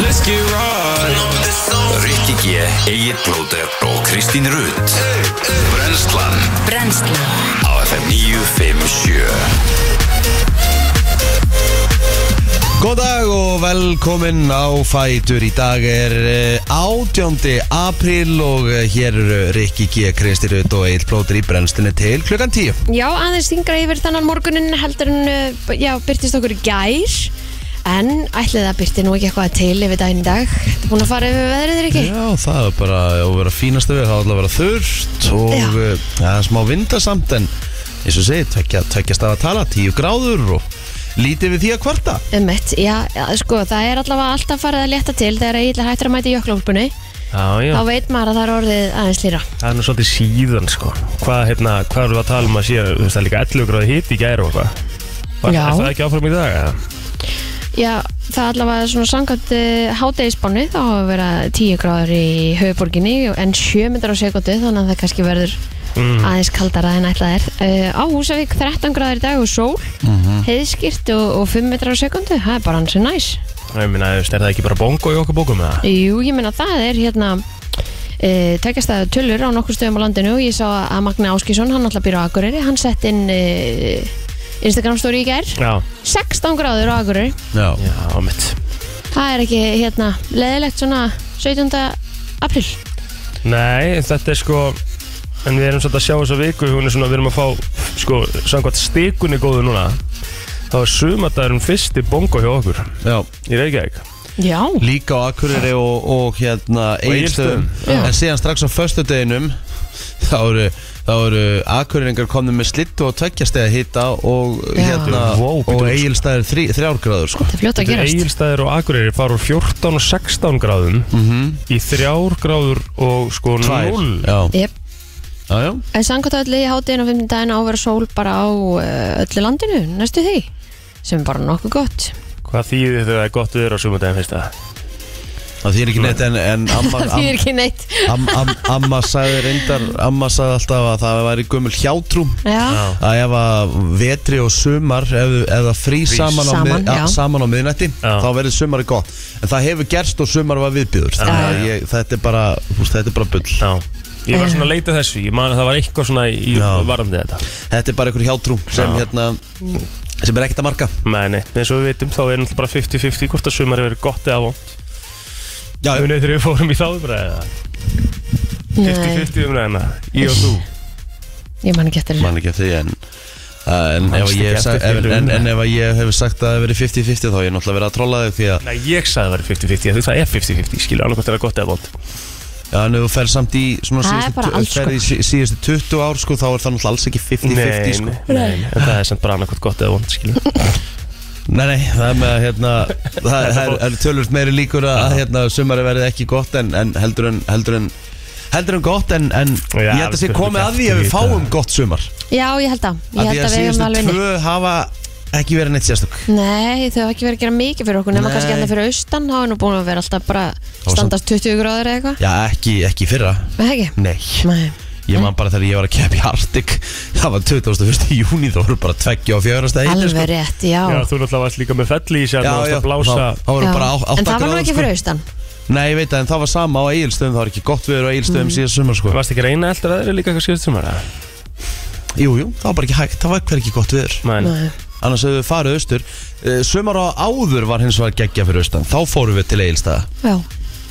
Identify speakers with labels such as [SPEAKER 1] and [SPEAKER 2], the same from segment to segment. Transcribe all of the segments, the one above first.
[SPEAKER 1] let's get right
[SPEAKER 2] Rikki G, Egil Blóter og Kristín Rutt Brenslan
[SPEAKER 3] Brennslan
[SPEAKER 2] á FM 957
[SPEAKER 4] Góð dag og velkomin á Fætur Í dag er eh, 18. apríl og eh, hér eru Rikki G. Kristirut og Eil Plóter í brennstunni til klukkan 10
[SPEAKER 5] Já, aðeins þingra yfir þannan morgunin heldur en, uh, já, byrtist okkur í gær En ætlið að byrti nú ekki eitthvað til yfir daginn í dag Þetta er búin að fara yfir veðrið er ekki?
[SPEAKER 4] Já, það er bara að vera fínasta við, það er alltaf að vera þurrt
[SPEAKER 5] Já.
[SPEAKER 4] og eh, það er smá vindasamt en eins og segi, tvekja, tvekja stað að tala, 10 gráður og lítið við því að kvarta
[SPEAKER 5] Ummitt, Um já, já, sko, það er allavega alltaf farið að létta til þegar ég ætla hættur að mæta í jöklúlpunni
[SPEAKER 6] Já, já,
[SPEAKER 5] Þá veit maður að það er orðið aðeins lýra
[SPEAKER 6] það er nú svolítið síðan sko Hvað, hérna, hvað erum við að tala um að sé Þú veist, það er líka 11 gráði hitt í gæri og hvað Var,
[SPEAKER 5] Já.
[SPEAKER 6] Er það ekki áfram í dag? eða?
[SPEAKER 5] Já, það er allavega svona samkvæmt uh, hádegisbánu Þá hafa verið 10 gráður í höfuborginni En 7 metrar á sekundu Þannig að það kannski verður aðeins kaldara en ætlað er uh, Á Húsavík 13 gráður í dag og sól Heiðskýrt og, og 5 metrar á sekundu Það er bara hans og næs
[SPEAKER 6] Ég meina, þú veist, er það ekki bara bongo í okkar bókum eða?
[SPEAKER 5] Jú, ég meina það er hérna e, tekjast að tölur á nokkur stöðum á landinu og ég sá að Magna Áskísson, hann alltaf býr á Akureyri, hann sett inn e, Instagram story í gær
[SPEAKER 6] Já,
[SPEAKER 5] 16 gráður á Akureyri
[SPEAKER 4] Já,
[SPEAKER 6] já, mitt
[SPEAKER 5] það er ekki hérna leðilegt svona 17. april
[SPEAKER 6] Nei, þetta er sko En við erum svolítið að sjá þessa viku Hún er svona, við erum að fá Sko, samkvæmt stikunni góðu núna Þá er sumardagurinn fyrsti bongo hjá okkur
[SPEAKER 4] já
[SPEAKER 6] Í Reykjavík
[SPEAKER 5] Já,
[SPEAKER 4] líka á Akureyri og, og hérna Egilstöðum
[SPEAKER 5] Já.
[SPEAKER 4] en síðan strax á föstudeginum þá eru, þá eru Akureyringar komnið með slittu og tveggjastega hita og
[SPEAKER 5] Já.
[SPEAKER 4] hérna
[SPEAKER 6] Vó, býtum
[SPEAKER 4] og
[SPEAKER 6] við.
[SPEAKER 4] Egilstæðir þrj, þrjárgráður sko.
[SPEAKER 5] það er fljótt að gerast
[SPEAKER 6] Egilstaðir og Akureyri fara úr 14 og 16 gráðum Í 3 gráður og sko 0
[SPEAKER 4] já.
[SPEAKER 5] Jep.
[SPEAKER 4] Já, já.
[SPEAKER 5] En samkvæmt öllu í hátíðin og 15 daginn á að vera sól bara á eh, öllu landinu, næstu því sem er bara nokkuð gott
[SPEAKER 6] Hvað þýðir þegar það er gott viður á sumardaginn fyrst að?
[SPEAKER 4] það þýr ekki neitt en, en amma,
[SPEAKER 5] Það
[SPEAKER 4] am,
[SPEAKER 5] þýðir ekki neitt
[SPEAKER 4] am, am, amma sagði reyndar amma sagði alltaf að það væri gömul hjátrú
[SPEAKER 5] Já,
[SPEAKER 4] að ef að vetri og sumar ef, ef það frýs saman, á
[SPEAKER 5] Saman,
[SPEAKER 4] mið-
[SPEAKER 5] já.
[SPEAKER 4] ja, saman á miðnætti
[SPEAKER 6] Já.
[SPEAKER 4] þá verður sumari gott en það hefur gerst og sumar var viðbjöður
[SPEAKER 5] Já,
[SPEAKER 4] þannig að
[SPEAKER 5] já.
[SPEAKER 4] ég, þetta er bara þú veist, þetta er bara bull
[SPEAKER 6] Já Ég var svona að leita þessu, ég man að það var eitthvað svona í
[SPEAKER 4] Já.
[SPEAKER 6] varandi þetta
[SPEAKER 4] þetta er bara einhver hjátrú sem,
[SPEAKER 6] Já.
[SPEAKER 4] hérna, sem er ekkert að marka
[SPEAKER 6] Nei, nei, eins og við vitum þá er náttúrulega bara 50-50 hvort að sumar hefur verið gott eða vond
[SPEAKER 4] já,
[SPEAKER 6] Það munið þegar við fórum í þá umræða
[SPEAKER 5] nei,
[SPEAKER 6] 50-50 umræðina, ég og þú
[SPEAKER 5] ég man ekki eftir
[SPEAKER 4] man ekki eftir því en Uh, en, ef
[SPEAKER 6] Manstu
[SPEAKER 4] ég,
[SPEAKER 6] ekki
[SPEAKER 4] hef sagt,
[SPEAKER 6] eftir
[SPEAKER 4] en,
[SPEAKER 6] fyrri
[SPEAKER 4] en,
[SPEAKER 6] umræðu?
[SPEAKER 4] en ef að ég hef sagt að það hefur verið 50-50 þá hef ég náttúrulega verið að trolla þig því að
[SPEAKER 6] Nei, ég sagði það verið 50-50, þú veist, það er 50-50, skilur annað hvort er það gott eða vond
[SPEAKER 4] já, en ef þú fer samt í svona
[SPEAKER 5] Það er bara
[SPEAKER 4] síðustu,
[SPEAKER 5] alls
[SPEAKER 4] fer í sí- síðustu 20 ár sko, þá er það náttúrulega alls ekki 50-50 sko.
[SPEAKER 6] nei, nei, nei, en það er sem bara annað hvort gott eða vond, skilur
[SPEAKER 4] Nei, nei, það er með að hérna, það er, það er tölvöld meiri líkur að, að hérna, sumari verði ekki gott en, en heldur en heldur en heldur en gott en, en
[SPEAKER 6] Já,
[SPEAKER 4] ég held að sé
[SPEAKER 6] við skulum
[SPEAKER 4] komið
[SPEAKER 6] ekki
[SPEAKER 4] að því ef
[SPEAKER 6] eftir
[SPEAKER 4] við
[SPEAKER 6] í
[SPEAKER 4] fáum
[SPEAKER 6] þetta.
[SPEAKER 4] gott sumar
[SPEAKER 5] Já, ég held að, ég
[SPEAKER 4] Af
[SPEAKER 5] held
[SPEAKER 4] því
[SPEAKER 5] að við erum alveg
[SPEAKER 4] síðustu
[SPEAKER 5] inni
[SPEAKER 4] tvö hafa ekki verið neitt sérstök
[SPEAKER 5] Nei, þau hafa ekki verið að gera mikið fyrir okkur nema
[SPEAKER 4] Nei.
[SPEAKER 5] kannski hérna fyrir austan, þá er nú búin að vera alltaf bara
[SPEAKER 4] var
[SPEAKER 5] standast 20 gráður eða eitthvað
[SPEAKER 4] Já, ekki, ekki í fyrra
[SPEAKER 5] Nei, ekki?
[SPEAKER 4] Nei,
[SPEAKER 5] Nei,
[SPEAKER 4] ég man bara þegar ég var að keppa í Arctic Það var 21. júni, þá voru bara 20 og 4. steinu
[SPEAKER 5] alveg rétt, já,
[SPEAKER 6] Já, þú náttúrulega varst líka með felli í sér
[SPEAKER 4] Já,
[SPEAKER 6] og
[SPEAKER 4] já,
[SPEAKER 6] varst
[SPEAKER 4] þá,
[SPEAKER 6] að blása
[SPEAKER 4] þá voru
[SPEAKER 5] já.
[SPEAKER 4] bara á- átta
[SPEAKER 5] En það var nú
[SPEAKER 4] gráður,
[SPEAKER 5] ekki
[SPEAKER 4] sko.
[SPEAKER 5] fyrir austan
[SPEAKER 4] Nei, ég veit að en það var sama á Egilstöðum, það var ekki gott viður á Egilstöðum mm. síðan sumar sko
[SPEAKER 6] Varst ekki reyna eftir að það er líka eitthvað síðast sumar eða?
[SPEAKER 4] Jú, jú, það var bara ekki hægt, það var hver ekki gott viður
[SPEAKER 6] Nei,
[SPEAKER 5] Nei.
[SPEAKER 4] annars hefðu við farið austur Eh, sumar á áður var hins vegar geggja fyrir austan þá fórum við til Egilstaða
[SPEAKER 5] Já,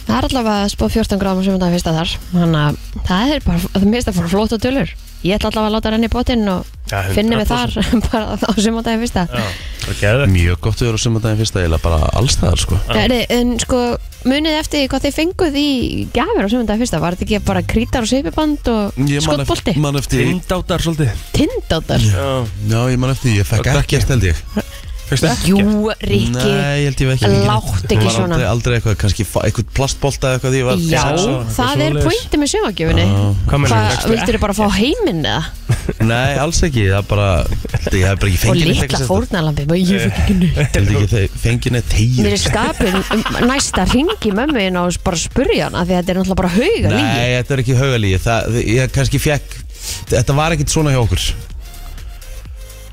[SPEAKER 5] það er allavega spáð 14 gráðum sem þetta fyrsta þar Þannig að það er bara, það minnst að fara flóta tölur Ég ætla allavega að láta renni í botinn og
[SPEAKER 6] Já, 100%.
[SPEAKER 5] finnum við þar bara á sumandaginn fyrsta
[SPEAKER 6] Já, bara geðvegt.
[SPEAKER 4] mjög gott viður á sumardaginn fyrsta eiginlega bara allstaðar sko
[SPEAKER 5] Nei, en sko, munið eftir því hvað þið fenguð í gafir á sumandaginn fyrsta Var þetta ekki bara krítar og seipiband og skottbolti?
[SPEAKER 4] man eftir
[SPEAKER 6] Vindáttar svolítið
[SPEAKER 5] Tindáttar?
[SPEAKER 4] já ég man eftir ég fekk
[SPEAKER 6] Og
[SPEAKER 4] ekkert held ég
[SPEAKER 6] Fyrstu ekki?
[SPEAKER 5] Jú, Rikki
[SPEAKER 4] nei ég held ég ekki
[SPEAKER 5] Láttu ekki
[SPEAKER 4] Var
[SPEAKER 5] svona.
[SPEAKER 4] aldrei, aldrei eitthvað kannski fa- eitthvað plastbolta eða eitthvað því ég var
[SPEAKER 5] Já,
[SPEAKER 6] sex ára,
[SPEAKER 5] það
[SPEAKER 6] eitthvað
[SPEAKER 5] er
[SPEAKER 6] svoleiðis.
[SPEAKER 5] pointi með sumagjöfunni
[SPEAKER 6] Hvað mennum
[SPEAKER 5] Hvað,
[SPEAKER 6] við?
[SPEAKER 5] vildur þið bara fá heiminn eða?
[SPEAKER 4] nei alls ekki það bara held ég hef bara ekki
[SPEAKER 5] Og
[SPEAKER 4] fengið neitt
[SPEAKER 5] litla
[SPEAKER 4] eitthvað
[SPEAKER 5] fórnalambi, maður
[SPEAKER 4] Eh.
[SPEAKER 5] ég fyrir ekki neitt
[SPEAKER 4] sérstakt. held ekki þau fengið neitt
[SPEAKER 5] Mér er
[SPEAKER 4] hegir
[SPEAKER 5] skapin um næsta ringi mömmuinn hérna og bara spurja hana því að þetta er náttúrulega bara hauga lígi
[SPEAKER 4] nei þetta er ekki haugalíi það ég kannski fekk þetta var ekkert svona hjá okkur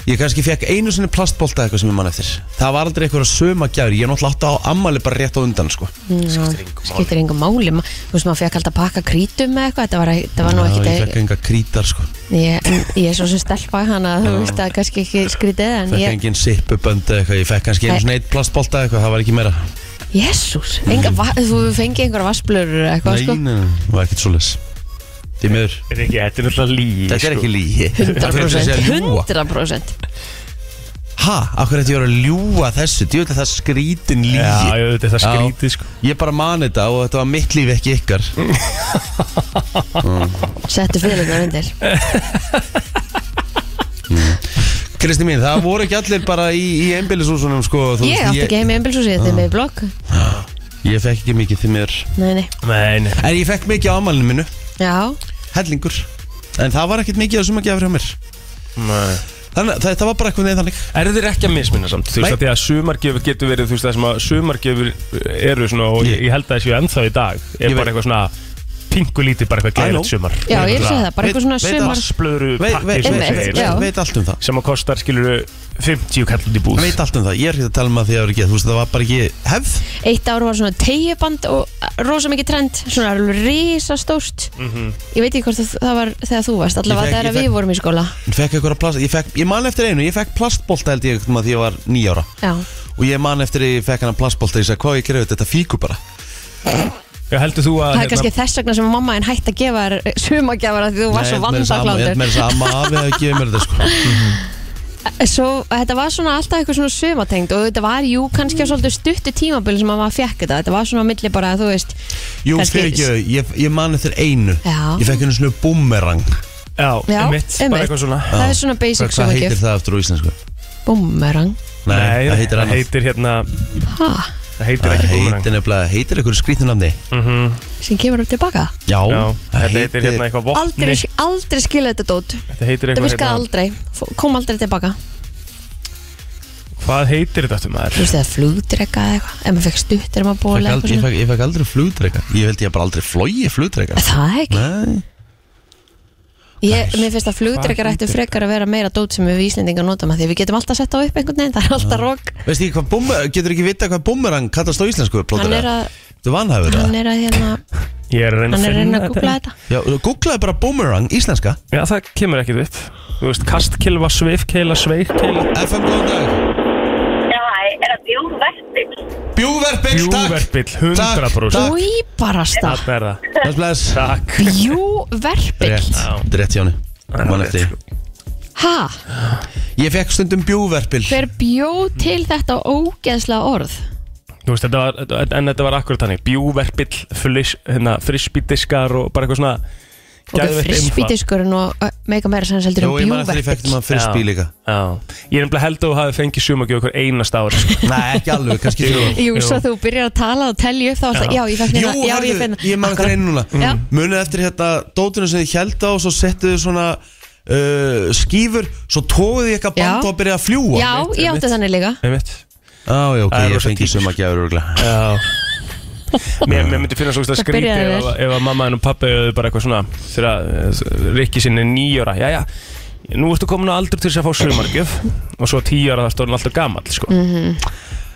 [SPEAKER 4] Ég kannski fekk einu sinni plastbolta eitthvað sem ég man eftir Það var aldrei eitthvað söma gjæri Ég er náttúrulega átt á ammali bara rétt á undan sko.
[SPEAKER 5] Mm. skiptir engum máli Ma- þú veist maður fekk alltaf að pakka krítum með eitthvað þetta var, þetta var nú
[SPEAKER 4] Já, Ég
[SPEAKER 5] ekkit
[SPEAKER 4] fekk enga krítar sko.
[SPEAKER 5] ég, en ég er svo sem stelpa hana þú veist það er kannski ekki skrítið en
[SPEAKER 4] Fekk
[SPEAKER 5] ég,
[SPEAKER 4] engin sippubönd eða eitthvað Ég fekk kannski einu
[SPEAKER 5] Nei.
[SPEAKER 4] sinni eitt plastbolta eitthvað Það var ekki meira
[SPEAKER 5] jésús þú fengið einhverja vasblur eitthvað sko
[SPEAKER 4] nei, nei, það var ekkert svo les Því miður sko-
[SPEAKER 6] er ekki, þetta er náttúrulega sko. líi
[SPEAKER 4] Þetta er ekki lígi
[SPEAKER 5] 100% 100%
[SPEAKER 4] Hæ, akkur þetta ég var að ljúa þessu Þú veit að það er skrítin lígi
[SPEAKER 6] Já, ég veit, þetta er
[SPEAKER 4] Já.
[SPEAKER 6] skrítið sko
[SPEAKER 4] Ég bara man þetta og þetta var mitt líf ekki ykkar
[SPEAKER 5] settu fyrirlega undir
[SPEAKER 4] Kristi mín, það voru ekki allir bara í, í einbýlishúsunum sko, þú
[SPEAKER 5] ég
[SPEAKER 4] veist,
[SPEAKER 5] átti ekki heim í embelshúsi þetta er með í blogg
[SPEAKER 4] Ég fekk ekki mikið því mér
[SPEAKER 5] nei nei
[SPEAKER 6] Nei, nei.
[SPEAKER 4] En ég fekk mikið á ámælinu minu,
[SPEAKER 5] já
[SPEAKER 4] hellingur En það var ekkert mikið að suma gefur hjá mér Þannig, að það, það var bara eitthvað neðan þannig
[SPEAKER 6] Er þeir ekki að misminna samt? Þú veist
[SPEAKER 4] Nei.
[SPEAKER 6] að því að sumargjöfur getur verið Þú veist það sem að sumargjöfur eru svona Og
[SPEAKER 4] Ég-
[SPEAKER 6] ég, ég held að það séu ennþá í dag
[SPEAKER 4] Ég
[SPEAKER 6] Er
[SPEAKER 4] veit-
[SPEAKER 6] bara eitthvað svona Pingulítið bara eitthvað
[SPEAKER 4] I know.
[SPEAKER 6] gæðið sumar
[SPEAKER 5] já ég sé það
[SPEAKER 4] Veit-
[SPEAKER 5] bara eitthvað svona
[SPEAKER 4] veit
[SPEAKER 5] sumar
[SPEAKER 4] alls.
[SPEAKER 6] Splöru
[SPEAKER 4] Vei, vei,
[SPEAKER 6] pakki
[SPEAKER 4] vei,
[SPEAKER 6] sem
[SPEAKER 5] Einmitt,
[SPEAKER 6] segir,
[SPEAKER 5] já.
[SPEAKER 4] veit allt um það
[SPEAKER 6] Sem að kostar skilur 50 kallin í búð
[SPEAKER 4] Veit allt um það, ég er ekki að tala um að því að vera ekki Þú veist, það var bara ekki hefð
[SPEAKER 5] eitt ár var svona tegjuband og rosa mikið trend, svona risastórt ég veit ekki hvort það, það var þegar þú varst,
[SPEAKER 4] Mhm. Ég
[SPEAKER 5] allavega
[SPEAKER 4] fekk-
[SPEAKER 5] þegar
[SPEAKER 4] ég
[SPEAKER 5] við
[SPEAKER 4] fekk-
[SPEAKER 5] vorum í skóla
[SPEAKER 4] Ég fekk eitthvað plast, ég, fekk, ég man eftir einu, ég fekk plastbolta held ég einhvern tímann að því ég var nýja ára
[SPEAKER 5] já,
[SPEAKER 4] Og ég man eftir að ég fekk hann plastbolta, ég sagði hvað ég greið þetta fíku bara
[SPEAKER 6] Já, heldur þú að
[SPEAKER 4] hérna-
[SPEAKER 5] það
[SPEAKER 6] hérna-
[SPEAKER 5] er kannski þess vegna sem mamma en hætti að gefa þér sumagjafar að því þú var svo vandaklándur
[SPEAKER 4] Mér er sama hérna, afi að gefa mér þetta sko
[SPEAKER 5] svo þetta var svona alltaf eitthvað svona sumatengt og þetta var jú kannski á
[SPEAKER 4] Mm.
[SPEAKER 5] svolítið stuttu tímabili sem maður fekk þetta, þetta var svona á milli bara þú veist,
[SPEAKER 4] Jú,
[SPEAKER 5] Kannski-
[SPEAKER 4] fyrir ekki, ég, ég man eftir einu
[SPEAKER 5] Já.
[SPEAKER 4] Ég fekk einu svona boomerang
[SPEAKER 6] Já,
[SPEAKER 5] Já,
[SPEAKER 6] emitt,
[SPEAKER 5] einmitt.
[SPEAKER 6] bara eitthvað svona
[SPEAKER 5] það er svona basic
[SPEAKER 4] Hvað heitir
[SPEAKER 5] sumagjöf
[SPEAKER 4] það eftir á íslensku?
[SPEAKER 5] búmerang,
[SPEAKER 4] Nei, það heitir
[SPEAKER 6] það
[SPEAKER 4] annað
[SPEAKER 6] heitir hérna
[SPEAKER 5] ha,
[SPEAKER 6] Það heitir
[SPEAKER 4] Það
[SPEAKER 6] ekki búmerang
[SPEAKER 4] heitir nefnilega, heitir einhverju skrýtnunamni
[SPEAKER 5] sem kemur upp tilbaka
[SPEAKER 4] Já,
[SPEAKER 6] Já,
[SPEAKER 4] það
[SPEAKER 6] þetta heitir hérna eitthvað vopni
[SPEAKER 5] aldrei, aldrei skilja þetta dót
[SPEAKER 6] Þetta heitir
[SPEAKER 5] þetta
[SPEAKER 6] eitthvað
[SPEAKER 5] virkaði
[SPEAKER 6] hérna
[SPEAKER 5] aldrei, F- kom aldrei tilbaka
[SPEAKER 6] Hvað heitir þetta aftur
[SPEAKER 5] Þú
[SPEAKER 6] maður?
[SPEAKER 5] veist það flugdrega eða eitthvað Ef maður fekk stutt er maður
[SPEAKER 4] Fekk
[SPEAKER 5] bóla
[SPEAKER 4] ald-
[SPEAKER 5] eitthvað
[SPEAKER 4] ég,
[SPEAKER 5] svona
[SPEAKER 4] fekk, ég fekk aldrei flugdreika Ég held ég bara aldrei flogi flugdreika
[SPEAKER 5] Það er ekki
[SPEAKER 4] Nei,
[SPEAKER 5] ég, Mér finnst að flugdregar
[SPEAKER 6] Hvað
[SPEAKER 5] ættu
[SPEAKER 6] heitir
[SPEAKER 5] frekar að vera meira dót sem við Íslendingar notum að því við getum alltaf sett á upp einhvern veginn, það er alltaf rokk
[SPEAKER 4] veist ég hvað boomerang, getur ekki vita hvað boomerang kallast á íslensku
[SPEAKER 5] Hann er
[SPEAKER 4] plótur
[SPEAKER 5] að,
[SPEAKER 4] Þú vanhæfur
[SPEAKER 5] hann
[SPEAKER 4] það
[SPEAKER 5] er að hérna
[SPEAKER 6] Ég er að reyna
[SPEAKER 5] Hann
[SPEAKER 6] að
[SPEAKER 5] er að reyna að googla
[SPEAKER 6] finna
[SPEAKER 5] þetta
[SPEAKER 4] Já, googlaði bara boomerang íslenska
[SPEAKER 6] Já, það kemur ekkert upp Þú veist, kastkilva, sveifkeila, sveikkeila
[SPEAKER 4] FM góðan dag
[SPEAKER 1] Já, hæ, er það bjúverpil?
[SPEAKER 4] Bjúverpill, takk
[SPEAKER 6] Bjúverbill, 100%
[SPEAKER 4] Takk.
[SPEAKER 5] Új barasta
[SPEAKER 6] Þarna er það
[SPEAKER 4] Bless, bless
[SPEAKER 6] Takk
[SPEAKER 5] Bjúverpill
[SPEAKER 4] Rétt,
[SPEAKER 6] Já.
[SPEAKER 4] þetta er rétt Jóni
[SPEAKER 6] er
[SPEAKER 4] Man
[SPEAKER 6] rétt,
[SPEAKER 4] eftir
[SPEAKER 6] sko.
[SPEAKER 5] Ha,
[SPEAKER 4] Ég fekk stundum bjúverpil
[SPEAKER 5] hver bjó til þetta ógeðslega orð?
[SPEAKER 6] Þú veist, þetta var, þetta- en þetta var akkurat þannig Bjúverbill, flis, hérna, frisbítiskar og bara eitthvað svona
[SPEAKER 5] Og
[SPEAKER 6] geðveikt
[SPEAKER 5] frisbítiskurinn og ö, meika meira sem heldur
[SPEAKER 4] Jó,
[SPEAKER 5] um
[SPEAKER 4] ég man eftir ég fekk
[SPEAKER 5] bjúverpill
[SPEAKER 4] maður fyrir spil líka
[SPEAKER 6] einfalt. Já, já. Ég er nefnilega held að þú hafi fengið sumagjöf okkur einasta ári sko.
[SPEAKER 4] Nei, ekki alveg, kannski þrjú
[SPEAKER 5] Jú,
[SPEAKER 6] Jú.
[SPEAKER 5] svo þú byrjar að tala og telja upp þá alltaf, já, ég fekk
[SPEAKER 4] Jú,
[SPEAKER 5] hérna, já, ég finn
[SPEAKER 4] herðu, ég man eftir einu núna
[SPEAKER 5] Já.
[SPEAKER 4] Munið eftir hérna dótinu sem þið held á og svo settu þið svona uh, skífur Svo tóðið ég eitthvað
[SPEAKER 5] Já.
[SPEAKER 4] band og byrjaði að fljúa
[SPEAKER 5] Já, ég átti þannig líka
[SPEAKER 6] Einmitt
[SPEAKER 4] Á, já, ok,
[SPEAKER 6] Það er
[SPEAKER 4] ég
[SPEAKER 6] rosa
[SPEAKER 4] fengi
[SPEAKER 6] típisk.
[SPEAKER 4] suma gefur örgulega
[SPEAKER 6] Já Mér, mér myndi finna svona
[SPEAKER 5] Það
[SPEAKER 6] skrítið
[SPEAKER 5] byrjaði
[SPEAKER 6] ef,
[SPEAKER 5] vel.
[SPEAKER 6] ef að mamma henn og pappa hefðu bara eitthvað svona þegar að Rikki sinni nýjóra Jæja, nú ertu komin á aldur til þess að fá sumargjöf og svo tíjóra það stóðin alltaf gamall sko. mm
[SPEAKER 5] Mhm.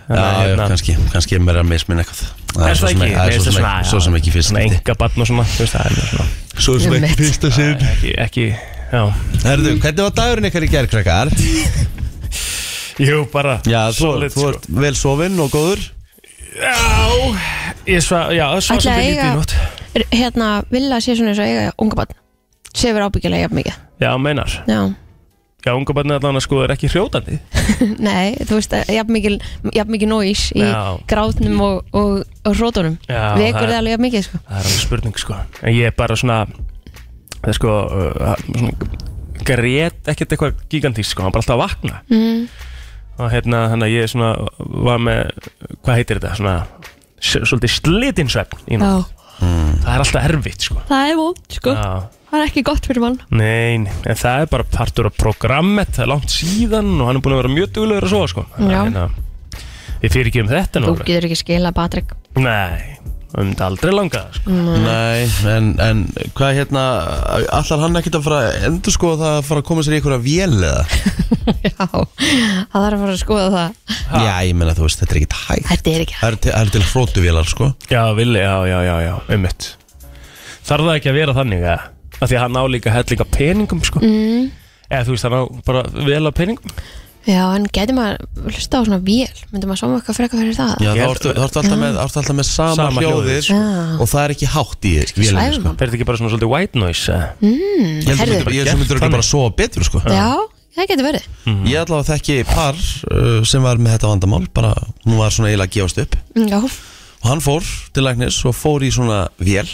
[SPEAKER 4] Já, já, kannski, kannski er mér að misminna eitthvað Það
[SPEAKER 6] hérna. Er það
[SPEAKER 4] sem
[SPEAKER 6] ekki?
[SPEAKER 4] það er svo sem ekki- svo sem ekki fyrst
[SPEAKER 6] Svona enga barn og svona, þú veist, það er svona
[SPEAKER 4] Svo sem
[SPEAKER 5] Einmitt.
[SPEAKER 4] ekki fyrsta sinn
[SPEAKER 6] Ekki, ekki, já
[SPEAKER 4] Herðu, hvernig var dagurinn ykkar í gerkrakkar?
[SPEAKER 6] Jú, bara
[SPEAKER 4] Já, þú,
[SPEAKER 6] solid,
[SPEAKER 4] þú
[SPEAKER 6] sko.
[SPEAKER 4] ert vel sofinn og góður
[SPEAKER 6] Já, ég sva,
[SPEAKER 5] Ætli
[SPEAKER 6] já, það sva
[SPEAKER 5] að
[SPEAKER 6] svolítið lítið
[SPEAKER 5] eiga-
[SPEAKER 6] í nótt
[SPEAKER 5] Er- Hérna, vilja sé svona eins og eiga unga barn Sefur ábyggilega jafn mikið
[SPEAKER 6] Já, meinar
[SPEAKER 5] Já,
[SPEAKER 6] Já, unga barnið allan að sko er ekki hrjótandi
[SPEAKER 5] nei, þú veist að jafn mikið, jafn mikið nóis í
[SPEAKER 6] Já.
[SPEAKER 5] grátnum og, og, og hrótunum
[SPEAKER 6] Já,
[SPEAKER 5] Vekur
[SPEAKER 6] það er-
[SPEAKER 5] það alveg jafn mikið, sko
[SPEAKER 6] Það er alveg spurning sko En ég er bara svona Það er sko uh, svona, Grét ekkert eitthvað gigantísk sko Hann bara alltaf að vakna mm.
[SPEAKER 5] Mhm.
[SPEAKER 6] Og hérna þannig að ég svona Var með, hvað heitir þetta svona s- Svolítið slitinsvefn í nótt. Það er alltaf erfitt sko
[SPEAKER 5] það er vond, sko
[SPEAKER 6] Já.
[SPEAKER 5] Það er ekki gott fyrir mann
[SPEAKER 6] Nei, nei, en það er bara partur af programmet Það er langt síðan og hann er búin að vera mjög duglegur að svo sko
[SPEAKER 5] Já.
[SPEAKER 6] Þannig að, hérna, Við fyrir ekki um þetta nú
[SPEAKER 5] Þú
[SPEAKER 6] alveg.
[SPEAKER 5] getur ekki skila Patrik
[SPEAKER 6] Nei, um þetta aldrei langaði sko.
[SPEAKER 5] Mm.
[SPEAKER 4] Nei, en, en hvað hérna Allar hann ekkert að fara að endur skoða það að fara að koma sér í einhverja vél eða
[SPEAKER 5] Já, það þarf að fara að skoða það
[SPEAKER 4] Já, ég meina þú veist, þetta er ekkert hægt
[SPEAKER 5] Þetta er ekki
[SPEAKER 4] Það eru til, er til frótuvélar sko
[SPEAKER 6] Já, villi, já, já, já, já, ummitt Þarf það ekki að vera þannig að Af því að hann á líka hellinga peningum sko. mm. Eða þú veist, hann á bara vel á peningum sko.
[SPEAKER 5] Já, en getur maður hlusta á svona vél Myndum maður sama eitthvað frekar fyrir það
[SPEAKER 4] Já,
[SPEAKER 6] Ég
[SPEAKER 4] þá
[SPEAKER 6] held-
[SPEAKER 4] ertu, þá ertu alltaf, með, ertu alltaf með Mm. sama,
[SPEAKER 6] Sama
[SPEAKER 4] hljóðið
[SPEAKER 6] hljóðið,
[SPEAKER 4] sko.
[SPEAKER 5] Já.
[SPEAKER 4] Og það er ekki hátt í vélinni
[SPEAKER 5] Svæfum
[SPEAKER 4] sko.
[SPEAKER 5] hann
[SPEAKER 6] Fer þetta ekki bara svona svolítið white noise mm.
[SPEAKER 4] Ég heldur
[SPEAKER 5] Herðu.
[SPEAKER 4] myndur, ég heldur myndur ekki bara að sofa betur sko.
[SPEAKER 5] Já, það getur verið
[SPEAKER 4] Ég ætla að þekki par uh, sem var með þetta vandamál bara, hún var svona eiginlega að gefast upp
[SPEAKER 5] Mm, Já,
[SPEAKER 4] og hann fór til læknis og fór í svona vél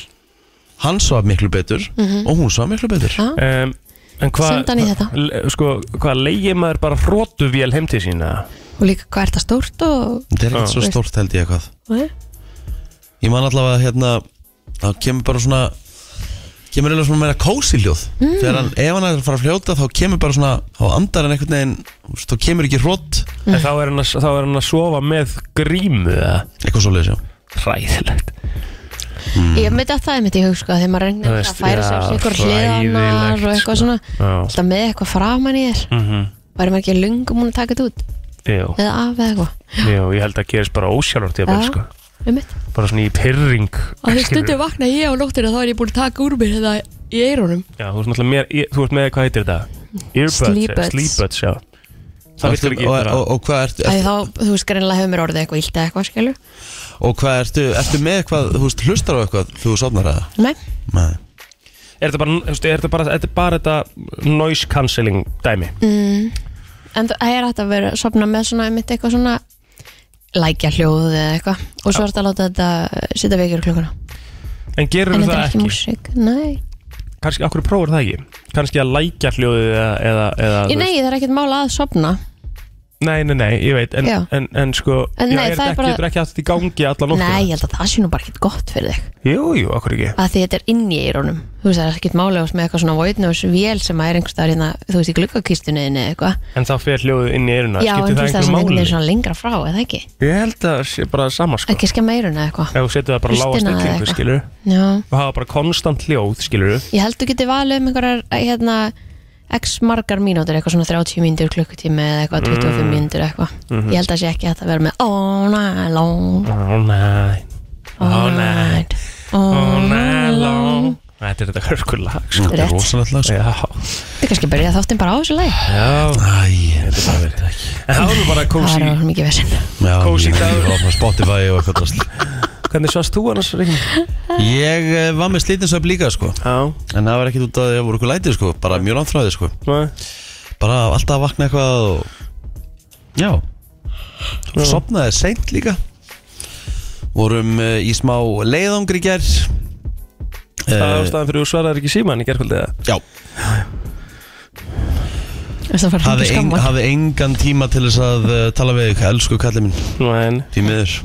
[SPEAKER 4] hann svaf miklu betur og hún svaf miklu betur
[SPEAKER 5] Já.
[SPEAKER 6] um, En hvað
[SPEAKER 5] Senda hann í þetta.
[SPEAKER 6] le- Sko, hvað leigir maður bara hrótu vel heim til sína
[SPEAKER 5] og líka hvað er það stórt og eh?
[SPEAKER 4] þetta er ekkert svo stórt held ég eitthvað ég man allavega hérna þá kemur bara svona kemur eiginlega svona meira kósi hljóð þegar hann, ef hann er að fara að fljóta þá kemur bara svona þá andar hann einhvern veginn þú veist, þá kemur ekki hrótt
[SPEAKER 5] Mm.
[SPEAKER 6] En þá er, hann að, þá er hann að sofa með grímu eða?
[SPEAKER 4] eitthvað svo leiðis já
[SPEAKER 6] Hræðilegt
[SPEAKER 5] Ég myndi að það er mitt í hug sko Þegar maður reynir að
[SPEAKER 6] Það Mm. veist,
[SPEAKER 5] færa
[SPEAKER 6] já,
[SPEAKER 5] sér svona ykkur
[SPEAKER 6] hræðilegt,
[SPEAKER 5] hliðanar og
[SPEAKER 6] sko.
[SPEAKER 5] eitthvað svona
[SPEAKER 6] Já.
[SPEAKER 5] Alltaf með eitthvað framan í þér
[SPEAKER 6] mm -hmm.
[SPEAKER 5] Varum ekki lungum hún að taka þetta út
[SPEAKER 6] Jú,
[SPEAKER 5] Eða af eða eitthvað
[SPEAKER 6] jú, ég held að gerist bara ósjálfur til
[SPEAKER 5] Já.
[SPEAKER 6] sko.
[SPEAKER 5] Um mitt
[SPEAKER 6] Bara svona í pyrring
[SPEAKER 5] Og þegar
[SPEAKER 6] skilurðu.
[SPEAKER 5] stundum vakna ég á nóttina þá er ég búin að taka úr mér þetta í eirónum
[SPEAKER 6] Já, þú ert náttúrulega mér, ég, þú ert með, hvað heitir þetta? Earbuds,
[SPEAKER 5] Sleebuds.
[SPEAKER 6] eh, Sleebuds, já Það virkar ekki
[SPEAKER 4] og,
[SPEAKER 6] bara-
[SPEAKER 4] og, og hvað ertu,
[SPEAKER 5] Æ,
[SPEAKER 4] ertu,
[SPEAKER 5] þá, þú veist, greinlega hefur mér orðið eitthvað illt eða eitthvað, skilur
[SPEAKER 4] og hvað ertu, ertu með eitthvað þú veist, hlustar á eitthvað, þú sofnar að
[SPEAKER 5] Nei,
[SPEAKER 4] Nei.
[SPEAKER 6] Er þetta bara, þú veist, er þetta bara, þetta er bara þetta noise cancelling dæmi
[SPEAKER 5] Mm. en þú- það er hægt að vera sopna með svona, mitt eitthvað svona lækja hljóð eða eitthvað og svo er þetta að láta þetta eh, sitja veikir klukkuna
[SPEAKER 6] En gerum
[SPEAKER 5] En
[SPEAKER 6] við
[SPEAKER 5] þetta
[SPEAKER 6] það
[SPEAKER 5] er ekki
[SPEAKER 6] ekki?
[SPEAKER 5] músík, nei
[SPEAKER 6] Kanski, okkur prófur það ekki? Kanski að lækja hljóðið eða, eða, eða
[SPEAKER 5] Í
[SPEAKER 6] þú
[SPEAKER 5] nei,
[SPEAKER 6] veist-
[SPEAKER 5] það er ekkert mála að sopna
[SPEAKER 6] nei, nei, nei, ég veit, en,
[SPEAKER 5] Já.
[SPEAKER 6] en, en sko
[SPEAKER 5] En nei,
[SPEAKER 6] já,
[SPEAKER 5] það er
[SPEAKER 6] er
[SPEAKER 5] bara-
[SPEAKER 6] Getur ekki haft þetta í gangi alla nóttina?
[SPEAKER 5] Nei, ég held að það sé nú bara ekkert gott fyrir þig
[SPEAKER 6] Jú, jú, okkur ekki
[SPEAKER 5] að því þetta er inn í eirónum þú veist, það er ekkert mála með eitthvað svona voidnós vél sem að er einhverstaðar hérna, þú veist, í glukkakistunni eða eitthvað
[SPEAKER 6] En þá fer hljóðið inn í
[SPEAKER 5] Já, en
[SPEAKER 6] eiruna, skiptir
[SPEAKER 5] þú
[SPEAKER 6] það
[SPEAKER 5] veist, það sem
[SPEAKER 6] einhverju
[SPEAKER 5] einhvern
[SPEAKER 6] máli?
[SPEAKER 5] veginn svona lengra frá, eða ekki?
[SPEAKER 6] Ég held að það sé bara sama, sko
[SPEAKER 5] Ekki skemma eiruna eitthvað
[SPEAKER 6] Ef þú setur það bara á lága
[SPEAKER 5] Hlustina eða
[SPEAKER 6] stillingu,
[SPEAKER 5] eitthvað.
[SPEAKER 6] skilur
[SPEAKER 5] Já
[SPEAKER 6] Og hafa bara konstant hljóð, skilur
[SPEAKER 5] Ég held þú getið valið um einhverjar hérna, x margar mínútur, eitthvað svona 30 mínútur klukkutími eða
[SPEAKER 6] Mm.
[SPEAKER 5] eitthvað 25 mínútur eitthvað.
[SPEAKER 6] Mhm.
[SPEAKER 5] Ég held að sé ekki hægt að vera með all night long,
[SPEAKER 6] All night
[SPEAKER 5] all
[SPEAKER 6] All night
[SPEAKER 5] night, all
[SPEAKER 6] All
[SPEAKER 5] night
[SPEAKER 6] night
[SPEAKER 5] long.
[SPEAKER 6] long Þetta er þetta hörkulag sko.
[SPEAKER 4] þetta er
[SPEAKER 5] Rétt.
[SPEAKER 4] rosalegt lag sko.
[SPEAKER 6] Já,
[SPEAKER 5] Þetta er kannski að byrja þáttinn bara á þessu lagi.
[SPEAKER 6] já
[SPEAKER 4] Æ, þetta er bara verið ekki
[SPEAKER 6] En það var nú bara
[SPEAKER 5] Það
[SPEAKER 6] kósi
[SPEAKER 5] var alveg mikið vesinn.
[SPEAKER 4] Já,
[SPEAKER 6] Kósí
[SPEAKER 4] ég
[SPEAKER 6] dagur.
[SPEAKER 4] er ofna Spotify og eitthvað drast.
[SPEAKER 6] Hvernig svast þú annars Ríkni?
[SPEAKER 4] Ég eh, var með slítinsöp líka sko
[SPEAKER 6] Já
[SPEAKER 4] En það var ekkert út af því að það voru okkur lætið sko Bara mjög langþráðið sko
[SPEAKER 6] Nei.
[SPEAKER 4] Bara alltaf að vakna eitthvað og... Já og Sopnaði seint líka Vorum eh, í smá leiðangri í gær
[SPEAKER 6] Það er
[SPEAKER 4] Eh,
[SPEAKER 6] ástæðan fyrir þú svaraðir ekki síman í gerkvöldi eða?
[SPEAKER 4] Já,
[SPEAKER 5] Það var
[SPEAKER 4] hafði,
[SPEAKER 5] alveg
[SPEAKER 4] en,
[SPEAKER 5] skamma.
[SPEAKER 4] hafði engan tíma til þess að uh, tala við ykkur Elsku kallið minn
[SPEAKER 6] Nei
[SPEAKER 4] Því miður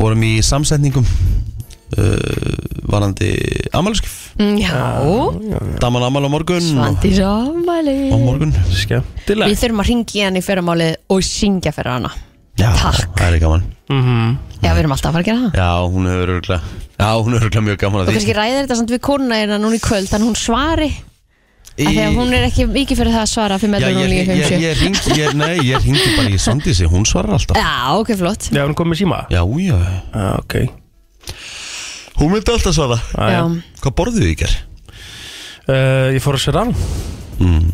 [SPEAKER 4] Vorum í samsetningum uh, Varandi amalskif
[SPEAKER 5] Mm, Já,
[SPEAKER 4] Daman amal á morgun og,
[SPEAKER 5] svandi
[SPEAKER 4] á
[SPEAKER 5] sammæli.
[SPEAKER 4] morgun
[SPEAKER 5] Við
[SPEAKER 6] Skemmtileg
[SPEAKER 5] þurfum að ringja hann í fyrramálið og syngja fyrir hana.
[SPEAKER 4] Já,
[SPEAKER 5] Takk.
[SPEAKER 4] það er gaman
[SPEAKER 6] Mhm.
[SPEAKER 5] Já, við erum alltaf að fara að gera það.
[SPEAKER 4] Já, hún hefur örgulega Já, hún hefur örgulega mjög gaman
[SPEAKER 5] Og
[SPEAKER 4] að
[SPEAKER 5] kannski
[SPEAKER 4] því
[SPEAKER 5] ræðir þetta samt við konuna hérna núna í kvöld, þannig hún svari. Í... Þegar hún er ekki mikið fyrir það að svara fyrir
[SPEAKER 4] Já,
[SPEAKER 5] meðlum
[SPEAKER 4] ég, ég, ég, ég ringi, ég, nei, ég ringi bara í Sandísi, hún svarar alltaf
[SPEAKER 5] Já, ok, flott
[SPEAKER 6] Já, hún kom með síma
[SPEAKER 4] Já, já
[SPEAKER 6] Já, Ah, ok
[SPEAKER 4] Hún myndi alltaf svara
[SPEAKER 5] Já,
[SPEAKER 4] Hvað borðuðu í ger?
[SPEAKER 6] uh, Ég fór að sér rann
[SPEAKER 4] Mm.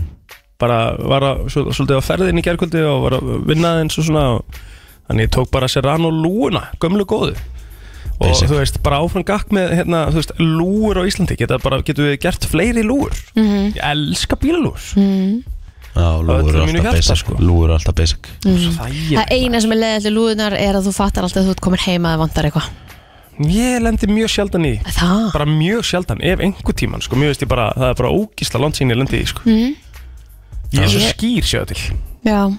[SPEAKER 6] Bara var að, svo- svolítið á ferðin í gerkvöldi og var að vinna eins og svona og, Þannig ég tók bara sér rann og lúuna, gömlu góðu Og
[SPEAKER 4] Basic.
[SPEAKER 6] þú veist, bara áfram gakk með hérna, þú veist, lúur á Íslandi Geta bara, getum við gert fleiri lúur
[SPEAKER 5] Mhm.
[SPEAKER 6] Ég elska bílalúur
[SPEAKER 4] Já, lúgur
[SPEAKER 6] öllu
[SPEAKER 4] er
[SPEAKER 6] mínu
[SPEAKER 4] alltaf
[SPEAKER 6] hjarta,
[SPEAKER 4] basic
[SPEAKER 6] sko.
[SPEAKER 4] Lúgur er alltaf basic
[SPEAKER 5] Mhm. það eina sem er leiðið til lúðunar er að þú fattar alltaf að þú ert komin heima að vantar eitthvað
[SPEAKER 6] Ég lendi mjög sjaldan í því.
[SPEAKER 5] Það,
[SPEAKER 6] Bara mjög sjaldan, ef einhver tíman sko, Mér veist ég bara, það er bara ógisla langt sín ég lendi í því, sko. Ég er svo
[SPEAKER 5] Mhm. Ég-
[SPEAKER 6] skýr sjöðu til
[SPEAKER 5] já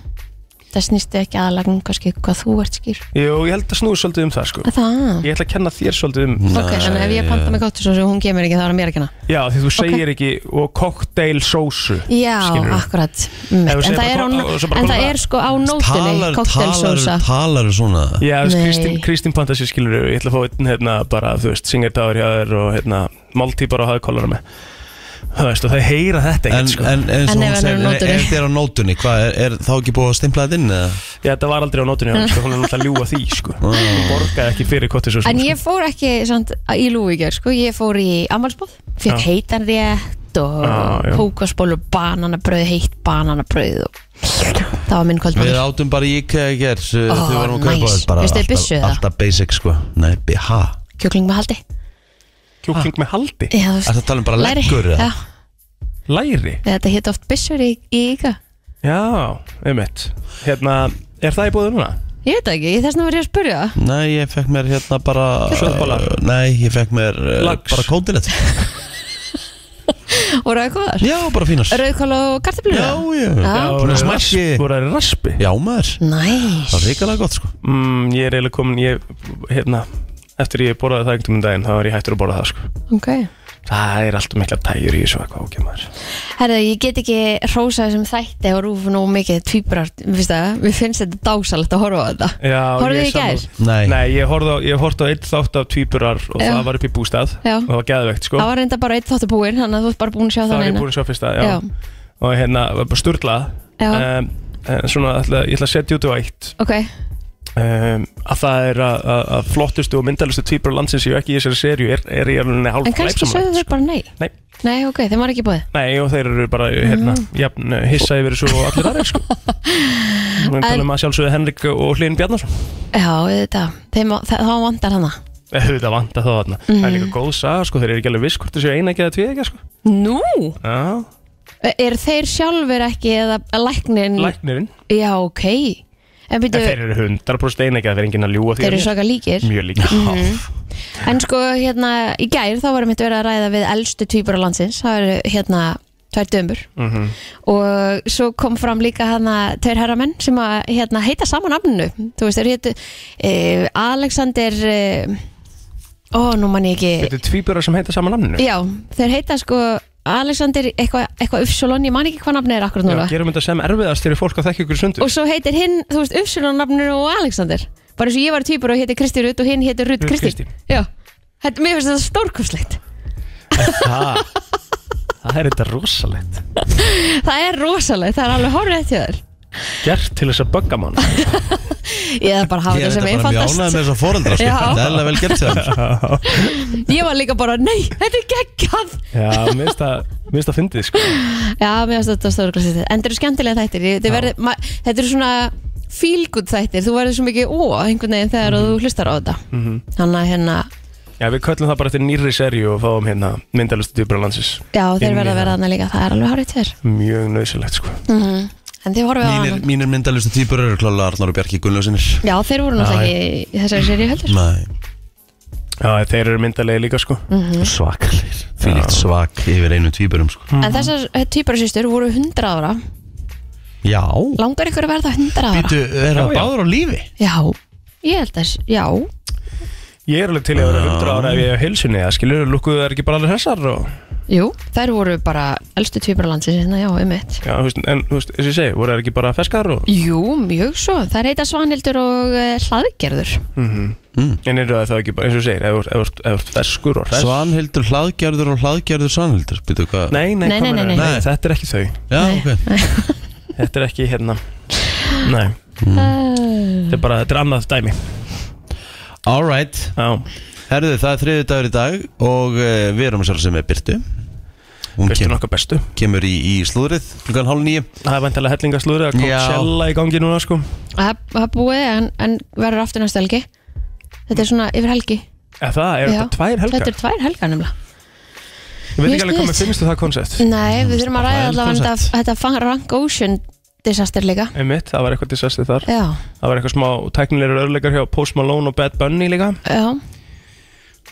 [SPEAKER 5] þetta snýstu ekki aðalagum kannski hvað þú ert skýr
[SPEAKER 6] Jú, ég held að snúi svolítið um það sko
[SPEAKER 5] að það,
[SPEAKER 6] Ég ætla að kenna þér svolítið um
[SPEAKER 5] ok, þannig ef ég panta mig gott og hún kemur ekki þá er hann mér að kenna
[SPEAKER 6] Já, því þú segir ekki og cocktail sósu
[SPEAKER 5] já,
[SPEAKER 6] Skilurðu?
[SPEAKER 5] akkurat, mm,
[SPEAKER 6] Ef þú
[SPEAKER 5] en, það
[SPEAKER 6] segir bara
[SPEAKER 5] er, á,
[SPEAKER 6] kokk- og svo bara
[SPEAKER 5] en það
[SPEAKER 6] koma-
[SPEAKER 5] er sko á nótunni
[SPEAKER 4] Talar,
[SPEAKER 5] koktelsósa
[SPEAKER 4] talar, talar um svona
[SPEAKER 6] Já, þú veist,
[SPEAKER 5] Nei.
[SPEAKER 6] Kristín, Kristín Pantasi skilur Ég ætla að fá einn hérna bara, þú veist, singerdáður hjá þér og hérna, máltíð bara að hafa kollara með Þú veist, og þau heyra þetta
[SPEAKER 4] En,
[SPEAKER 6] ekkert sko
[SPEAKER 4] en, en,
[SPEAKER 5] En ef hann er á nótunni?
[SPEAKER 4] ef þið er á nótunni, hvað, er, er þá ekki búið að stimpla þetta inn eða?
[SPEAKER 6] Já, þetta var aldrei á nótunni, hann, sko, hún er náttúrulega að ljúga því, sko
[SPEAKER 4] Ah.
[SPEAKER 6] Hún borgaði ekki fyrir kottið svo
[SPEAKER 5] en ég fór ekki samt, í lúvíkjör sko, ég fór í ammálsbóð
[SPEAKER 6] Já.
[SPEAKER 5] fekk heitan rétt
[SPEAKER 6] Já, já.
[SPEAKER 5] og kókasból og bananabröð heitt bananabröð og það var minn kvöldmál
[SPEAKER 4] Við áttum bara í IKEA í eh, gerð Þau
[SPEAKER 5] Oh,
[SPEAKER 4] varum að kaupa
[SPEAKER 5] nice.
[SPEAKER 4] þetta bara
[SPEAKER 5] Veistu þið
[SPEAKER 4] alltaf,
[SPEAKER 5] byssu það?
[SPEAKER 4] alltaf basic sko Nei, ha,
[SPEAKER 5] kjúkling með haldi
[SPEAKER 6] Kjúkling með haldi,
[SPEAKER 5] Já, þú veist,
[SPEAKER 4] er það að tala um bara
[SPEAKER 5] læri.
[SPEAKER 4] leggur eða?
[SPEAKER 5] Já,
[SPEAKER 6] læri
[SPEAKER 5] þetta hétt oft byssur í, í ykkar
[SPEAKER 6] Já, einmitt Hérna, er það í búið núna?
[SPEAKER 5] Ég veit það ekki, ég þess vegna var ég að spurja það
[SPEAKER 4] Nei, ég fekk mér hérna bara
[SPEAKER 6] Kjötbollar?
[SPEAKER 4] uh, Nei, ég fekk mér uh,
[SPEAKER 6] Lax?
[SPEAKER 4] bara kótilett
[SPEAKER 5] Og rauðkóðar
[SPEAKER 4] Já, bara fínast Já,
[SPEAKER 5] Rauðkál og kartaflur
[SPEAKER 4] já, já.
[SPEAKER 5] Já.
[SPEAKER 4] Svona
[SPEAKER 6] voru þeir
[SPEAKER 4] smakki.
[SPEAKER 6] rasp- voru það raspi
[SPEAKER 4] já maður
[SPEAKER 5] Næs
[SPEAKER 4] Það er ríkalega gott sko
[SPEAKER 6] mm, Ég er eiginlega komin, ég, hérna Eftir ég borðaði það einhvern veginn daginn, þá var ég hættur að borða það, sko
[SPEAKER 5] Ok
[SPEAKER 6] Það er alltaf mikla tægjur í þessu eitthvað, ok, maður
[SPEAKER 5] Herðu, ég get ekki rósa þessum þætti og rúfa nógu mikið tvíbrar Mér finnst það, mér finnst þetta dásalegt að horfa á þetta
[SPEAKER 6] Já,
[SPEAKER 5] Horfðu
[SPEAKER 6] ég
[SPEAKER 5] í gær?
[SPEAKER 6] sammála.
[SPEAKER 4] Nei.
[SPEAKER 6] Nei, ég horfði á, ég horfði á eitt þátt af tvíburar og
[SPEAKER 5] Já.
[SPEAKER 6] það var upp í bústað
[SPEAKER 5] Já.
[SPEAKER 6] og það var geðvegt, sko
[SPEAKER 5] Það var reynda bara eitt þáttu búinn, þannig að þú ert bara búinn að sjá
[SPEAKER 6] Það
[SPEAKER 5] það
[SPEAKER 6] var ég
[SPEAKER 5] eina
[SPEAKER 6] búin að sjá fyrsta, já,
[SPEAKER 5] Já.
[SPEAKER 6] Og hérna, var bara sturglað
[SPEAKER 5] Já.
[SPEAKER 6] um, en Svona, ætla, ég ætla að setja út á eitt
[SPEAKER 5] Ok,
[SPEAKER 6] um, Að það er að, að, að flottustu og myndalustu tvíburar landsins séu ekki í þessari serju Er, er ég alveg hálf
[SPEAKER 5] en kannski
[SPEAKER 6] glæpsamlegt,
[SPEAKER 5] sögðu þau bara nei
[SPEAKER 6] Nei.
[SPEAKER 5] Nei, ok, þeim var ekki búið
[SPEAKER 6] Nei, og þeir eru bara, hérna,
[SPEAKER 5] Mm.
[SPEAKER 6] jafn, hissa yfir þessu og allir aðeins, sko Við talum að sjálfsögðu Henrik og Hlyn Bjarnason Eh,
[SPEAKER 5] Já, þetta, þeim, það, það vantar hana
[SPEAKER 6] Auðvitað vanta þá þarna Það er
[SPEAKER 5] Mm.
[SPEAKER 6] líka góð saga, sko, þeir eru ekki alveg viss hvort þessu eina ekki eða tvið ekki, sko
[SPEAKER 5] Nú?
[SPEAKER 6] Já,
[SPEAKER 5] Er E, þeir sjálfur ekki eða læknin
[SPEAKER 6] læknirinn
[SPEAKER 5] Já, ok En
[SPEAKER 6] En
[SPEAKER 5] byrju,
[SPEAKER 6] þeir eru 100% einægja, þeir eru enginn að ljúa því
[SPEAKER 5] þeir eru Mm. svaka líkir
[SPEAKER 6] Mjög líka
[SPEAKER 5] En sko, hérna, í gær þá varum við verið að ræða við elstu tvíbura landsins Það eru hérna tvær dömur
[SPEAKER 6] Mhm.
[SPEAKER 5] Og svo kom fram líka hana tveir herramenn sem að hérna, heita sama nafninu Þú veist, þeir hétu eh, Alexander eh, Ó, nú man ég ekki
[SPEAKER 6] Þetta er tvíburar sem heita sama namninu
[SPEAKER 5] Já, þeir heita sko Alexander eitthvað eitthva Uppsjólón Ég man ekki hvað nafni er akkur núna
[SPEAKER 6] Já, Gerum þetta sem erfiðast fyrir fólk að þekki ykkur sundur
[SPEAKER 5] og svo heitir hinn, þú veist, Uppsilon nafnir og Alexander bara eins og ég var týpur og heiti Kristi Rutt og hinn heiti Rutt
[SPEAKER 6] Ruth
[SPEAKER 5] Kristi
[SPEAKER 6] Kristín.
[SPEAKER 5] já, þetta, mér finnst þetta stórkoslegt
[SPEAKER 6] Það Það er þetta rosalegt
[SPEAKER 5] það er rosalegt, það er alveg horrið til þér
[SPEAKER 6] Gert til þess að bögga mann
[SPEAKER 5] ég er bara að hafa
[SPEAKER 4] Ég er
[SPEAKER 5] þetta sem
[SPEAKER 4] þetta bara mjög ánægð með
[SPEAKER 5] einfaldast
[SPEAKER 4] þess að foreldra sko
[SPEAKER 5] Já.
[SPEAKER 4] Það er alveg vel gert sér
[SPEAKER 5] ég var líka bara, nei, þetta er geggjað
[SPEAKER 6] Já, minnst að, minnst að fyndið sko
[SPEAKER 5] já, mér finnst þetta stórkoslegt en þetta eru skemmtilega þættir, ég- þetta, verði, ma, þetta eru svona feel good þættir, þú verður svo mikið ó, einhvern veginn þegar
[SPEAKER 4] Mhm.
[SPEAKER 5] þú hlustar á þetta þannig að hérna,
[SPEAKER 6] Já, við köllum það bara eftir nýrri serju og fáum hérna myndalustu tvíburar landsins
[SPEAKER 5] já,
[SPEAKER 6] Inn í
[SPEAKER 5] þeir verða að Mm.
[SPEAKER 6] það.
[SPEAKER 5] vera þarna líka, það er alveg horrið til þér
[SPEAKER 6] Mjög nöðsilegt sko
[SPEAKER 5] en þið horfið á
[SPEAKER 4] Mínir,
[SPEAKER 5] hana
[SPEAKER 4] mínir myndalustu týpur eru klálega Arnar og Bjarki Gunnlausinir
[SPEAKER 5] Já, þeir voru náttúrulega ekki í þessari séri heldur
[SPEAKER 4] Nei,
[SPEAKER 6] Já, þeir eru myndalegi líka sko
[SPEAKER 5] Mm.
[SPEAKER 4] svakalir Fylgt svak yfir einu týpurum sko
[SPEAKER 5] En þessar týparasýstur voru 100 ára
[SPEAKER 4] Já
[SPEAKER 5] Langar ykkur að verða 100 ára?
[SPEAKER 4] Býtu, er það
[SPEAKER 6] Já, já.
[SPEAKER 4] báður á lífi?
[SPEAKER 5] Já, ég held að, já
[SPEAKER 6] Ég er alveg til í að vera 100 ára ef ég hef heilsunni Það skilur, lukkuðu þær ekki bara alveg hressar og
[SPEAKER 5] Jú, þær voru bara elstu týparalandsins hérna, já, um eitt
[SPEAKER 6] Já, þú veist, en þú veist, eins og ég segi, voru þær ekki bara feskar og
[SPEAKER 5] Jú, mjög svo, þær heita Svanhildur og uh, Hlaðgerður
[SPEAKER 6] En eru það þá ekki bara, eins og þú segir, ef þú ert- ef þú ert- ef þú ert ferskur og hress
[SPEAKER 4] Svanhildur hlaðgerður og hlaðgerður Svanhildur Býtu hvað?
[SPEAKER 6] Nei, nei,
[SPEAKER 5] Nei, nei,
[SPEAKER 6] hvað
[SPEAKER 5] nei,
[SPEAKER 6] meinarðu?
[SPEAKER 5] nei.
[SPEAKER 6] nei, þetta er ekki þau
[SPEAKER 4] Já, ok
[SPEAKER 6] Þetta er ekki hérna Nei,
[SPEAKER 5] Mm.
[SPEAKER 6] þetta er bara, þetta er annað dæmi
[SPEAKER 4] Alright
[SPEAKER 6] Já,
[SPEAKER 4] Herðu, það er þriði dagur í dag og uh, við erum sér sem er Byrtu Hún
[SPEAKER 6] veistu
[SPEAKER 4] kem,
[SPEAKER 6] nokkað bestu
[SPEAKER 4] kemur í, í slúðrið klukkan hálf nýju
[SPEAKER 6] Það er vantilega hellingaslúður að
[SPEAKER 4] Já.
[SPEAKER 6] Coachella í gangi núna, sko
[SPEAKER 5] Það það búið, en, en verður aftur næstu helgi Þetta er svona yfir helgi
[SPEAKER 6] Eða það,
[SPEAKER 5] Já.
[SPEAKER 6] er þetta tvær helgar?
[SPEAKER 5] Þetta er tvær helgar nefnilega
[SPEAKER 6] Ég
[SPEAKER 5] mjög
[SPEAKER 6] veit ekki alveg hvað
[SPEAKER 5] sniðugt. Mm.
[SPEAKER 6] með finnstu það koncept
[SPEAKER 5] Nei, við þurfum að
[SPEAKER 4] það
[SPEAKER 5] ræða
[SPEAKER 4] er
[SPEAKER 5] allavega um
[SPEAKER 4] koncept.
[SPEAKER 5] þetta- þetta Fang- Rank Ocean disaster líka
[SPEAKER 6] Einmitt, það var eitthvað disastið þar
[SPEAKER 5] Já,
[SPEAKER 6] Það var eitthvað smá teknilegur örleikar hjá Post Malone og Bad Bunny líka
[SPEAKER 5] já,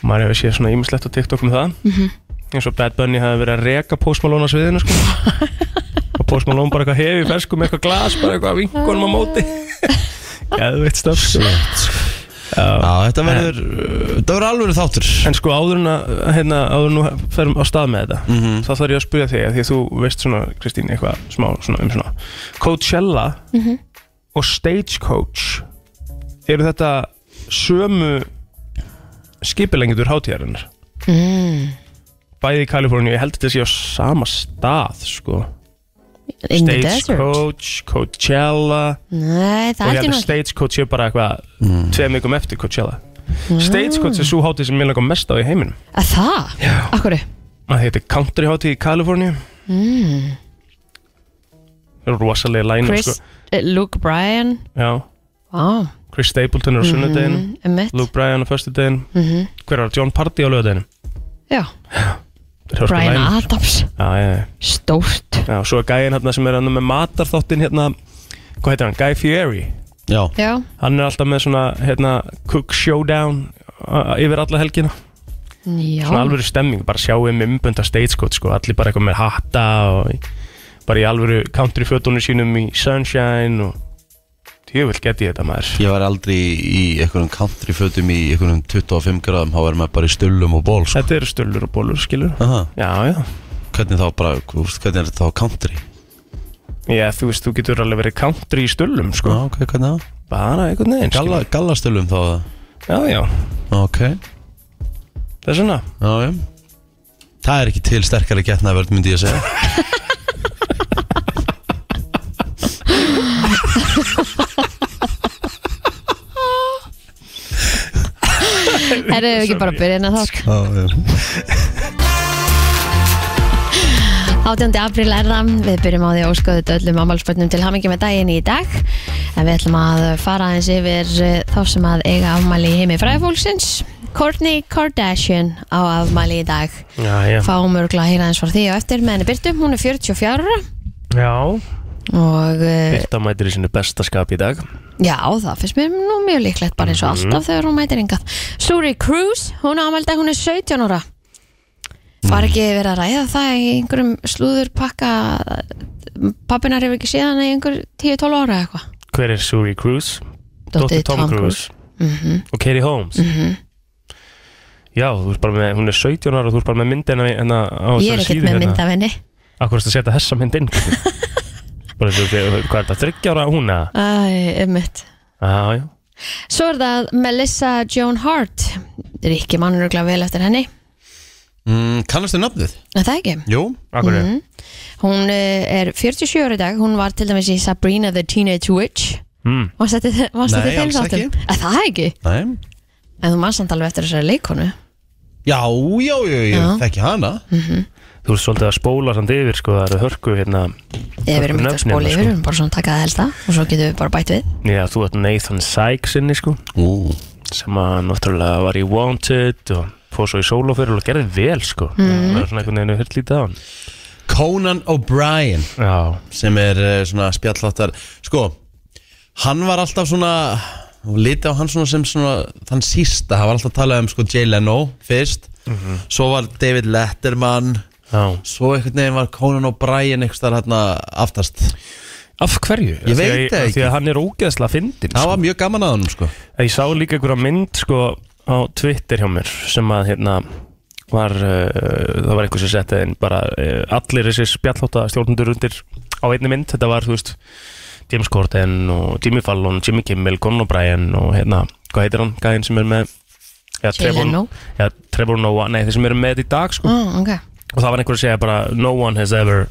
[SPEAKER 6] Maður hefur séð svona ímislegt á
[SPEAKER 5] Mhm.
[SPEAKER 6] TikTok um það mm -hmm. eins og Bad Bunny hafi verið að reka Post Malone á sviðinu sko. og Post Malone bara eitthvað hefi fersku með eitthvað glas bara eitthvað vinkunum á móti
[SPEAKER 5] Ah.
[SPEAKER 6] Geðveitt stöf sko.
[SPEAKER 4] Já, þetta verður, uh, þetta verður alveg þáttur
[SPEAKER 6] En sko áður en að hérna, áður en að ferum á stað með þetta þá þarf ég að spyrja þig að því að þú veist svona Kristín eitthvað smá svona um svona Coachella
[SPEAKER 5] Mhm.
[SPEAKER 6] og Stagecoach eru þetta sömu skipilengitur hátíðarinnar
[SPEAKER 5] mm.
[SPEAKER 6] bæði í Kaliforníu, ég held að þetta sé á sama stað sko
[SPEAKER 5] In the desert
[SPEAKER 6] Stagecoach, Coachella
[SPEAKER 5] Nei, það held
[SPEAKER 6] og ég
[SPEAKER 5] ég
[SPEAKER 6] held að
[SPEAKER 5] nú ekki
[SPEAKER 6] Stagecoach er bara eitthvað mm. tveim vikum eftir Coachella Stagecoach er svo hátíð sem ég langar mest á í heiminum
[SPEAKER 5] Að það? Já Akkur
[SPEAKER 6] að þetta er country hátíð í Kaliforníu
[SPEAKER 5] mm.
[SPEAKER 6] rosalega læna
[SPEAKER 5] Chris,
[SPEAKER 6] sko.
[SPEAKER 5] eh, Luke Bryan
[SPEAKER 6] Já,
[SPEAKER 5] Vá Mm,
[SPEAKER 6] Chris Stapleton er
[SPEAKER 5] Mhm.
[SPEAKER 6] á sunnudeginu
[SPEAKER 5] Emmett
[SPEAKER 6] Luke Bryan á föstudeginu hver var það? John Party á lögadeginu
[SPEAKER 5] Mhm. Já Bryan Adams
[SPEAKER 6] Já, já, já.
[SPEAKER 5] Stórt
[SPEAKER 6] já, svo er gæinn hérna sem er hann með matarþáttinn hérna hvað heitir hann? Guy Fieri
[SPEAKER 4] Já,
[SPEAKER 5] Já
[SPEAKER 6] hann er alltaf með svona hérna, cook showdown uh, yfir alla helgina
[SPEAKER 5] Já
[SPEAKER 6] svona alvöru stemming, bara um sjáum umbönda stagecoach sko, allir bara eitthvað með hatta og í- bara í alvöru country fötunum sínum í sunshine og tjöfull geti ég þetta maður
[SPEAKER 4] ég var aldrei í einhverjum countryfötum í einhverjum 25 gráðum þá verður maður bara í stullum og ból sko.
[SPEAKER 6] þetta eru stöllur og bólur skilur
[SPEAKER 4] Aha,
[SPEAKER 6] já já,
[SPEAKER 4] Hvernig þá bara, þú veist, hvernig er þetta þá country?
[SPEAKER 6] já þú veist þú getur alveg verið country í stöllum
[SPEAKER 4] Já,
[SPEAKER 6] sko,
[SPEAKER 4] ok, hvernig þá?
[SPEAKER 6] bara einhvern veginn
[SPEAKER 4] Galla,
[SPEAKER 6] skilurðu.
[SPEAKER 4] gallastullum þá eða?
[SPEAKER 6] já já,
[SPEAKER 4] Ok,
[SPEAKER 6] það er svona
[SPEAKER 4] já, já Það er ekki til sterkari getnaverð myndi ég að segja
[SPEAKER 5] Herðu ef við ekki bara að byrja inn að
[SPEAKER 6] Sko.
[SPEAKER 5] þá
[SPEAKER 4] Já, já
[SPEAKER 5] 18. apríl er það, við byrjum á því að óska þetta öllum ammálspötnum til hamingi með daginn í dag en við ætlum að fara aðeins yfir eh, þá sem að eiga afmæli í heimi fræðfólksins Kourtney Kardashian á afmæli í dag
[SPEAKER 6] já já,
[SPEAKER 5] fáum örgla að heyra aðeins frá því og eftir með henni Byrtu, hún er 44 ára
[SPEAKER 6] já,
[SPEAKER 5] og eh,
[SPEAKER 6] þetta mætir í sinu besta skap í dag
[SPEAKER 5] já, það finnst mér nú mjög líklegt bara eins
[SPEAKER 6] Mhm.
[SPEAKER 5] og alltaf þegar hún mætir engað Suri Cruz, hún á afmæli í dag, hún er 17 ára
[SPEAKER 6] Mm.
[SPEAKER 5] Var ekki verið að ræða það í einhverjum slúðurpakka pappinar hefur ekki séð hann í einhver 10-12 ára eða eitthvað
[SPEAKER 6] hver er Suri Cruise? Dóttir Tom, Cruise,
[SPEAKER 5] Mhm,
[SPEAKER 6] og Katie Holmes
[SPEAKER 5] Mm.
[SPEAKER 6] Já, þú ert bara með, hún er 17 ára og þú ert bara með myndina hérna á
[SPEAKER 5] Ég er ekkert með mynd af henni
[SPEAKER 6] Akkur erst að setja þessa mynd inn Bara þú veist, hvað er þetta, 30 ára hún að?
[SPEAKER 5] Æ, ummitt
[SPEAKER 6] Já, já,
[SPEAKER 5] Svo er það Melissa Joan Hart Ríkki mannur og vel eftir henni
[SPEAKER 4] mm, Kannastu nafnið?
[SPEAKER 5] Nei, Það er ekki
[SPEAKER 4] Jú
[SPEAKER 6] akkur er
[SPEAKER 5] Hún eh, er 47 ára í dag Hún var til dæmis í Sabrina the Teenage Witch
[SPEAKER 6] Mm.
[SPEAKER 5] Varst þetta varst þetta
[SPEAKER 4] Nei,
[SPEAKER 5] í þeim
[SPEAKER 4] alls
[SPEAKER 5] þáttum?
[SPEAKER 4] ekki.
[SPEAKER 5] Að Það er ekki
[SPEAKER 4] Nei
[SPEAKER 5] En þú mannst samt alveg eftir þessari leikonu
[SPEAKER 4] Já, já, já, já,
[SPEAKER 5] Já.
[SPEAKER 4] þekki hana
[SPEAKER 6] Þú ert svolítið að spóla samt yfir, sko, það eru hörku hérna
[SPEAKER 5] Eða við erum ekki að
[SPEAKER 6] Nöfnin,
[SPEAKER 5] spóla
[SPEAKER 6] sko.
[SPEAKER 5] yfir Við erum bara svona að taka það helsta Og svo getum við bara bætt við
[SPEAKER 6] Já, þú ert Nathan Sykes inni, sko
[SPEAKER 4] Ú,
[SPEAKER 6] sem að náttúrulega var í Wanted og fór svo í solo fyrir og gerði vel, sko Það er svona einhvern veginn hurt lítið á hann
[SPEAKER 4] Conan O'Brien
[SPEAKER 6] Já,
[SPEAKER 4] sem er eh, svona spjalláttar sko, hann var alltaf svona og liti á hann svona sem svona þann sísta, hann var alltaf að tala um sko Jay Leno fyrst
[SPEAKER 6] Mhm.
[SPEAKER 4] svo var David Letterman
[SPEAKER 6] já
[SPEAKER 4] svo einhvern veginn var Conan O'Brien einhvers þar hérna aftast
[SPEAKER 6] Af hverju?
[SPEAKER 4] Ég veit það
[SPEAKER 6] Því
[SPEAKER 4] ekki.
[SPEAKER 6] að hann er ógeðslega fyndin
[SPEAKER 4] það var mjög gaman að honum sko
[SPEAKER 6] Ég sá líka einhverja mynd sko á Twitter hjá mér sem að hérna var, uh, það var einhver sem setti inn bara uh, allir þessi spjallhóta stjórnundur undir á einni mynd, þetta var þú veist James Corden og Jimmy Fallon, Jimmy Kimmel, Conor Bryan og hérna, hvað heitir hann, gæðin sem er með ja,
[SPEAKER 5] Jay Leno.
[SPEAKER 6] ja, Trevor Noah, nei þeir sem eru með þetta í dag sko
[SPEAKER 5] oh, okay.
[SPEAKER 6] og það var einhver að segja bara no one has ever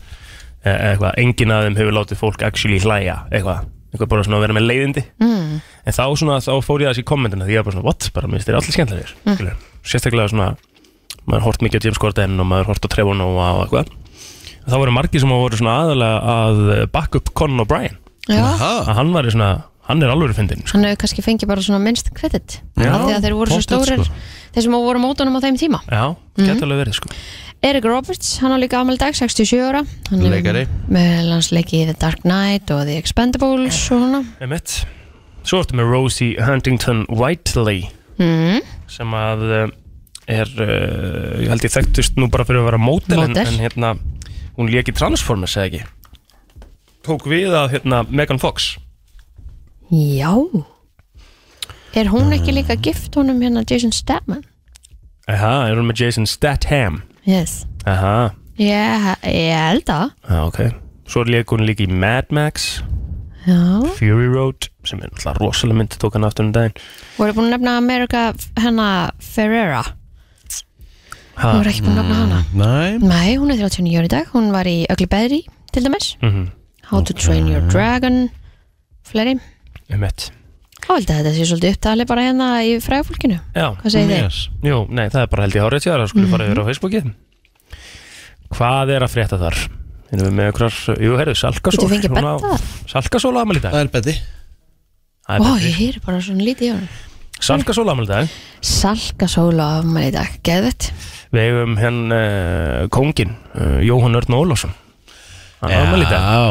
[SPEAKER 6] eh, eitthvað, enginn af þeim hefur látið fólk actually hlæja eitthvað, eitthvað bara svona að vera með leiðindi mm. en þá svona, þá fór ég að þessi kommentina því ég var bara svona, what, bara minnst þeir allir skemmtilegir mm. sérstaklega svona maður hort mikið á James Corden og maður hort á Trevor Noah og eitthvað En þá voru margir sem voru svona aðalega að bakka upp Conan O'Brien
[SPEAKER 5] Já,
[SPEAKER 4] Aha,
[SPEAKER 6] að hann var svona, hann er alveg fyndin sko.
[SPEAKER 5] hann hefur kannski fengið bara svona minnst kredit
[SPEAKER 6] Já,
[SPEAKER 5] af því að þeir voru svo
[SPEAKER 4] pottet,
[SPEAKER 5] stórir þeir sem voru mótunum á þeim tíma
[SPEAKER 6] já, geta alveg verið sko.
[SPEAKER 5] Erik Roberts, hann á líka afmæli í dag, 67 ára hann
[SPEAKER 4] Leikari.
[SPEAKER 5] með hans leiki í The Dark Knight og The Expendables og svona
[SPEAKER 6] Emmett Svo ertu með Rosie Huntington Whiteley
[SPEAKER 5] mm.
[SPEAKER 6] sem að eh, er, uh, ég held ég þekktust nú bara fyrir að vera mótel en,
[SPEAKER 5] Módel.
[SPEAKER 6] en hérna, hún lék í Transformers eða ekki tók við að hérna, Megan Fox
[SPEAKER 5] Já Er hún ekki líka gift honum hérna Jason Statham?
[SPEAKER 6] Aha, er hún með Jason Statham
[SPEAKER 5] Yes
[SPEAKER 6] Aha,
[SPEAKER 5] Ég, ég held að
[SPEAKER 6] já, Ah, ok Svo leik hún líka í Mad Max
[SPEAKER 5] Já
[SPEAKER 6] Fury Road sem er náttúrulega rosalega myndi tók hann aftur um daginn
[SPEAKER 5] Voru búin að nefna America hennar Ferreira
[SPEAKER 6] ha,
[SPEAKER 5] Hún var ekki búin að nefna hana
[SPEAKER 4] Næ
[SPEAKER 5] Nei, hún er 39 ári í dag Hún var í Ugly Betty til dæmis
[SPEAKER 6] Mhm.
[SPEAKER 5] How to Train Your Dragon Fleiri
[SPEAKER 6] einmitt.
[SPEAKER 5] Þá held að þetta sé svolítið upptalið bara hérna í fræðafólkinu
[SPEAKER 6] Já,
[SPEAKER 5] Hvað segir þið? Mhm.
[SPEAKER 4] yes.
[SPEAKER 6] jú, nei, það er bara held ég hárið tjára Skulum fara yfir á Facebookið Hvað er að frétta þar? Erum við með okkur, jú, heyrðu, Salkasól
[SPEAKER 5] Getum við fengið
[SPEAKER 6] hún á-
[SPEAKER 5] Bedda?
[SPEAKER 6] Salkasól ámæli í dag
[SPEAKER 4] Það er beti
[SPEAKER 6] Það er
[SPEAKER 5] Ó,
[SPEAKER 6] Beddi.
[SPEAKER 5] ég heyri bara svona lítið í honum
[SPEAKER 6] Salkasól ámæli í dag
[SPEAKER 5] Salka sóla af maður í dag, geðvett
[SPEAKER 6] Við hefum henn uh, kóngin uh, Jóhann Örn Ólásson Hann ja. ámæli í dag
[SPEAKER 4] Já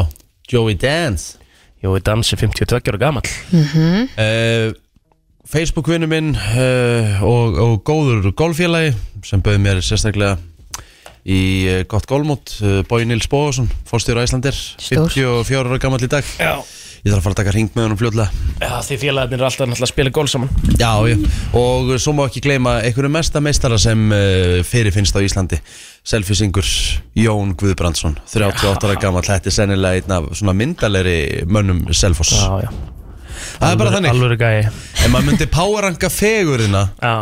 [SPEAKER 4] Joey Dance
[SPEAKER 6] Jói Dansi 52 ára gamall
[SPEAKER 4] uh, Facebook-vinnu minn uh, og, og góður golffélagi sem bauði mér sérstaklega í uh, gott golfmót uh, Bói Nils Bóðarsson, fórstjóra Íslandir
[SPEAKER 5] Stórt.
[SPEAKER 4] 54 ára gammal í dag
[SPEAKER 6] Já,
[SPEAKER 4] ég þarf að fara að taka hring með honum fljóðlega
[SPEAKER 6] Já því félagarnir er alltaf náttúrulega að spila gól saman
[SPEAKER 4] já, já, og svo má ekki gleyma einhverju mesta meistara sem uh, fyrirfinnst á Íslandi selfisingur Jón Guðbrandsson 38 ára gammal, þetta er sennilega einn af svona myndalegri mönnum selfos
[SPEAKER 6] Já, já
[SPEAKER 4] það er bara þannig,
[SPEAKER 6] Alvöru gæi
[SPEAKER 4] ef maður myndi poweranga fegurina
[SPEAKER 6] Já,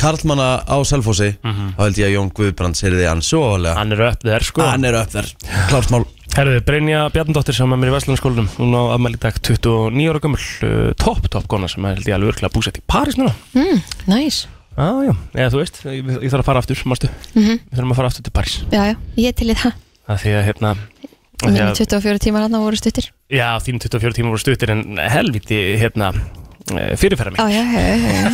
[SPEAKER 4] Karlmanna á Selfossi þá held ég að Jón Guðbrands er því hans svo alveg
[SPEAKER 6] hann er upp þér sko
[SPEAKER 4] hann er upp þar klart mál
[SPEAKER 6] Herðu, Brynja Bjarnadóttir sem er með mér í Vestlandskólanum Hún á afmæli í dag 29 ára gömul uh, Topp, topp kona sem er held ég alveg örgulega búsett í París núna
[SPEAKER 5] mm, Næs,
[SPEAKER 6] Já, já, eða þú veist, ég, ég þarf að fara aftur, mástu Við þurfum að fara aftur til París
[SPEAKER 5] já, já, ég er til í það
[SPEAKER 6] Það því að, hérna af því
[SPEAKER 5] Minni
[SPEAKER 6] að-
[SPEAKER 5] 24 tímar hann voru stuttir
[SPEAKER 6] Já, þín 24 tíma voru stuttir en helviti, hérna fyrirferða mig
[SPEAKER 5] Já, já, já, já, já.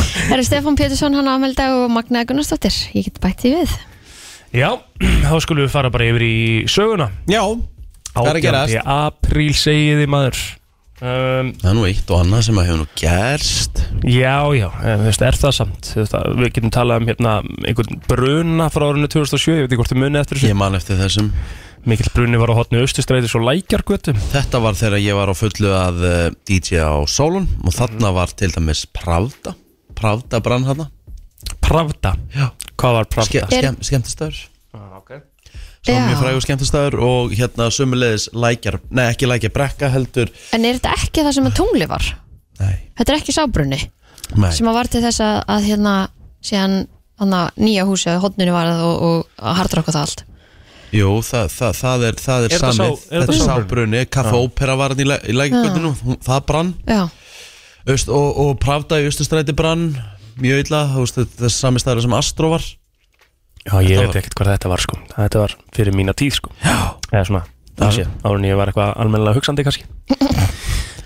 [SPEAKER 5] Það eru Stefán Pétursson, hann ámæli dag og Magna Gunnarsdóttir Ég get bætt því við
[SPEAKER 6] Já, þá skulum við fara bara yfir í söguna
[SPEAKER 4] já, hvað er að gerast?
[SPEAKER 6] apríl segiði maður um,
[SPEAKER 4] það er nú eitt og annað sem að hefur nú gerst
[SPEAKER 6] Já, já, eh, þú veist, er það samt Þú veist, að- Við getum talað um hérna einhvern bruna frá árinu 2007 Ég veit ekki hvort þið munið eftir þessu
[SPEAKER 4] ég man eftir þessum
[SPEAKER 6] Mikill bruni var á hotni austustrætis og lækjargötu
[SPEAKER 4] þetta var þegar ég var á fullu að uh, DJ á Solon og þarna var til dæmis Pravda Pravda brann hana
[SPEAKER 6] Pravda
[SPEAKER 4] Já.
[SPEAKER 6] Hvað var Pravda?
[SPEAKER 4] Ske,
[SPEAKER 6] Ske
[SPEAKER 4] skem, skemmtistöður
[SPEAKER 6] ah, okay.
[SPEAKER 4] svo
[SPEAKER 5] Já.
[SPEAKER 4] mjög frægur skemmtistöður og hérna sumulegis lækjar nei ekki lækjar brekka heldur
[SPEAKER 5] En er þetta ekki það sem að tungli var?
[SPEAKER 4] nei,
[SPEAKER 5] Þetta er ekki sábrunni
[SPEAKER 4] nei.
[SPEAKER 5] sem að var til þess að, að hérna síðan hann nýja húsi að hodninu var það og, og hardur okkur það allt
[SPEAKER 4] Jú, það, það, það er, það er,
[SPEAKER 6] Er þetta
[SPEAKER 4] samið,
[SPEAKER 6] sá- er
[SPEAKER 4] þetta
[SPEAKER 6] þetta
[SPEAKER 4] er
[SPEAKER 6] sábruni?
[SPEAKER 4] sábrunni, kaffa ópera var hann í, læ- í lækikvöldinu, það brann
[SPEAKER 5] Já,
[SPEAKER 4] Öst, og, og Pravda í Östustræti brann, mjög illa, þú veist, þetta er sami staður sem Astro var
[SPEAKER 6] Já, ég
[SPEAKER 4] Þetta
[SPEAKER 6] veit ekkert hvað þetta var sko Þetta var fyrir mína tíð sko Já Eða svona,
[SPEAKER 4] Já.
[SPEAKER 6] það sé, árun ég var eitthvað almennilega hugsandi kannski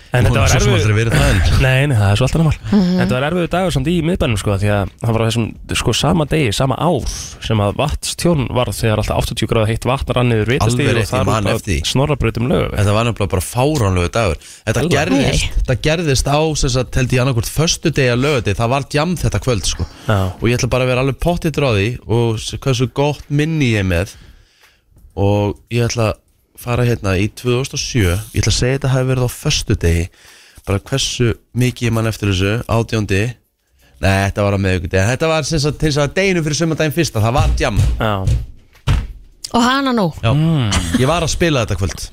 [SPEAKER 6] En þetta var
[SPEAKER 4] Svo sem
[SPEAKER 6] erfið
[SPEAKER 4] aldrei verið það en
[SPEAKER 6] Nei, nei, það er svo alltaf námál
[SPEAKER 5] Mhm.
[SPEAKER 6] Þetta var erfiðu dagur samt í miðbænum sko Því að það var á þessum sko sama degi, sama ár Sem að vatnstjón var þegar alltaf 80 gráða heitt vatn rann niður
[SPEAKER 4] Alveg
[SPEAKER 6] vitastíð
[SPEAKER 4] rétt,
[SPEAKER 6] Og það
[SPEAKER 4] ég man
[SPEAKER 6] var
[SPEAKER 4] eftir því.
[SPEAKER 6] snorrabrautum lögu
[SPEAKER 4] Þetta var nefnilega bara fáránlegu dagur Þetta
[SPEAKER 6] Alveg.
[SPEAKER 4] gerðist, þetta gerðist á sem sagt, held ég annarkvort föstu degi að lögði Það var djam þetta kvöld sko
[SPEAKER 6] Já.
[SPEAKER 4] Og ég ætla bara að vera alveg pottið dráði Og s- hversu gott minni ég er með Og ég ætla að fara hérna í 2007 Ég ætla að segja þetta hafi verið á föstu degi Bara hversu mikið ég mann eftir þessu Átjóndi Nei, þetta var á meðugudegi Þetta var sem sagt til þess að deginu fyrir sömandaginn fyrsta Það var djam
[SPEAKER 6] Já,
[SPEAKER 5] og hana nú
[SPEAKER 4] Já, ég var að spila þetta kvöld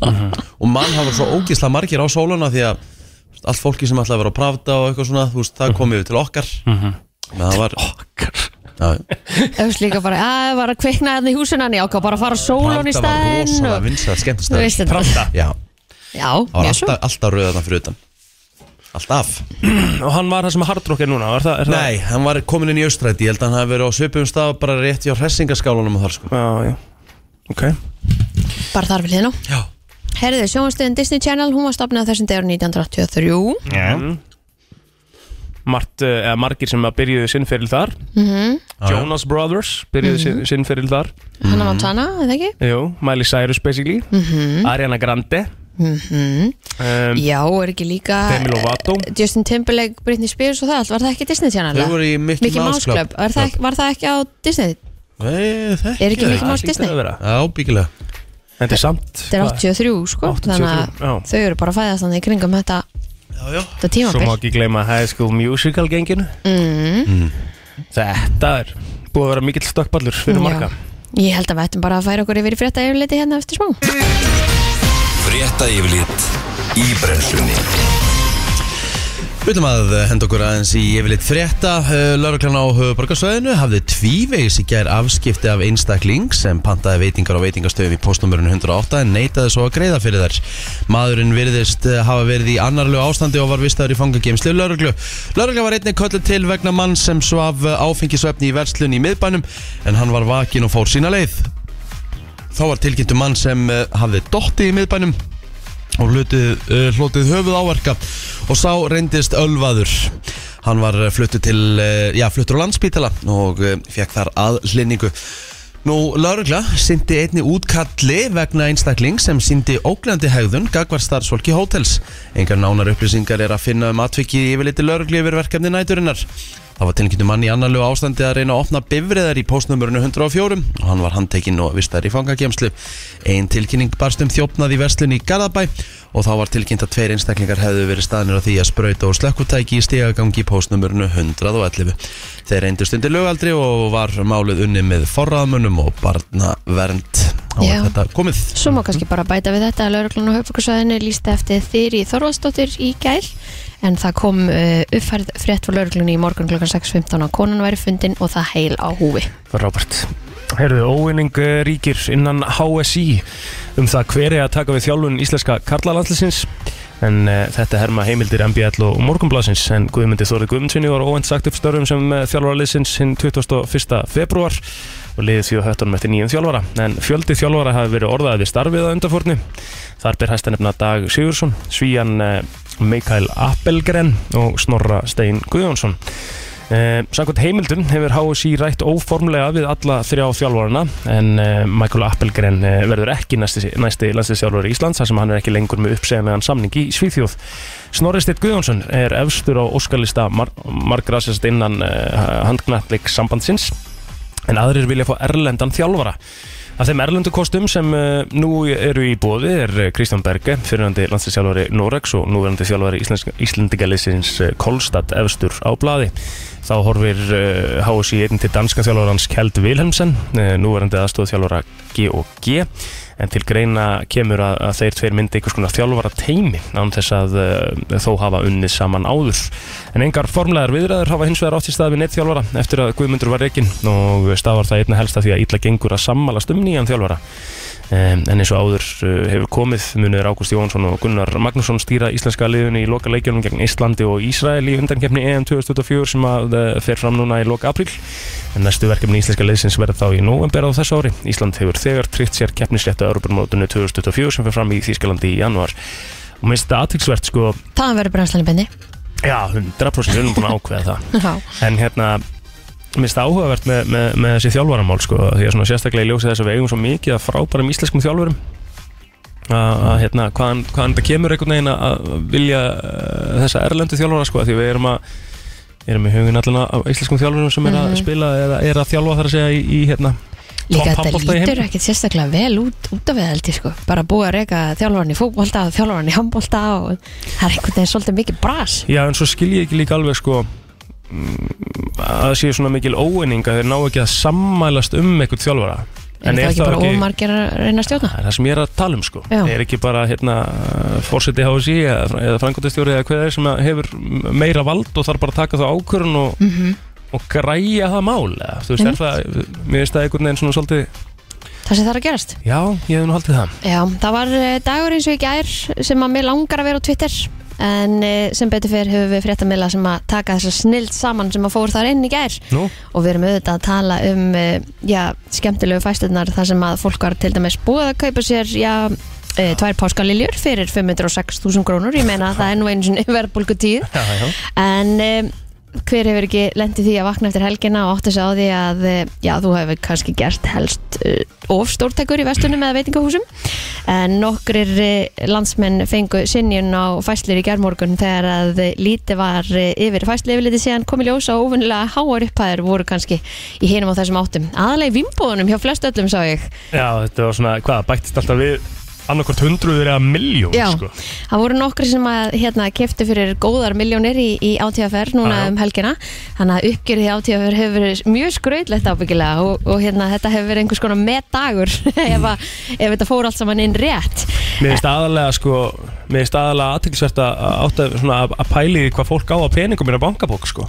[SPEAKER 4] Og mann hafa svo ógisla margir á sóluna Því að þú veist, allt fólki sem ætlaði að vera að pravda Og eitthvað svona, þú veist, það kom yfir til okkar Men það var já,
[SPEAKER 5] Öfst líka bara, að það var að kvikna hérna í húsinu hann ég ákvað bara að fara á sólun í
[SPEAKER 4] Pravda var
[SPEAKER 5] staðinn
[SPEAKER 4] rosalega
[SPEAKER 5] og...
[SPEAKER 4] vinsæð, skemmtist
[SPEAKER 5] Þú veist þetta
[SPEAKER 6] Pravda
[SPEAKER 4] Já,
[SPEAKER 5] Já,
[SPEAKER 4] það var
[SPEAKER 5] mjög svo
[SPEAKER 4] alltaf, alltaf rauða þarna fyrir utan Alltaf
[SPEAKER 6] Og hann var það sem hardrock er núna, er það? Er
[SPEAKER 4] Nei, hann var komin inn í austræti Ég held að hann hafi verið á svipum stað Bara rétt hjá hressingaskálunum og þar sko
[SPEAKER 6] það? Já, já Ok
[SPEAKER 5] Bara þar vil þið nú
[SPEAKER 4] Já
[SPEAKER 5] Herðu, sjónastöðin Disney Channel, hún var stopnað á þessum degur 1983
[SPEAKER 6] Mart, eh, eða margir sem að byrjuðu sinnferil þar
[SPEAKER 5] Mhm.
[SPEAKER 6] Jonas Brothers byrjuðu mm -hmm. sinnferil þar Mhm.
[SPEAKER 5] Hanna Montana, eða ekki?
[SPEAKER 6] Jú, Miley Cyrus basically Ariana Grande um,
[SPEAKER 5] Mhm. Já, er ekki líka eh,
[SPEAKER 6] Demi Lovato
[SPEAKER 5] Justin Timberlake, Britney Spears og það allt, var það ekki Disney Channel?
[SPEAKER 4] Þau voru í Mickey Mouse Club.
[SPEAKER 5] Club, Var, það, ekki- var það ekki á Disney?
[SPEAKER 4] Nei, þekki
[SPEAKER 5] Er ekki
[SPEAKER 4] það
[SPEAKER 5] Mickey Mouse
[SPEAKER 6] Það hlýtur
[SPEAKER 5] Disney?
[SPEAKER 6] að vera.
[SPEAKER 4] Já, byggilega
[SPEAKER 6] þetta er samt
[SPEAKER 5] Þetta er 83 sko
[SPEAKER 6] 83,
[SPEAKER 5] Þannig að
[SPEAKER 6] já.
[SPEAKER 5] þau eru bara að fæðast þannig í kringum þetta,
[SPEAKER 4] Já, já
[SPEAKER 5] þetta
[SPEAKER 6] Svo má
[SPEAKER 5] tímabil Mm.
[SPEAKER 6] ekki gleyma High School Musical genginu Þetta er búið að vera mikill stökkballur fyrir marga
[SPEAKER 5] Mm, Já. Ég held að við ættum bara að færa okkur yfir í frétta yfirleiti hérna eftir smá
[SPEAKER 2] Frétta yfirlit í brennslunni
[SPEAKER 4] Við ætlum að eh, henda okkur aðeins í yfirleitt frétta. Lörglann á höfuborgarsvæðinu hafði tvívegis í gær afskipti af einstakling sem pantaði veitingar á veitingastöðum í postnumurinn 108 en neitaði svo að greiða fyrir þær. Maðurinn virðist eh, hafa verið í annarlegu ástandi og var vistaður í fangageimslu lörglu. Lörgla var einnig köllu til vegna mann sem svaf eh, áfengisvefni í verslun í miðbænum en hann var vakin og fór sína leið. Þá var tilkynntu mann sem eh, hafði dotti í miðbænum og hlutið, uh, hlotið höfuð áverka og sá reyndist ölvaður hann var eh, fluttur til uh, já, fluttur á landspítala og uh, fekk þar aðhlinningu Nú, laurugla sindi einni útkalli vegna einstakling sem sindi óglandi hegðun gagvar starfsfólki hótels. Engar nánar upplýsingar er að finna um atvikið í yfirliti laurugli yfir verkefni næturinnar. Það var tilkynntu mann í annarlegu ástandi að reyna að opna bifriðar í postnumurinu 104 og hann var handtekinn og vistar í fangakemslu. Einn tilkynning barst um þjófnað í verslun í Garðabæ og þá var tilkynnt að tveir einstaklingar hefðu verið staðnir á því að sprauta og slökkutæki í stegagangi í postnumurinu 111. Þeir reyndust undir lögaldri og var málið unni með forraðmönnum og barnavernd. Þá
[SPEAKER 5] Já.
[SPEAKER 4] er þetta komið.
[SPEAKER 5] Svo má kannski bara bæta við þetta að lauruglan á höfbrukarsvæðinu lísti eftir þyri Þorvaldsdóttir í gæl en það kom uh, uppfærð frétt frá lauruglunni í morgun klukkan 6.15 og konan væri fundin og það heil á húfi
[SPEAKER 6] Robert Herðu, óvinning eh, ríkir innan HSI um það hver er að taka við þjálfun íslenska karlalandslisins en uh, þetta herma heimildir MBL og morgunblasins en Guðmundi Þórið Guðmundsvinni var óvænt sagt upp störfum sem eh, þjálfara liðsins hinn 21. februar og liðið því að höttunum eftir nýjum þjálfara en fjöldi þjálfara hafi verið orðaði við starfið að undarfórni þar ber hæsta nefna Dag Sigursson Svíjan uh, Mikael Appelgren og Snorra Stein Guðjónsson Eh, Samkvæmt heimildum hefur HSI rætt óformlega við alla þrjá þjálfarana en eh, Michael Appelgren eh, verður ekki næsti, næsti landsliðsjálfur í Íslands þar sem hann er ekki lengur með uppsegðanlegan samning í Svíþjóð. Snorri Steinn Guðjónsson er efstur á óskalista mar margra sérst innan eh, handknattleik sambandsins en aðrir vilja fá erlendan þjálfara. Af þeim erlendu kostum sem uh, nú eru í bóði er eh, Kristján Berge, fyrirandi landslýsjálfari Norex og núverandi þjálfari Íslendingaliðsins Kolstad efstur á blaði. Þá horfir uh, HSI einn til danska þjálfarans Kjeld Wilhelmsen, uh, núverandi aðstofþjálfara G&G, en til greina kemur að, að þeir tveir myndi einhvers konar þjálfara teimi án þess að uh, þó hafa unnið saman áður. En engar formlegar viðræður hafa hins vegar átt í stað við neitt þjálfara eftir að Guðmundur var reikinn og stafar það einna helst af því að illa gengur að sammalast um nýjan þjálfara. Um, en eins og áður uh, hefur komið munir Ágúst Jónsson og Gunnar Magnússon stýra íslenska liðunni í loka leikjunum gegn Íslandi og Ísrael í undankefni EM 2024 sem að uh, fer fram núna í loka apríl en næstu verkefni íslenska liðsins verður þá í november á þessu ári Ísland hefur þegar tryggt sér keppnisléttu Europamótinu 2024 sem fer fram í Þýskalandi í janúar og minnst þetta aðtýksvert sko
[SPEAKER 5] Það verður brennslan í bendi
[SPEAKER 6] já 100% við erum búin að ákveða það
[SPEAKER 5] Já,
[SPEAKER 6] en hérna Mér finnst það áhugavert með, með, með þessi þjálfaramál sko, því að svona sérstaklega í ljósi þess að við eigum svo mikið að frábærum íslenskum þjálfurum að að, hérna, hvaðan, hvaðan þetta kemur einhvern veginn að- að vilja uh, þessa erlendu þjálfara sko, því við erum að erum í hugin allan að íslenskum þjálfurum sem er að spila eða er að þjálfa þar að segja í, í hérna
[SPEAKER 5] Mhm. Líka
[SPEAKER 6] Topp
[SPEAKER 5] þetta
[SPEAKER 6] handbolta í
[SPEAKER 5] lítur
[SPEAKER 6] heiminum.
[SPEAKER 5] ekkit sérstaklega vel út, út af við held ég sko bara búið að reyka þjálfarni í fótbolta og þjálfarni í handbolta og það er einhvern veginn svolítið mikið bras
[SPEAKER 6] Já, en svo skil ég ekki líka alveg sko mm, að það sé svona mikil óeining að þeir ná ekki að sammælast um einhvern þjálfara
[SPEAKER 5] Er það ekki bara ómargir að reyna að stjórna?
[SPEAKER 6] Það er það sem ég er að tala um sko
[SPEAKER 5] Já.
[SPEAKER 6] Er ekki bara hérna fórseti HSI eða, eða frangotastjóri eða hvað það er sem að hefur meira vald og þarf bara að taka það ákvörun og, og græja það mál eða, þú veist,
[SPEAKER 5] Mhm.
[SPEAKER 6] er
[SPEAKER 5] Einmitt.
[SPEAKER 6] það, mér finnst það einhvern veginn svona svolítið,
[SPEAKER 5] Það sem þarf að gerast
[SPEAKER 6] já, ég hef nú haldið það
[SPEAKER 5] Já, það var eh, dagur eins og í gær sem að mér langar að vera á Twitter en eh, sem betur fyrir höfum við fréttamila sem að taka þessa snild saman sem að fór þar inn í gær
[SPEAKER 6] Nú,
[SPEAKER 5] og við erum auðvitað að tala um eh, já, skemmtilegu fæsturnar þar sem að fólk var til dæmis búið að kaupa sér já, eh, tvær páskaliljur fyrir 506.000 krónur ég meina að það er nú einu sinni verðbólku tíð
[SPEAKER 6] já, já,
[SPEAKER 5] en um, hver hefur ekki lendið því að vakna eftir helgina og átti sig á því að eh, já, þú hefur kannski gert helst uh, of stórtækur í vestunum eða veitingahúsum en nokkrir eh, landsmenn fengu sinjun á fæslur í gerðmorgun þegar að eh, lítið var eh, yfir fæslu yfirliti síðan komið ljós og óvinnilega háar upphæður voru kannski í hinum á þessum áttum aðalega í vimbóðunum hjá flest öllum sá ég
[SPEAKER 6] Já, þetta var svona, hvað, bættist alltaf við annarkvort hundruður eða miljón
[SPEAKER 5] Já,
[SPEAKER 6] sko.
[SPEAKER 5] það voru nokkri sem að hérna, keftu fyrir góðar miljónir í, í átíðaferð núna
[SPEAKER 6] Já, já.
[SPEAKER 5] um helgina þannig að uppgjörið í átíðaferð hefur verið mjög skrautlegt ábyggilega og, og hérna, þetta hefur verið einhvers konar metdagur ef, að, ef þetta fór allt saman inn rétt
[SPEAKER 6] Mér finnst aðalega sko Mér finnst aðalega aðtilsvert að átta svona að að pæli því hvað fólk á að peningum minna bankabók sko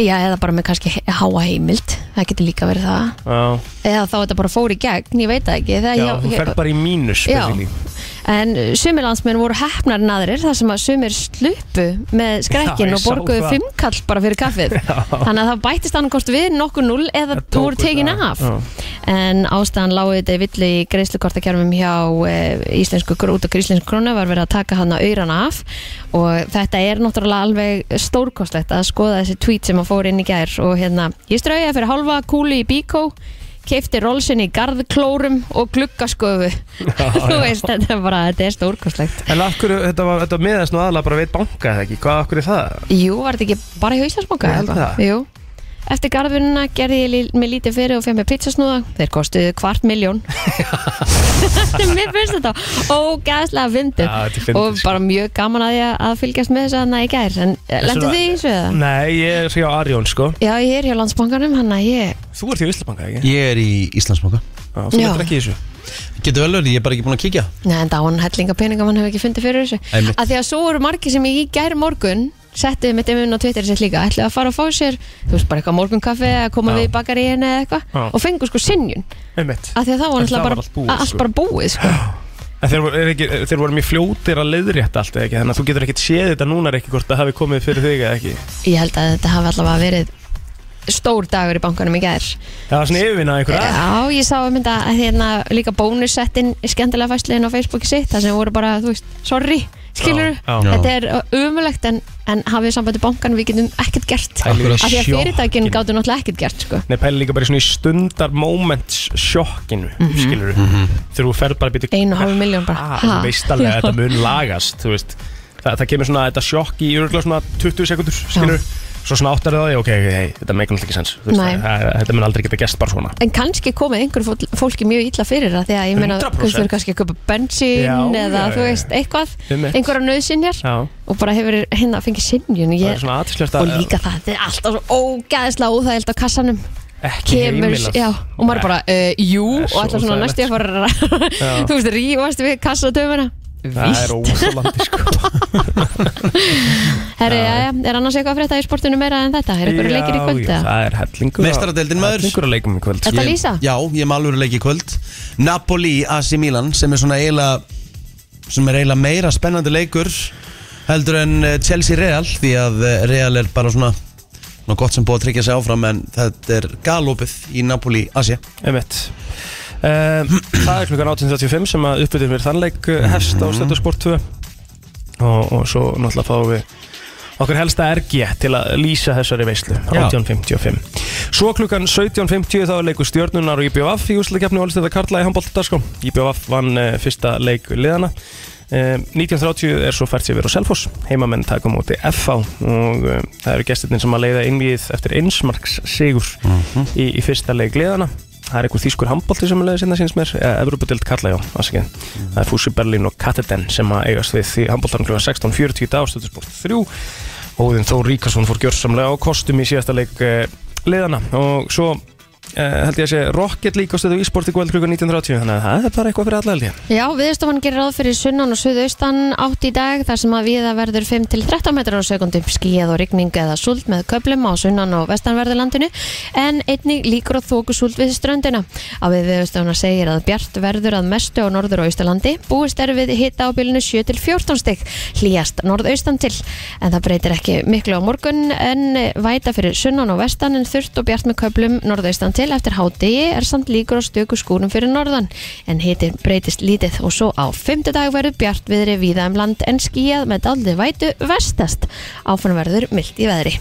[SPEAKER 5] Já, eða bara með kannski he- háa heimild það getur líka verið það
[SPEAKER 6] Já,
[SPEAKER 5] eða þá þetta bara fór í gegn, ég veit það ekki Þegar
[SPEAKER 6] já
[SPEAKER 5] ég-
[SPEAKER 6] þú
[SPEAKER 5] ég-
[SPEAKER 6] fer bara í mínus
[SPEAKER 5] Já.
[SPEAKER 6] basically.
[SPEAKER 5] En uh, sumir landsmenn voru hefnar en aðrir þar sem að sumir sluppu með
[SPEAKER 6] Já,
[SPEAKER 5] skrekkin
[SPEAKER 6] ég
[SPEAKER 5] og borguðu
[SPEAKER 6] sá það.
[SPEAKER 5] fimmkall bara fyrir kaffið. Þannig að það bættist annarkost við nokkuð null eða
[SPEAKER 6] Það tók
[SPEAKER 5] voru tekin
[SPEAKER 6] við-
[SPEAKER 5] af.
[SPEAKER 6] já.
[SPEAKER 5] En ástæðan lágu þetta í villu í greiðslukortakjármum hjá e, íslensku, gr- út af íslensku krónu var verið að taka hann að auðrana af og þetta er náttúrulega alveg stórkostlegt að skoða þessi tweet sem að fór inn í gær og hérna, ég strauja fyrir halva kúli í bíkó keifti rólsinn í garðklórum og gluggasköfu þú veist, þetta er bara, þetta er stórkostlegt
[SPEAKER 6] En af hverju, þetta var, þetta meðast nú aðalega bara veit banka eða ekki, hvað af hverju er það?
[SPEAKER 5] Jú, var þetta ekki bara hjá Íslandsbanka?
[SPEAKER 6] Ég held
[SPEAKER 5] eða eitthvað?
[SPEAKER 6] það.
[SPEAKER 5] Jú Eftir garðununa gerði ég lí- mig lítið fyrir og fegð mér pizzasnúða Þeir kostuðu kvart miljón Mér finnst þetta ógæðslega
[SPEAKER 6] Já, þetta er
[SPEAKER 5] fyndið
[SPEAKER 6] fyndið,
[SPEAKER 5] Og
[SPEAKER 6] sko.
[SPEAKER 5] bara mjög gaman að ég að fylgjast með þess að hana í gær En lendu
[SPEAKER 6] svona-
[SPEAKER 5] þið í þessu eða?
[SPEAKER 6] Nei, ég er hjá Arjón sko
[SPEAKER 5] Já, ég er hjá landsbankanum, hann að ég
[SPEAKER 6] Þú ert hjá Íslabanka ekki?
[SPEAKER 4] Ég er í Íslandsmóka
[SPEAKER 6] Já, þú
[SPEAKER 5] Já.
[SPEAKER 6] ert ekki í þessu
[SPEAKER 4] Getur vel verið, ég er bara ekki búin að kíkja
[SPEAKER 5] Nei, en dáan hellinga peninga mann hefur ekki fundið fyrir þessu
[SPEAKER 4] Einmitt.
[SPEAKER 5] Af Því að svo voru margir sem ég í gær morgun Settuðu mitt einhvern á Twitter sitt líka Ætlaðu að fara að fá sér, þú veist bara eitthvað morgunkaffi Eða koma
[SPEAKER 6] Já.
[SPEAKER 5] við í bakaríinu eða eitthvað
[SPEAKER 6] Já.
[SPEAKER 5] Og fengu sko sinjun
[SPEAKER 6] Einmitt
[SPEAKER 5] að því að það var
[SPEAKER 6] En
[SPEAKER 5] alltaf
[SPEAKER 6] það var
[SPEAKER 5] bara,
[SPEAKER 6] allt búið,
[SPEAKER 5] allt
[SPEAKER 6] sko.
[SPEAKER 5] bara búið sko.
[SPEAKER 6] En þeir, voru- er ekki, þeir voru mjög fljótir að leiðrétt allt eða ekki Þannig að þú getur ekkert séð þetta núna ekki hvort það hafi komið fyrir þig eða ekki
[SPEAKER 5] ég held að þetta hafi allavega verið stór dagur í bankanum í gær
[SPEAKER 6] Það var svona yfirvinna einhverja
[SPEAKER 5] já, ég sá að mynda að hérna líka bónussettin skemmtilega fæsliðin á Facebooki sitt þar sem voru bara, þú veist, sorry skilur,
[SPEAKER 6] Já,
[SPEAKER 4] já.
[SPEAKER 5] þetta er umulegt en, en hafið sambandi bankanum, við getum ekkert gert af
[SPEAKER 6] Pælið í
[SPEAKER 5] því að fyrirtækin
[SPEAKER 6] sjokkinu.
[SPEAKER 5] gátu náttúrulega ekkert gert sko.
[SPEAKER 6] Nei, pæli líka bara í svona í stundar moments sjokkinu, mm -hmm. skilur mm
[SPEAKER 4] Mhm.
[SPEAKER 6] -hmm. Þegar þú ferð bara að byrja
[SPEAKER 5] Mhm. einu og hálfu miljón bara
[SPEAKER 6] ah, þú
[SPEAKER 5] ha?
[SPEAKER 6] veist alveg
[SPEAKER 5] Já.
[SPEAKER 6] að þetta mun lagast þú veist, Þa, það kemur svona þetta sjokk í örgulega svona 20 sekundur skilur, svo svona áttar það á því, ok, ok, hey, þetta meikar náttúrulega ekki sens þú veist,
[SPEAKER 5] Nei.
[SPEAKER 6] það- það- þetta mun aldrei geta gest bara svona
[SPEAKER 5] En kannski komið einhver fól- fólki mjög illa fyrir það því að ég meina,
[SPEAKER 6] 100%.
[SPEAKER 5] þú veist, kannski að köpa bensín
[SPEAKER 6] Já,
[SPEAKER 5] eða
[SPEAKER 6] já,
[SPEAKER 5] þú
[SPEAKER 6] já, já.
[SPEAKER 5] veist, eitthvað,
[SPEAKER 6] Einmitt.
[SPEAKER 5] einhverja nöðsynjar
[SPEAKER 6] Já,
[SPEAKER 5] og bara hefur hérna fengið sinjun
[SPEAKER 6] það er
[SPEAKER 5] ég,
[SPEAKER 6] svona aðtilslert
[SPEAKER 5] og
[SPEAKER 6] að
[SPEAKER 5] líka það, þetta er alltaf svo ógæðislega óþægild á kassanum
[SPEAKER 6] ekki
[SPEAKER 5] kemur,
[SPEAKER 6] heimilað.
[SPEAKER 5] já, og maður bara uh, jú,
[SPEAKER 6] Það er
[SPEAKER 5] og
[SPEAKER 6] svo
[SPEAKER 5] alltaf svona næstu ég að fara
[SPEAKER 6] Já.
[SPEAKER 5] þú veist, rífast við kassatöfuna
[SPEAKER 6] Það er ósalandi sko
[SPEAKER 5] Herri, já, já, er annars eitthvað að frétta í sportinu meira en þetta? Er eitthvað leikir í
[SPEAKER 6] Já,
[SPEAKER 5] kvöld?
[SPEAKER 6] já,
[SPEAKER 5] eða?
[SPEAKER 6] Það er hellingur á-
[SPEAKER 4] Meistaradeildin, maður.
[SPEAKER 6] Hellingur að leikum í kvöld
[SPEAKER 5] Þetta
[SPEAKER 4] Ég-
[SPEAKER 5] lýsa?
[SPEAKER 4] Já, ég er með alveg leik í kvöld Napoli, AC Milan sem er svona eiginlega sem er eiginlega meira spennandi leikur heldur en eh, Chelsea Real því að eh, Real er bara svona svona gott sem búið að tryggja sig áfram en þetta er galopið í Napoli, Asia
[SPEAKER 6] Einmitt. Um, það er klukkan 18.35 sem að uppbyttum við þannleik eh, hefst á Stöðsport 2 og, og svo náttúrulega fáum við okkur helsta RG til að lýsa þessari veislu
[SPEAKER 4] Já.
[SPEAKER 6] 18.55 Svo klukkan 17.50 þá er leikur stjörnunar og IBVF í úsleikefni og Alistöða Karla í handbóltadarskó IBVF vann uh, fyrsta leik liðana Um, 1930 er svo fært sér verið á Selfoss heimamenn taka á móti FH og um, það eru gestirnir sem að leiða innvíð eftir einsmarks sigur í, í fyrsta leik liðana það er einhver þýskur handbólti sem að leiða sinna síns mér eða Evropadild kalla já, afsakið. það er Fúsi Berlín og Kateten sem að eigast við því handbóltan kl. 16.40 í dag stöðsport 3 Óðinn Þór Ríkarsson fór gjörsamlega á kostum í síðasta leik eh, liðana og svo eh, held ég að sé Rocket League á stöðu ísporti kvöld kl. 19.30 þannig að það er bara eitthvað fyrir alla held ég
[SPEAKER 5] Já, viðstofan gerir ráð fyrir sunnan og suðaustan átt í dag þar sem að viða verður 5 til 13 metrar á sekundum skíð og rigning eða súld með köplum á sunnan og vestanverðurlandinu en einnig líkur á þóku súld við ströndina. Á við viðstofana segir að bjart verður að mestu á norður og austalandi búist er við hitta á bylunu 7 til 14 stig hlýjast norðaustan til en það breytir ekki miklu á morgun en væta fyrir sunnan og vestan en þurft og bjart með köplum norðaustan til eftir hádegi er samt líkur á stöku skúrum fyrir norðan en hiti breytist lítið og svo á fymtudag verður bjart viðri víða um land en skíjað með daldi vætu vestast áfann verður mildt í veðri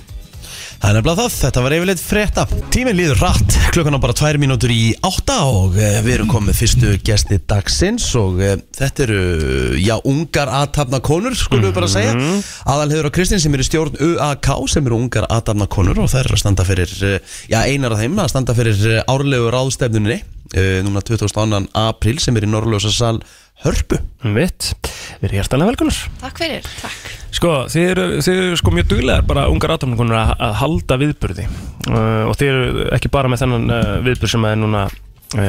[SPEAKER 4] Það er nefnilega það, þetta var yfirleitt frétta Tíminn líður rætt, klukkan á bara tvær mínútur í átta og eh, við erum komið fyrstu gesti dagsins og eh, þetta eru, eh, já, ungar aðtapna konur, skulum við bara segja Aðalhefur og Kristinn sem eru í stjórn UAK sem eru ungar aðtapna konur og þær eru að standa fyrir, eh, já, einar af þeim að standa fyrir eh, árlegu ráðstefnunni eh, núna 22. apríl sem er í Norrljósa sal Hörpu
[SPEAKER 6] Vitt, við erum hjertanlega velkonar
[SPEAKER 5] Takk fyrir, takk
[SPEAKER 6] Sko, þið eru, þið eru sko mjög duglegar bara ungar aðtöfningunir að, að halda viðburði uh, og þið eru ekki bara með þennan uh, viðburð sem er núna uh,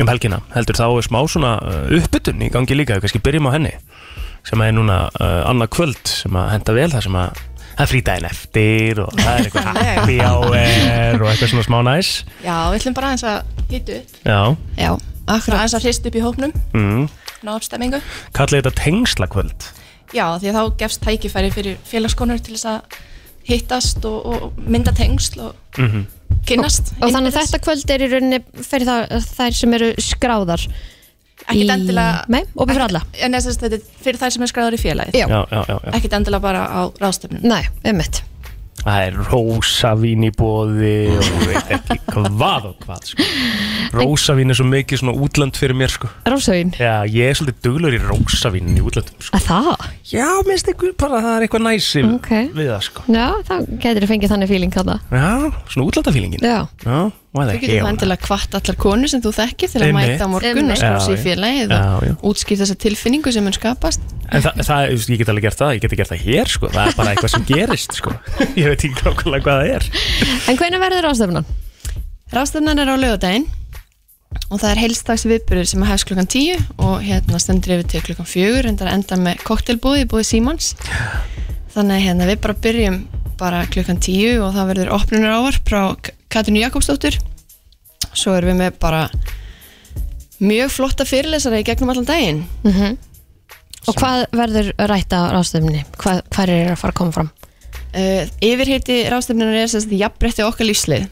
[SPEAKER 6] um helgina, heldur þá er smá svona uh, uppbytun í gangi líka, við kannski byrjum á henni sem er núna uh, annað kvöld sem að henda vel það sem að það er frídægin eftir og það er eitthvað happy hour og eitthvað svona smá næs
[SPEAKER 3] Já, við ætlum bara aðeins að hýttu upp
[SPEAKER 6] Já,
[SPEAKER 3] Já, akkurat Aðeins að hrist upp í hópnum,
[SPEAKER 6] mm.
[SPEAKER 3] ná uppstemmingu
[SPEAKER 6] kallið þetta tengslakvöld
[SPEAKER 3] Já, því að þá gefst tækifæri fyrir félagskonur til þess að hittast og, og mynda tengsl og
[SPEAKER 6] Mhm.
[SPEAKER 3] kynnast
[SPEAKER 5] Og þannig að þetta kvöld er í rauninni fyrir það, þær sem eru skráðar
[SPEAKER 3] Ekki
[SPEAKER 5] í-
[SPEAKER 3] endilega
[SPEAKER 5] Nei, opið fyrir alla.
[SPEAKER 3] En þess að þetta er fyrir þær sem er skráður í félagið
[SPEAKER 5] Já.
[SPEAKER 6] Já, já, já, já.
[SPEAKER 3] Ekki endilega bara á ráðstöfnum
[SPEAKER 5] Nei, ummitt
[SPEAKER 6] Það er rósavín í bóði og ég veit ekki hvað og hvað sko. Rósavín er svo mikið svona útland fyrir mér sko.
[SPEAKER 5] Rósavín
[SPEAKER 6] Já, ég er svolítið duglur í rósavín í útlandum sko.
[SPEAKER 5] Að það?
[SPEAKER 6] Já, minnst ykkur bara það er eitthvað næsi
[SPEAKER 5] Ok.
[SPEAKER 6] við það sko.
[SPEAKER 5] Já, þá getur þú fengið þannig fíling þarna
[SPEAKER 6] Já, svona útlandafílingin
[SPEAKER 5] Já,
[SPEAKER 6] Já, hvað er
[SPEAKER 7] Þú
[SPEAKER 6] það
[SPEAKER 7] getur vendilega hvart allar konur sem þú þekkir til að
[SPEAKER 6] Einmitt.
[SPEAKER 7] mæta á morgun
[SPEAKER 5] Einmitt.
[SPEAKER 7] og skrá
[SPEAKER 6] Já,
[SPEAKER 7] sig í
[SPEAKER 6] já.
[SPEAKER 7] félagið
[SPEAKER 6] Já, já.
[SPEAKER 7] og útskýr þessa tilfinningu sem mun skapast.
[SPEAKER 6] En það, það, þú veist, ég get alveg gert það, ég get gert það hér sko. Það er bara eitthvað sem gerist sko. Ég veit ekki nákvæmlega hvað það er
[SPEAKER 5] en hvenær verður ráðstefnan?
[SPEAKER 7] Ráðstefnan er á lögadaginn og það er heilstags viðbyrður sem hefst klukkan 10 og hérna stendur yfir til klukkan 4 en það enda með koktelbúði í búði Simons þannig að hérna við bara byrjum bara klukkan 10 og það verður opnunar ávarp frá K- Katrínu Jakobsdóttur svo erum við með bara mjög flotta fyrirlesara í gegnum allan daginn
[SPEAKER 5] Og hvað verður rætt á ráðstefni? Hvað, hvað er að fara að koma fram?
[SPEAKER 7] uh, yfirheiti ráðstefnunar er sérst jafnbreytti okkar lífslið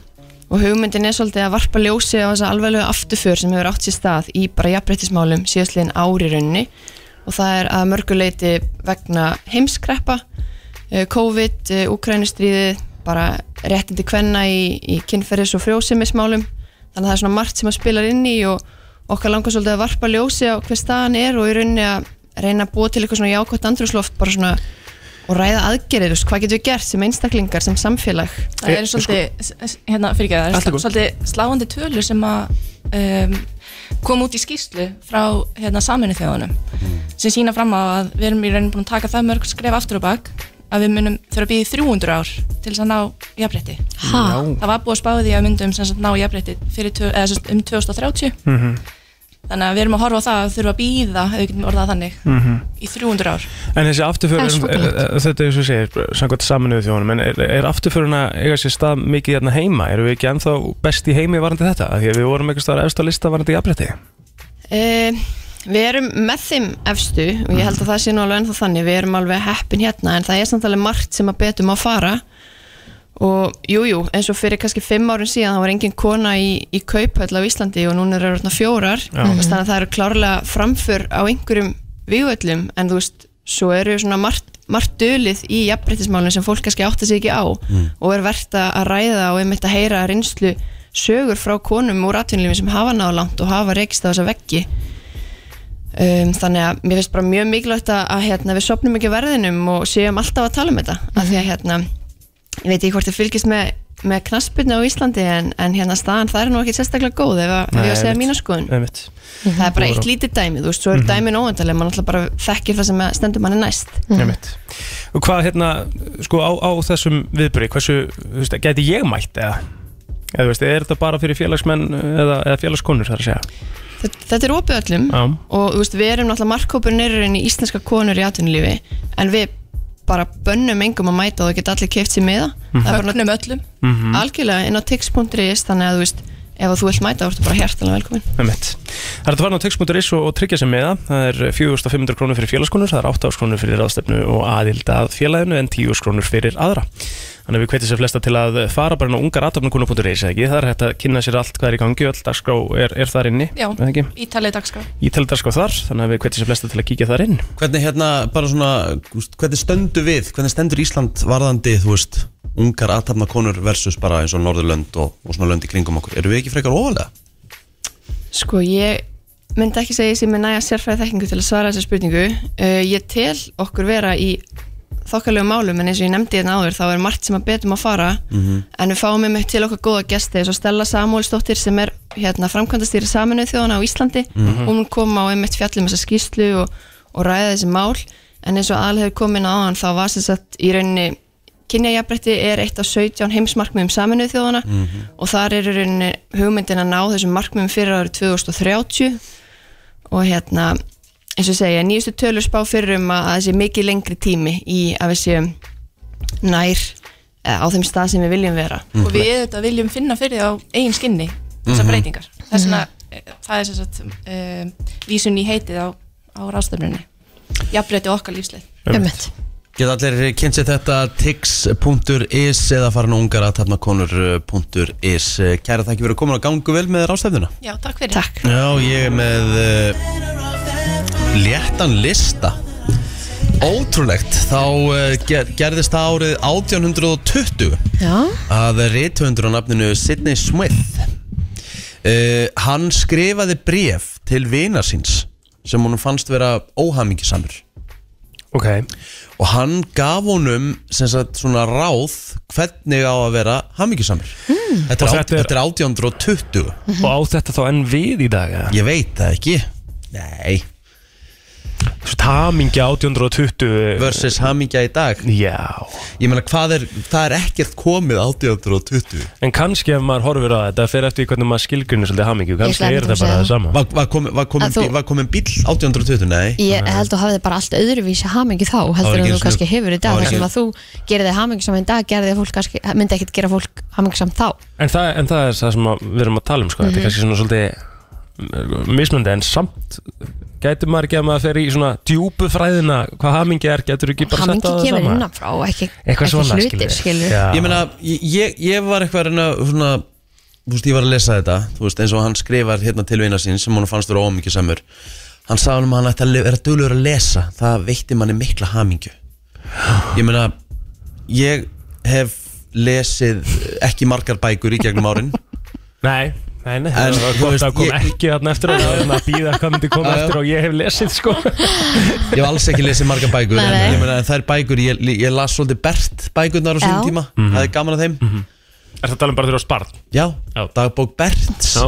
[SPEAKER 7] og hugmyndin er svolítið að varpa ljósi á þessa alveglega afturför sem hefur átt sér stað í bara jafnbreyttismálum síðastliðin ári raunni og það er að mörguleiti vegna heimskreppa uh, COVID, uh, Ukrænustríði bara réttindi kvenna í, í kynferðis og frjósemismálum þannig að það er svona margt sem að spila inn í og okkar langar svolítið að varpa ljósi á hver staðan er og í rauninni að reyna að búa til eitthvað svona jákvæmt andrúsloft bara svona og ræða aðgerðir, þú veist, hvað getum við gert sem einstaklingar, sem samfélag
[SPEAKER 3] Það
[SPEAKER 6] Eh,
[SPEAKER 3] eru svolítið, s- s- hérna, fyrir það
[SPEAKER 6] Allt í
[SPEAKER 3] eru
[SPEAKER 6] góðu.
[SPEAKER 3] svolítið sláandi tölur sem að um, kom út í skýslu frá hérna, saminu þjóðunum
[SPEAKER 6] Mhm.
[SPEAKER 3] sem sína fram á að við erum í raunin búin að taka það mörg skref aftur og bak að við munum þurfa að býða í 300 ár til þess að ná jafnrétti.
[SPEAKER 5] Ha?
[SPEAKER 3] Það var búið að spáði því að við myndum sem sagt, ná jafnrétti fyrir, tvö- eða, sem sagt, um 2030
[SPEAKER 6] Mhm.
[SPEAKER 3] þannig að við erum að horfa á það að þurfa að býða, ef við getum orðað þannig,
[SPEAKER 6] Mhm.
[SPEAKER 3] í 300 ár.
[SPEAKER 6] En þessi afturför,
[SPEAKER 5] Það er
[SPEAKER 6] er, er,
[SPEAKER 5] svakalegt.
[SPEAKER 6] er, þetta er svo segir, samkvæmt saminuðu þjónum, en er, er afturföruna eiga sér stað mikið hérna heima? Erum við ekki ennþá best í heimi varandi þetta? Af Því að við vorum eitthvað staðar efst á lista varandi jafnrétti.
[SPEAKER 7] uh, Við erum með þeim efstu og ég held að það sé nú alveg ennþá þannig við erum alveg heppin hérna en það er samt alveg margt sem að betum að fara og jújú, jú, eins og fyrir kannski fimm árun síðan þá var engin kona í, í kauphöll á Íslandi og núna eru þarna fjórar Þú veist, þannig að það eru klárlega framför á einhverjum vígöllum en þú veist, svo eru svona margt, margt dölið í jafnbryttismálinu sem fólk kannski átti sig ekki á og er verðt að ræða og einmitt að heyra reynslu sögur frá konum úr atvinnlífi sem hafa náðu langt og hafa reykst á þessa veggi um, þannig að mér finnst bara mjög mikilvægt að, að hérna, við sopnum ekki á verðinum og séum alltaf að tala um þetta af því að hérna, ég veit ekki hvort þið fylgist með, með knaspinu á Íslandi en, en hérna staðan það er nú ekki sérstaklega góð ef, að, ef ég á að segja mína skoðun
[SPEAKER 6] Einmitt. Mhm.
[SPEAKER 7] það er bara eitt lítið dæmi, þú veist, svo er dæmin óvendaleg mann alltaf bara þekkir það sem að stendur manni næst
[SPEAKER 6] Einmitt. Og hvað hérna, sko á, á þessum viðbyrði, hversu, þú veist, gæti ég mætt eða? Eða þú veist, er þetta bara fyrir félagsmenn eða, eða félagskonur þar að segja?
[SPEAKER 7] þetta, þetta er opið öllum
[SPEAKER 6] Já.
[SPEAKER 7] og þú veist, við erum náttúrulega markkópur neyririnn í íslenska konur í atvinnulífi en við bara bönnum engum að mæta og það geta allir keft sér með það það er bara
[SPEAKER 3] Fögnum öllum.
[SPEAKER 7] algjörlega inn á tix.is þannig að þú veist, ef að þú vilt mæta þá ertu bara hjertalega velkomin
[SPEAKER 6] Einmitt. Það er þetta farin á text.is og, og tryggja sem með það. Það er 4500 krónur fyrir félagskonur, það er 8000 krónur fyrir aðstefnu og aðild að félaginu en 10 krónur fyrir aðra. Þannig að við hvetjum sér flesta til að fara bara inn á ungaratofnukuna.is eða ekki, það er hægt að kynna sér allt hvað er í gangi, öll dagskrá er, er þar inni,
[SPEAKER 3] Já,
[SPEAKER 6] eða ekki?
[SPEAKER 3] ítalið dagskrá
[SPEAKER 6] Ítalið dagskrá þar, þannig að við hvetjum sér flesta til að kíkja þar inn.
[SPEAKER 4] Hvernig hérna, bara svona, úst, hvernig stöndu við, hvernig stendur Ísland varðandi, þú veist, ungar aðtapna konur versus bara eins og Norðurlönd og, og svona lönd í kringum okkur? Eru við ekki frekar ofalega?
[SPEAKER 7] Sko, ég myndi ekki segja ég sem er næja sérfræði þekkingu til að svara þessu spurningu. Uh, ég tel okkur vera í þokkalegu málum, en eins og ég nefndi þetta áður, þá er margt sem að betum að fara, en við fáum einmitt til okkar góða gesti, eins og Stella Samuelsdóttir sem er hérna, framkvæmdastýri saminuð þjóðana á Íslandi, hún kom á einmitt fjallum þessa skýslu og, og ræða þessi mál, en eins og alveg komin á hann, þá var sem sagt í rauninni kynjajafrætti er eitt af 17 heimsmarkmiðum saminuð þjóðana og þar er í rauninni hugmyndin að ná þessum markmiðum fyrir árið 2030 og hérna eins og ég segja, nýjustu tölur spá fyrir um að að þessi mikið lengri tími í að við séum nær eh, á þeim stað sem við viljum vera
[SPEAKER 3] og við auðvitað viljum finna fyrir á eigin skinni þessar breytingar þess vegna eh, það er sem sagt um, vísun í heitið á, á ráðstöfnunni jafnbreyti okkar lífsleið
[SPEAKER 5] Einmitt.
[SPEAKER 4] Geta allir kynnt sér þetta tix.is eða farin á eh, ungaratafnakonur.is Kæra þakki Eh, fyrir að koma og gangu vel með rástefnuna
[SPEAKER 3] Já, takk fyrir
[SPEAKER 7] Takk
[SPEAKER 4] Já, ég er með uh, léttan lista Ótrúlegt, þá uh, ger, gerðist það árið 1820
[SPEAKER 5] Já,
[SPEAKER 4] að rithundur á nafninu Sidney Smith uh, Hann skrifaði bref til vinar síns sem honum fannst vera óhamingisamur
[SPEAKER 6] Ok,
[SPEAKER 4] og hann gaf honum sem sagt svona ráð hvernig á að vera hamingjusamur
[SPEAKER 5] Hmm.
[SPEAKER 4] mm. þetta,
[SPEAKER 6] Og
[SPEAKER 4] er
[SPEAKER 6] þetta
[SPEAKER 4] þetta,
[SPEAKER 6] er-
[SPEAKER 4] þetta er 1820
[SPEAKER 5] Mhm.
[SPEAKER 6] og á þetta þá enn við í dag, eða?
[SPEAKER 4] ég veit það ekki nei,
[SPEAKER 6] Svo tamingi 1820,
[SPEAKER 4] versus hamingja í dag
[SPEAKER 6] já,
[SPEAKER 4] ég meina hvað er, það er ekkert komið 1820
[SPEAKER 6] en kannski ef maður horfir á þetta, fyrir eftir því hvernig maður skilgrunir svolítið hamingju, kannski
[SPEAKER 5] ætlaði
[SPEAKER 6] er
[SPEAKER 5] einmitt að
[SPEAKER 6] það bara
[SPEAKER 5] segja
[SPEAKER 6] það sama.
[SPEAKER 4] var, var komin var komin,
[SPEAKER 5] Að þú-
[SPEAKER 4] bí- var komin bíl 1820, nei
[SPEAKER 5] ég held að þú hafði bara allt öðruvísi hamingi þá
[SPEAKER 4] var
[SPEAKER 5] heldur
[SPEAKER 4] ekki
[SPEAKER 5] en
[SPEAKER 4] einu
[SPEAKER 5] þú kannski
[SPEAKER 4] sinni-
[SPEAKER 5] hefur í
[SPEAKER 4] það
[SPEAKER 5] dag
[SPEAKER 4] var
[SPEAKER 5] þar
[SPEAKER 4] ekki-
[SPEAKER 5] sem að þú gerir þig hamingi saman í dag gerir þig fólk kannski, myndi ekkert gera fólk hamingi saman þá
[SPEAKER 6] En það, en það er það sem að- við erum að tala um sko.
[SPEAKER 5] Mhm.
[SPEAKER 6] Þetta er kannski svona svolítið mismöndi en samt gæti maður ekki að maður fer í svona djúpu fræðina hvað hamingi er, getur ekki bara
[SPEAKER 5] hamingi
[SPEAKER 6] sett á það
[SPEAKER 5] kemur
[SPEAKER 6] sama?
[SPEAKER 5] innanfrá og ekki,
[SPEAKER 6] Eitthvað
[SPEAKER 5] ekki
[SPEAKER 6] svona
[SPEAKER 5] hlutir skilur
[SPEAKER 6] Já.
[SPEAKER 4] ég meina, ég- ég, ég var eitthvað að reyna svona, þú veist, ég var að lesa þetta þú veist, eins og hann skrifar hérna til vina sín sem hún fannst vera ómikið samur hann sagði honum að hann ætti að le- vera dölur að lesa það veitti manni mikla hamingju ég meina, ég hef lesið ekki margar bækur í gegnum árin
[SPEAKER 6] Nei, nei, nei
[SPEAKER 4] En,
[SPEAKER 6] Það var
[SPEAKER 4] þú
[SPEAKER 6] gott
[SPEAKER 4] veist,
[SPEAKER 6] að kom
[SPEAKER 4] ég-
[SPEAKER 6] ekki þarna eftir og það var að býða hvað myndi
[SPEAKER 4] Já, já.
[SPEAKER 6] koma eftir og ég hef lesið sko
[SPEAKER 4] ég hef alls ekki lesið margar bækur
[SPEAKER 5] Nei, nei.
[SPEAKER 4] en ég meina, en þær bækur, ég, ég las svolítið Bert bækurnar á
[SPEAKER 5] Já.
[SPEAKER 4] sínum tíma
[SPEAKER 6] Mhm.
[SPEAKER 4] það er gaman að þeim
[SPEAKER 6] Er það
[SPEAKER 4] um
[SPEAKER 6] talað bara þurfa sparn?
[SPEAKER 4] já,
[SPEAKER 6] Já.
[SPEAKER 4] dagbók Berts
[SPEAKER 6] Já,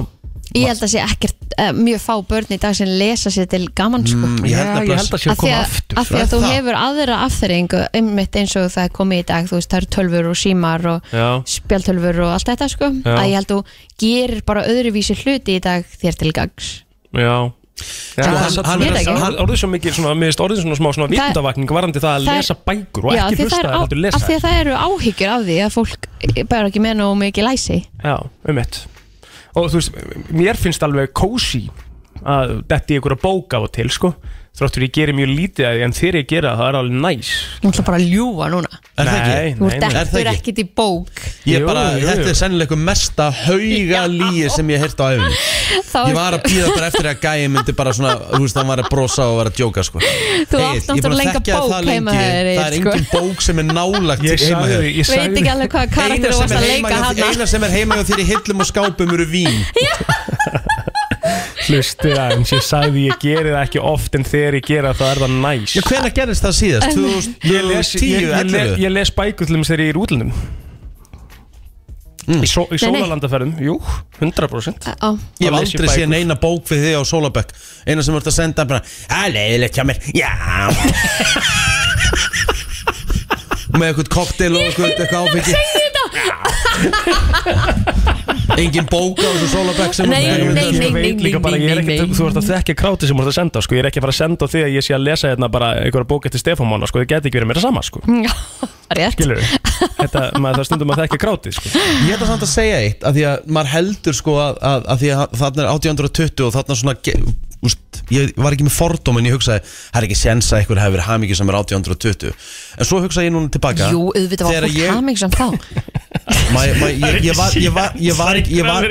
[SPEAKER 5] ég held að sé ekkert uh, mjög fá börn í dag sem lesa sér til gaman sko
[SPEAKER 4] ég held Mm, að
[SPEAKER 6] ég
[SPEAKER 4] bless-
[SPEAKER 6] held að sé að
[SPEAKER 5] Af því
[SPEAKER 6] koma
[SPEAKER 5] að,
[SPEAKER 6] aftur
[SPEAKER 5] af því að
[SPEAKER 4] Er
[SPEAKER 5] þú
[SPEAKER 4] það?
[SPEAKER 5] hefur aðra afþreyingu einmitt eins og það er komið í dag þú veist, það eru tölfur og símar og
[SPEAKER 6] Já.
[SPEAKER 5] spjaltölfur og allt þetta sko
[SPEAKER 6] Já.
[SPEAKER 5] að ég held þú gerir bara öðruvísi hluti í dag þér til gags
[SPEAKER 6] Já Já,
[SPEAKER 5] hann-
[SPEAKER 6] það er
[SPEAKER 4] hann-
[SPEAKER 6] satt-
[SPEAKER 5] hann-
[SPEAKER 6] hann- orðið svo mikið, svona, mér finnst orðið svona smá svona vitundavakning varandi það að
[SPEAKER 5] það er-
[SPEAKER 6] lesa bækur og
[SPEAKER 5] Já,
[SPEAKER 6] ekki
[SPEAKER 5] því það
[SPEAKER 6] hlusta
[SPEAKER 5] er
[SPEAKER 6] það
[SPEAKER 5] á-
[SPEAKER 6] heldur
[SPEAKER 5] af
[SPEAKER 6] lesa
[SPEAKER 5] því að það eru áhyggjur af því að fólk bara ekki með nógu mikið læsi
[SPEAKER 6] Já, um eitt Og þú veist, mér finnst alveg kósi að detti ykkur að bóka á og til sko Þráttur ég geri mjög lítið að því en þegar ég gera það það er alveg næs
[SPEAKER 5] Nú ætla bara að ljúa núna
[SPEAKER 4] Er það ekki?
[SPEAKER 6] Nei,
[SPEAKER 5] Þú
[SPEAKER 6] nei,
[SPEAKER 4] Er
[SPEAKER 5] ert
[SPEAKER 6] nei
[SPEAKER 4] það
[SPEAKER 5] dettur
[SPEAKER 4] ekki?
[SPEAKER 5] ekkit í bók
[SPEAKER 4] Ég
[SPEAKER 6] Jú,
[SPEAKER 4] bara,
[SPEAKER 6] jú, jú.
[SPEAKER 4] þetta er sennilega eitthvað mesta hauga líi sem ég heirt á æfum
[SPEAKER 5] Þá
[SPEAKER 4] Ég var að býða bara eftir að gæi myndi bara svona, þú veist, hann var að brosa og var að djóka sko.
[SPEAKER 5] Þú
[SPEAKER 4] Egill,
[SPEAKER 5] átt
[SPEAKER 4] ég er búin að
[SPEAKER 5] náttúrulega enga
[SPEAKER 4] þekkja
[SPEAKER 5] bók
[SPEAKER 4] það lengi.
[SPEAKER 5] heima þér,
[SPEAKER 4] Það er
[SPEAKER 5] Egill, sko.
[SPEAKER 4] engin bók sem er nálagt
[SPEAKER 6] Ég
[SPEAKER 4] heima
[SPEAKER 6] sagði,
[SPEAKER 4] þér
[SPEAKER 6] ég sagði
[SPEAKER 5] veit ekki alveg hvaða karakter
[SPEAKER 4] Eina
[SPEAKER 5] þú
[SPEAKER 4] sem
[SPEAKER 5] varst
[SPEAKER 4] er
[SPEAKER 5] að
[SPEAKER 4] heima
[SPEAKER 5] leika
[SPEAKER 4] hjá-
[SPEAKER 5] hann
[SPEAKER 4] Eina sem er heima hjá þér í hillum og skápum eru vín
[SPEAKER 6] Hlustið aðeins, ég sagði ég geri það ekki oft en þegar ég gera það er það næs
[SPEAKER 4] Já, hvenær gerðist það síðast?
[SPEAKER 6] Ég les, ég,
[SPEAKER 4] 2010,
[SPEAKER 6] ég, les,
[SPEAKER 4] 11
[SPEAKER 6] ég les bækur til þess þegar ég er í útlunum
[SPEAKER 4] Mm.
[SPEAKER 6] Í, só, í
[SPEAKER 5] Nei, nei.
[SPEAKER 6] sólalandaferðum, jú, 100%
[SPEAKER 5] Á,
[SPEAKER 4] Ég hef
[SPEAKER 6] Þá les ég
[SPEAKER 4] aldrei
[SPEAKER 6] bækur.
[SPEAKER 4] séð neina bók við þig á Solabökk Eina sem vart að senda bara Það er leiðilegt hjá mér Já Með eitthvað koktel og eitthvað, eitthvað áfengi Ég segi þetta Engin bók á þessu Solabökk sem
[SPEAKER 5] Nei,
[SPEAKER 4] Ég-
[SPEAKER 5] nei, nei.
[SPEAKER 6] Ég veit líka bara, ég er ekkert, þú ert að þekka kráti sem þú ert að senda, sko, ég er ekki að fara að senda á því að ég sé að lesa hérna bara einhverja bók eftir Stefán Mána, sko, það geti ekki verið meira sama, sko
[SPEAKER 5] Já, rétt
[SPEAKER 6] skilur þetta, maður það stundum að þekka grátið sko.
[SPEAKER 4] Ég ætla samt að segja eitt að Því að maður heldur sko að, að, að, því að þarna er 1820 og þarna svona ge- úst, ég var ekki með fordóm en ég hugsaði það er ekki séns að einhver hefur hamingið sem er 1820 en svo hugsaði ég núna tilbaka
[SPEAKER 5] Jú, auðvitað var
[SPEAKER 4] Þegar
[SPEAKER 5] fólk
[SPEAKER 4] ég-
[SPEAKER 5] haming þá
[SPEAKER 4] ma, ma, ég, ég var ég var ég var ég var, ég var, má,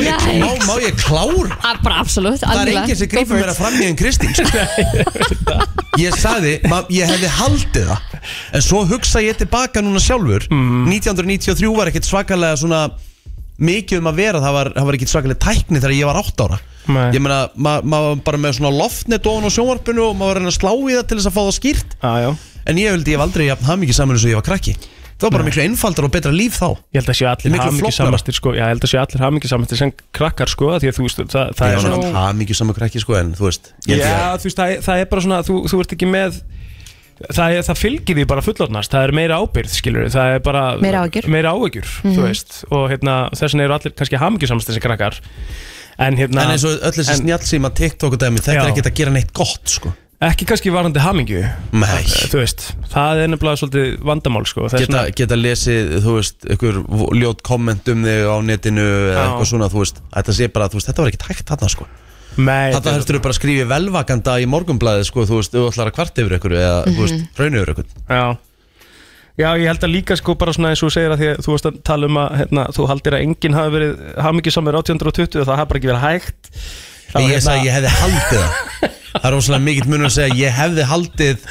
[SPEAKER 4] ég, má, má ég klára
[SPEAKER 5] Ah, Bara absolutt,
[SPEAKER 4] það er enginn sem grýpur mér að framlega en Kristín sko. ég sagði, ma, ég hefði haldið það en svo hugsa ég tilbaka núna sjálfur
[SPEAKER 6] Mhm.
[SPEAKER 4] 1993 var ekkert svakalega svona mikið um að vera, það var, það var ekkert svakalega tækni þegar ég var 8 ára
[SPEAKER 6] Nei.
[SPEAKER 4] ég meina, ma- maður var bara með svona loftnet ofan á sjónvarpinu og maður var að reyna að slá í það til þess að fá það skýrt
[SPEAKER 6] Já, já.
[SPEAKER 4] en ég vildi, ég hef aldrei jafn hamingi saman eins og ég var krakki það var bara miklu einfaldar og betra líf þá
[SPEAKER 6] Ég held að sé
[SPEAKER 4] er
[SPEAKER 6] allir
[SPEAKER 4] miklu
[SPEAKER 6] hamingi samastir sko, já, ég held að sé allir hamingi samastir sem krakkar sko, af því að þú veist, það, það
[SPEAKER 4] ég var
[SPEAKER 6] er svona
[SPEAKER 4] náttúrulega hamingi saman krakki sko en þú veist ég held ég
[SPEAKER 6] Já, þú veist, það, er- það er bara svona, þú, þú ert ekki með Það, er, það fylgir því bara fullotnast, það er meira ábyrgð, skilur við, það er bara
[SPEAKER 5] Meira áhyggjur. Mhm.
[SPEAKER 6] meira áhyggjur, þú veist, og hérna, þess vegna eru allir kannski hamingjusamast þessi krakkar, en hérna,
[SPEAKER 4] En eins og öll þessi
[SPEAKER 6] en-
[SPEAKER 4] snjálfsíma TikTok og dæmi, þetta
[SPEAKER 6] Já.
[SPEAKER 4] er ekkert að gera neitt gott sko
[SPEAKER 6] ekki kannski varandi hamingju,
[SPEAKER 4] Nei,
[SPEAKER 6] þú veist, það er nefnilega svolítið vandamál, sko, þess
[SPEAKER 4] geta,
[SPEAKER 6] vegna,
[SPEAKER 4] geta lesið, þú veist, ykkur vo- ljót komment um þig á netinu eða
[SPEAKER 6] Já.
[SPEAKER 4] eitthvað svona, þú veist, þetta sé bara, þú veist, þetta var ekkert hægt þarna sko
[SPEAKER 6] mei,
[SPEAKER 4] Þetta þurftur bara að skrifa velvakanda í morgunblæði sko, þú veist, ef þú ætlar að kvart yfir ykkur eða, þú
[SPEAKER 6] Mhm.
[SPEAKER 4] veist, raun yfir ykkur
[SPEAKER 6] Já Já, ég held að líka sko bara svona eins og þú segir að því að þú varst að tala um að hérna, þú haldir að enginn hafi verið hamingið samar 1820 og það hafi bara ekki verið hægt hérna- Það var
[SPEAKER 4] Ég sagði, ég hefði haldið það Það er óslega mikill munur að segja, ég hefði haldið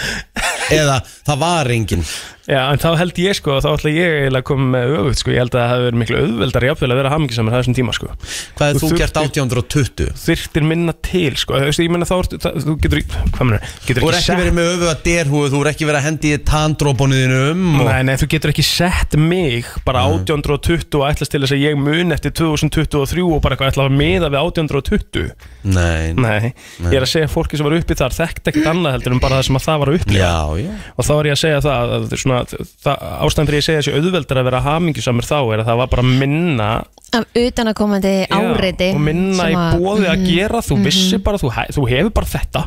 [SPEAKER 4] eða það var engin
[SPEAKER 6] Já, en þá held ég sko, þá ætla ég eiginlega að koma með öfugt sko, ég held að það hafi verið miklu auðveldar jafnvel að vera hamingið samar þessum tíma sko
[SPEAKER 4] Hvað hefði
[SPEAKER 6] Þú
[SPEAKER 4] þú
[SPEAKER 6] þurftir-
[SPEAKER 4] gert 1820?
[SPEAKER 6] Þyrtir minna til sko, þú veist, ég menna þá ertu, það, þú getur, í- hvað menur, getur
[SPEAKER 4] Þú er
[SPEAKER 6] ekki
[SPEAKER 4] ekki
[SPEAKER 6] sett
[SPEAKER 4] verið með öfuga derhúið, þú er ekki verið að hendi tandróponiðinu um og...
[SPEAKER 6] Nei, nei, þú getur ekki sett mig
[SPEAKER 4] Mm.
[SPEAKER 6] bara 1820 og ætlast til þess að ég mun eftir 2023 og bara eitthvað ætla að miða við 1820
[SPEAKER 4] Nei,
[SPEAKER 6] Nei, ég er að segja að fólki sem var uppi þar þekkti ekkert annað heldur en bara það sem að það var að upplifa
[SPEAKER 4] Já, já
[SPEAKER 6] og þá er ég að segja það, að það, er svona, það ástæðan fyrir ég segja þessi auðveldar að vera hamingjusamur þá er að það var bara minna
[SPEAKER 5] Af utan að komandi áreiti
[SPEAKER 6] og minna í bóði
[SPEAKER 5] Mhm,
[SPEAKER 6] að gera þú vissir bara, þú, hæ- þú hefur bara þetta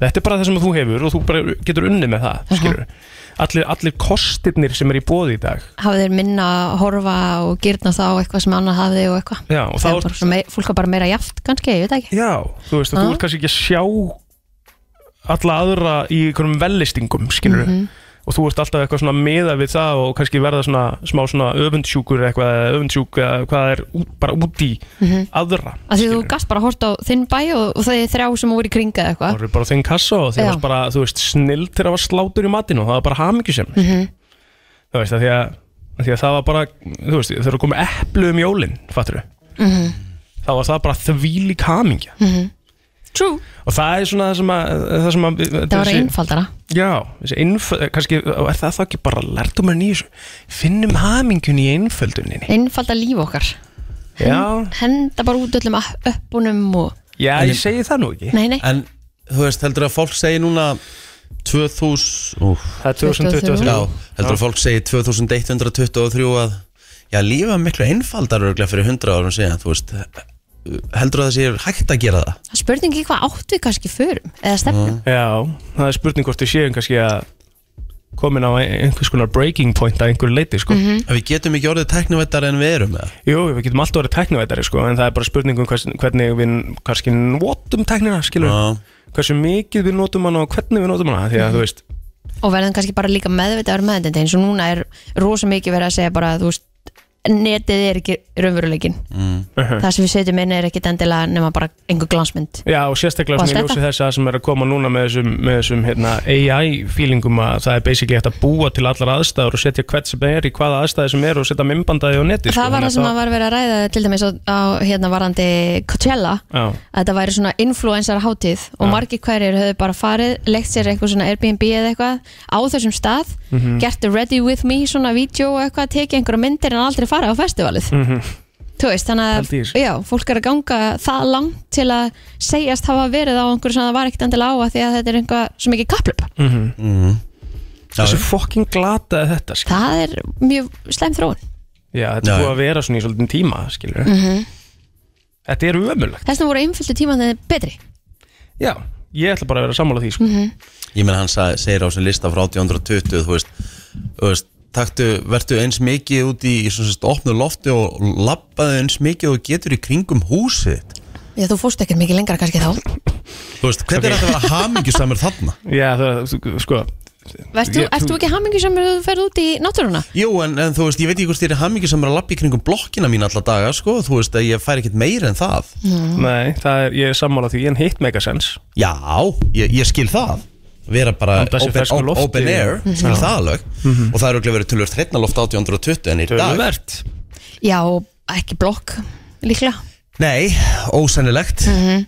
[SPEAKER 6] þetta er bara það sem þú hefur og þú bara getur unni með það, skilur allir, allir kostirnir sem er í bóði í dag
[SPEAKER 5] Hafið þeir minna að horfa og gyrna þá eitthvað sem annað hafði og eitthvað
[SPEAKER 6] Já, og þá
[SPEAKER 5] Það
[SPEAKER 6] er-
[SPEAKER 5] er bara svona Ah. mei- Fólk er bara meira jaft kannski, ég veit ekki
[SPEAKER 6] Já, þú veist að þú
[SPEAKER 5] Ha?
[SPEAKER 6] ert kannski ekki að sjá alla aðra í einhverjum vellistingum, skilur
[SPEAKER 5] Mhm.
[SPEAKER 6] og þú ert alltaf eitthvað svona meða við það og kannski verða svona smá svona öfundsjúkur eða eitthvað eða öfundsjúk eða hvað er út, bara út í aðra
[SPEAKER 5] Mhm. Af því þú
[SPEAKER 6] skilurðu.
[SPEAKER 5] gast bara hort á þinn bæ og, og það er þrjá sem voru í kringa eða
[SPEAKER 6] Það
[SPEAKER 5] eitthvað
[SPEAKER 6] voru bara þinn kassa og þeir
[SPEAKER 5] Já.
[SPEAKER 6] varst bara, þú veist, snill til að var slátur í matinu og það var bara hamingjusem mm
[SPEAKER 5] Mhm.
[SPEAKER 6] -hmm. Þú veist, að því að, að því að það var bara, þú veist, þegar komið eplu um jólin, fattur við mm
[SPEAKER 5] Mhm.
[SPEAKER 6] -hmm. Þá var það bara þvílík hamingja
[SPEAKER 5] True
[SPEAKER 6] Og það er svona það sem að, það sem að
[SPEAKER 5] Það var einfaldara
[SPEAKER 6] Já, þessi einföld, kannski er það þá ekki bara lærtumurinn í þessu Finnum hamingjun í einfölduninni
[SPEAKER 5] Einfalda líf okkar
[SPEAKER 6] Já,
[SPEAKER 5] Henda bara út öllum app- uppunum og
[SPEAKER 6] já ég segi það nú ekki
[SPEAKER 5] Nei, nei
[SPEAKER 4] En þú veist, heldur að fólk segi núna 2000 úf,
[SPEAKER 6] Það er
[SPEAKER 5] 2023.
[SPEAKER 6] 2023
[SPEAKER 4] Já, heldur að fólk segi 2123 að Já, lífa miklu einfaldar örglega fyrir 100 árum síðan, þú veist Heldur að það sé hægt að gera það?
[SPEAKER 5] Það er spurning í hvað átt við kannski förum eða
[SPEAKER 6] Mhm.
[SPEAKER 5] stefnum
[SPEAKER 6] Já, það er spurning hvort við séum kannski að komin á einhvers konar breaking point að einhverju leiti sko.
[SPEAKER 5] Mhm.
[SPEAKER 4] Að við getum ekki orðið teknivættar en við erum með það
[SPEAKER 6] Jú, við getum alltaf verið teknivætari sko, en það er bara spurning um hvers, hvernig við kannski notum teknina, skilur
[SPEAKER 4] Já.
[SPEAKER 6] hversu mikið við notum hana og hvernig við notum hana því að þú veist,
[SPEAKER 5] og verðum kannski bara líka meðvitaður með þetta eins og núna er rosa mikið verið að segja bara þú veist, netið er ekki raunveruleikin
[SPEAKER 6] Mhm.
[SPEAKER 5] það sem við setjum inn er ekki endilega nema bara einhver glansmynd
[SPEAKER 6] Já og sérstaklega
[SPEAKER 5] Og allt
[SPEAKER 6] svona í ljósi
[SPEAKER 5] þetta.
[SPEAKER 6] þess að sem er að koma núna með þessum, með þessum hérna, AI feelingum að það er basically hægt að búa til allar aðstæður og setja hvert sem er í hvaða aðstæði sem er og setja myndbandaði á sko, neti
[SPEAKER 5] það var það sem að var verið að ræða til dæmis á, á hérna varandi Coachella
[SPEAKER 6] Já.
[SPEAKER 5] að þetta væri svona influensar hátíð og margir hverjir höfðu bara farið leikt sér eitthvað svona Airbnb eða eitthvað á þessum stað, gert the ready with me svona vídeo og eitthvað, tekið einhverja myndir en aldrei farið á festivalið Þú veist, þannig að
[SPEAKER 6] Pældi í þessu.
[SPEAKER 5] já, fólk er að ganga það langt til að segjast hafa verið á einhverju sem það var ekkert endilega á að því að þetta er einhvað svo mikið kaplöp.
[SPEAKER 6] Þessu fucking glata er þetta skil.
[SPEAKER 5] Það er mjög slæm þróun.
[SPEAKER 6] Já, þetta
[SPEAKER 4] Já,
[SPEAKER 6] er
[SPEAKER 4] já.
[SPEAKER 6] búið að vera svona í svolítið tíma skilur
[SPEAKER 5] Mhm.
[SPEAKER 6] Þetta er ömulegt
[SPEAKER 5] Þess vegna voru einföldu tíman þegar betri.
[SPEAKER 6] Já, ég ætla
[SPEAKER 5] Mhm.
[SPEAKER 6] bara að vera sammála því sko.
[SPEAKER 4] Ég menn hann sa- segir á þessum lista frá 1820, þú veist, þú veist taktu, vertu eins mikið út í svona sérst, opnu lofti og labbaðu eins mikið og þú getur í kringum húsið þitt.
[SPEAKER 5] Já, þú fórst ekkert mikið lengra kannski þá
[SPEAKER 4] Þú veist, hvernig er
[SPEAKER 6] Ok.
[SPEAKER 4] þetta að vera hamingjusamur þarna?
[SPEAKER 6] Já, það, sko
[SPEAKER 5] Vertu,
[SPEAKER 6] Ég-
[SPEAKER 5] Ert þú ekki hamingi sem þú ferð út í náttúruna?
[SPEAKER 4] Jú, en, en þú veist, ég veit ekki hvort þér er hamingjusamur að labba í kringum blokkina mín alla daga, sko, þú veist að ég fær ekkert meira en það.
[SPEAKER 6] Mm. Nei, það er, ég er sammála því, en hitt megasens
[SPEAKER 4] Já, ég, ég skil það vera bara
[SPEAKER 6] Anda sér
[SPEAKER 4] open,
[SPEAKER 6] fersku lofti.
[SPEAKER 4] open air skil það alveg og það er auðvitað verið tölvöld hreitna loft 1820 en í dag
[SPEAKER 6] Tölvert
[SPEAKER 5] Já, ekki blokk líklega
[SPEAKER 4] Nei, ósennilegt
[SPEAKER 5] Mhm.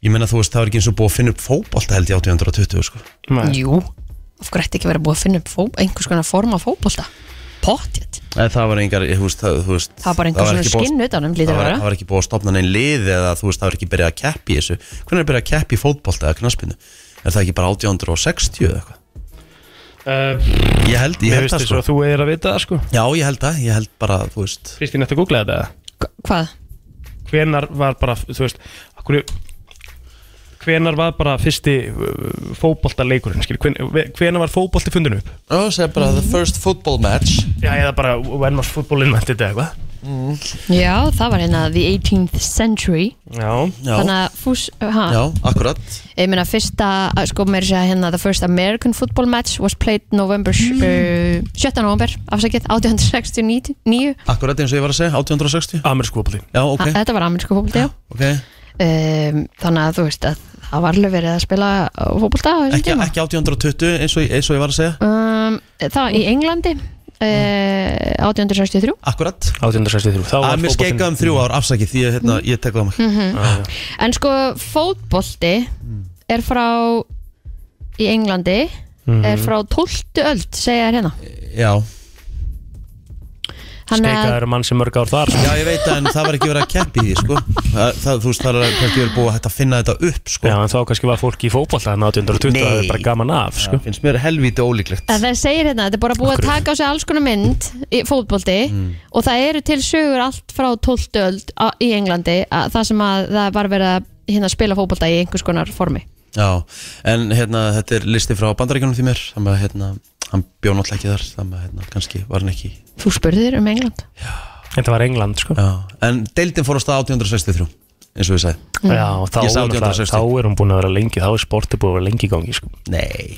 [SPEAKER 4] Ég meina þú veist, það er ekki eins og búið að finna upp fótbolta held í 1820 sko.
[SPEAKER 6] Nei,
[SPEAKER 5] Jú, af hverju ætti ekki verið að búið að finna upp fó, einhvers konar form af fótbolta Pottjett,
[SPEAKER 4] En það var engar, þú veist, það, þú veist
[SPEAKER 5] það var bara einhvers
[SPEAKER 4] var
[SPEAKER 5] svona
[SPEAKER 4] ekki búið að-
[SPEAKER 5] skinn utanum
[SPEAKER 4] það
[SPEAKER 5] lítur að
[SPEAKER 4] var, það
[SPEAKER 5] vera
[SPEAKER 4] var ekki búið að stopna neinn lið eða þú veist, það var ekki byrjað að keppi í þessu Hvernig er byrjað að keppi í fótbolta eða knaspinu? Er það ekki bara 1860 eða eitthvað?
[SPEAKER 6] uh,
[SPEAKER 4] Ég held, ég
[SPEAKER 6] Mér
[SPEAKER 4] held
[SPEAKER 6] veist
[SPEAKER 4] það
[SPEAKER 6] þess
[SPEAKER 4] sko
[SPEAKER 6] að þú er að vita það, sko
[SPEAKER 4] Já, ég held það, ég held bara, þú veist
[SPEAKER 6] Kristín, eftir að googla þetta eða?
[SPEAKER 5] Hva- Hvað?
[SPEAKER 6] hvenar var bara, þú veist okkur, hvenar var bara fyrsti uh, fótboltaleikurinn skil, hven, hvenar var fótbolti fundin upp
[SPEAKER 4] Ó, segja bara the first football match
[SPEAKER 6] já, eða bara, when was football invented eða eitthvað
[SPEAKER 5] Já, það var hérna the 18th century
[SPEAKER 6] já,
[SPEAKER 4] Já,
[SPEAKER 5] Þannig að fús, ha,
[SPEAKER 4] já, akkurat
[SPEAKER 5] ég meina fyrsta að sko mér sé að hérna the first American football match was played November mm. uh, 17. november, afsakið 1869
[SPEAKER 4] Akkurat eins og ég var að segja, 1860
[SPEAKER 6] amerísku fótbolti
[SPEAKER 4] Já, ok,
[SPEAKER 5] okay. Þetta var amerísku fótbolti, já
[SPEAKER 4] ok
[SPEAKER 5] um, Þannig að þú veist að það var alveg verið að spila uh, fótbolta á þessum
[SPEAKER 4] Ekki,
[SPEAKER 5] tíma
[SPEAKER 4] ekki 1820 eins og, eins og ég var að segja
[SPEAKER 5] um, Það í Englandi uh, 1863
[SPEAKER 4] Akkurat
[SPEAKER 6] 1863, þá
[SPEAKER 4] Að mér skeika um
[SPEAKER 6] Mm.
[SPEAKER 4] þrjú ár, afsakið því að hérna,
[SPEAKER 5] Mm.
[SPEAKER 4] ég tek það á mig
[SPEAKER 5] En sko fótbolti er frá í Englandi er frá 12. öld segja þér hérna
[SPEAKER 4] Já,
[SPEAKER 5] Þannig að-
[SPEAKER 6] skeika eru mann sem mörg ár þar sko.
[SPEAKER 4] já, ég veit að en það var ekki verið að keppi því, sko það, það, Þú veist, það er kannski verið búið að hægt að finna þetta upp, sko
[SPEAKER 6] já, en þá kannski var fólk í fótbolta en 1820 það
[SPEAKER 4] Nei.
[SPEAKER 6] er bara gaman af, sko
[SPEAKER 4] Finnst mér helvíti ólíklegt
[SPEAKER 5] að það segir hérna, þetta er bara búið að
[SPEAKER 6] Akkur-
[SPEAKER 5] taka á sig alls konar mynd í fótbolti og það eru til sögur allt frá 12. öld á- í Englandi að það sem að það var verið að hérna spila fótbolta í einhvers konar formi
[SPEAKER 4] Já, en hérna, þetta er listi frá bandaríkjunum því mér Þannig að, hérna, hann bjó náttúrulega ekki þar Þannig að, hérna, kannski var hann ekki
[SPEAKER 5] Þú spurðir um England
[SPEAKER 6] en það var England, sko
[SPEAKER 4] Já, en deildin fór á stað 1863 eins og ég sagði
[SPEAKER 5] Mm.
[SPEAKER 6] já, og þá,
[SPEAKER 4] Ég sá
[SPEAKER 6] er náttúrulega-
[SPEAKER 4] 1860.
[SPEAKER 6] þá er hún búin að vera lengi þá er sportið búin að vera lengi í gangi, sko
[SPEAKER 4] Nei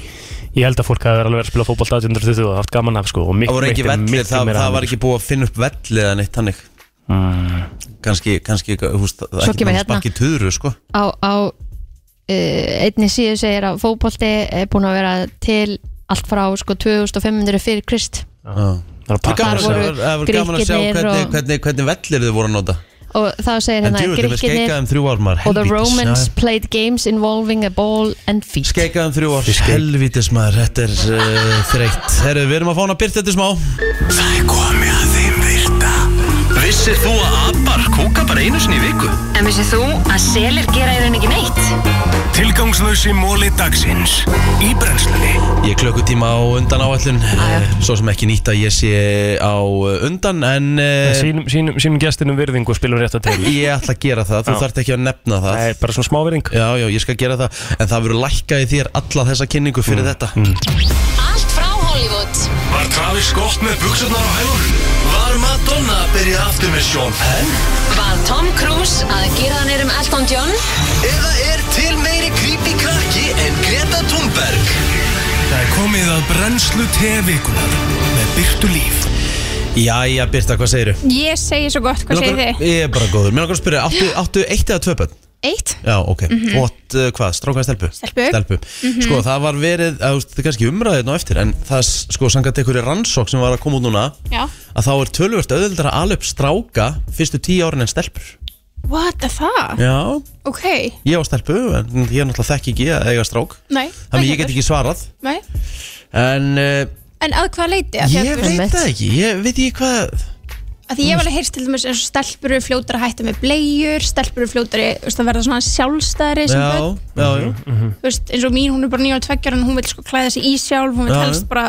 [SPEAKER 6] ég held að fólk hafi alveg verið að spila fótbolta 1820 og haft gaman af, sko og miklu,
[SPEAKER 4] Það voru ekki
[SPEAKER 6] miklu,
[SPEAKER 4] vellir,
[SPEAKER 6] miklu
[SPEAKER 4] það,
[SPEAKER 6] meira
[SPEAKER 4] það
[SPEAKER 6] hamingju,
[SPEAKER 4] var ekki búið að finna upp velli eða neitt hannig
[SPEAKER 6] Mm.
[SPEAKER 4] Kanski, kannski, húst, það
[SPEAKER 5] Svo
[SPEAKER 4] er ekki búið
[SPEAKER 5] kemur
[SPEAKER 4] að
[SPEAKER 5] hérna.
[SPEAKER 4] sparki tuðru, sko
[SPEAKER 5] á, á uh, einni síðu segir að fótbolti er búin að vera til allt frá sko 2500 fyrir Krist
[SPEAKER 6] Það sko. er að
[SPEAKER 4] Það
[SPEAKER 6] pakka
[SPEAKER 4] var
[SPEAKER 5] Þar
[SPEAKER 6] þessu.
[SPEAKER 4] gaman,
[SPEAKER 5] voru
[SPEAKER 4] það var gaman að sjá
[SPEAKER 5] Grikkirnir
[SPEAKER 4] hvernig,
[SPEAKER 5] og-
[SPEAKER 4] hvernig, hvernig vellir þau voru að nota
[SPEAKER 5] og þá segir
[SPEAKER 4] En
[SPEAKER 5] hérna
[SPEAKER 4] djúvill, við
[SPEAKER 5] Grikkirnir
[SPEAKER 4] skeikaðum um þrjú ár maður
[SPEAKER 5] og the
[SPEAKER 4] helvítis.
[SPEAKER 5] Romans
[SPEAKER 4] Já.
[SPEAKER 5] played games involving a ball and feet
[SPEAKER 4] Skeikaðum þrjú ár,
[SPEAKER 6] Við skeik-
[SPEAKER 4] helvítis maður, þetta er uh, þreytt Herru, við erum að fá hana að byrta þetta smá
[SPEAKER 2] Það er komið að þeim virta Vissir þú að abar kúka bara einu sinni í viku?
[SPEAKER 8] En vissið þú að selir gera í raun ekki neitt?
[SPEAKER 2] Tilgangslösi móli dagsins Í brennslunni
[SPEAKER 4] Ég er klukkutíma á undan áallun Svo sem ekki nýtt að ég sé á eh, undan En
[SPEAKER 6] En
[SPEAKER 4] uh,
[SPEAKER 6] sínum, sínum, sínum gestinum virðingu og spilum rétt að tegja
[SPEAKER 4] ég ætla að gera það, þú
[SPEAKER 6] Já.
[SPEAKER 4] þarft ekki að nefna það
[SPEAKER 6] Það er bara svona smá virðing
[SPEAKER 4] Já, já, ég skal gera það En það verður lækkað í þér alla þessa kynningu fyrir þetta
[SPEAKER 8] Allt frá Hollywood
[SPEAKER 2] Var Travis Scott með buksurnar á hælunum? Var Madonna að byrja aftur með Sean Penn?
[SPEAKER 8] Var Tom Cruise að gera hann erum Elton John?
[SPEAKER 2] Eða er til meiri creepy krakki en Greta Thunberg? Það er komið að brennslu tevikunar með byrtu líf
[SPEAKER 4] Jæja, Birta, hvað segiru?
[SPEAKER 9] Ég segi svo gott, hvað segir þið?
[SPEAKER 4] Ég er bara góður, mér langar að spyrja Áttu, áttu eitt eða tvö bönn?
[SPEAKER 9] Eitt?
[SPEAKER 4] Já, ok mm -hmm. Og uh, hvað, strákaði stelpu?
[SPEAKER 9] Stelpu.
[SPEAKER 4] Sko, það var verið, að, þú veist, það er kannski umræðið á eftir En það, s- sko, sangat einhverju rannsók sem var að koma út núna
[SPEAKER 9] Já.
[SPEAKER 4] Að þá er tölvöld auðvildar að ala upp stráka Fyrstu tíu árin en stelpur
[SPEAKER 9] What the fuck?
[SPEAKER 4] Já,
[SPEAKER 9] Ok,
[SPEAKER 4] ég á stelpu En ég er náttúrulega þekki ekki að eiga strák
[SPEAKER 9] nei.
[SPEAKER 4] Þannig ég get ekki svarað
[SPEAKER 9] Nei.
[SPEAKER 4] En uh,
[SPEAKER 9] En að hvað leiti? Að því
[SPEAKER 4] ég
[SPEAKER 9] að,
[SPEAKER 4] veit það ekki, ég veit ekki hvað
[SPEAKER 9] að því ég var alveg heyrst til dæmis eins og stelpur eru fljótar að hætta með bleiur, stelpur eru fljótar að verða svona sjálfstæðri sem börn.
[SPEAKER 4] Já, já, já
[SPEAKER 9] Þú veist, eins og mín, hún er bara nýjum og tveggjar en hún vil sko klæða sig í sjálf, hún vil
[SPEAKER 4] Já, já.
[SPEAKER 9] helst bara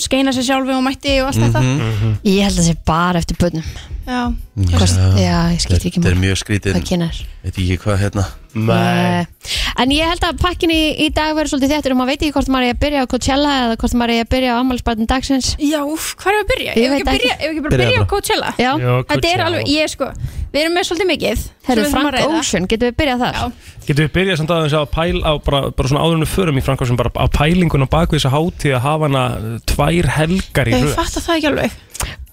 [SPEAKER 9] skeina sig sjálfi og mætti og allt
[SPEAKER 4] Mhm.
[SPEAKER 5] Ég held að það sé bara eftir börnum
[SPEAKER 9] þetta já.
[SPEAKER 4] Mm.
[SPEAKER 5] Kost, Já, ég skiptir ekki
[SPEAKER 4] Þetta er
[SPEAKER 5] mál
[SPEAKER 4] mjög skrítið
[SPEAKER 5] Hvað kynar
[SPEAKER 4] Veit ekki hvað hérna
[SPEAKER 6] Nei.
[SPEAKER 5] Eh, En ég held að pakkin í, í dag verður svolítið þéttur og maður veit ekki hvort maður er að byrja á Coachella eða hvort maður er að byrja á ammálsbarnin dagsins
[SPEAKER 9] Já, úff, hvað er að byrja?
[SPEAKER 5] Ég
[SPEAKER 9] Ef ekki
[SPEAKER 5] veit
[SPEAKER 9] að byrja,
[SPEAKER 5] ekki.
[SPEAKER 9] ef ekki bara
[SPEAKER 4] Byrjaðu
[SPEAKER 9] byrja á
[SPEAKER 4] bara.
[SPEAKER 9] Coachella
[SPEAKER 5] Já,
[SPEAKER 6] Já,
[SPEAKER 9] Þetta er
[SPEAKER 6] Coachella.
[SPEAKER 9] alveg, ég sko Við erum með svolítið mikið
[SPEAKER 5] herðu
[SPEAKER 9] sem við þurfum að
[SPEAKER 5] Frank
[SPEAKER 9] ræða.
[SPEAKER 5] Ocean, getum við byrjað þar?
[SPEAKER 9] Já.
[SPEAKER 6] Getum við byrjað samt aðeins á pæl á bara, bara svona áðurinu förum í Frankórsum bara á pælingun og bakvið þessa hátíð að hafa hana uh, tvær helgar í
[SPEAKER 9] Ég
[SPEAKER 6] röð
[SPEAKER 9] fatta það ekki alveg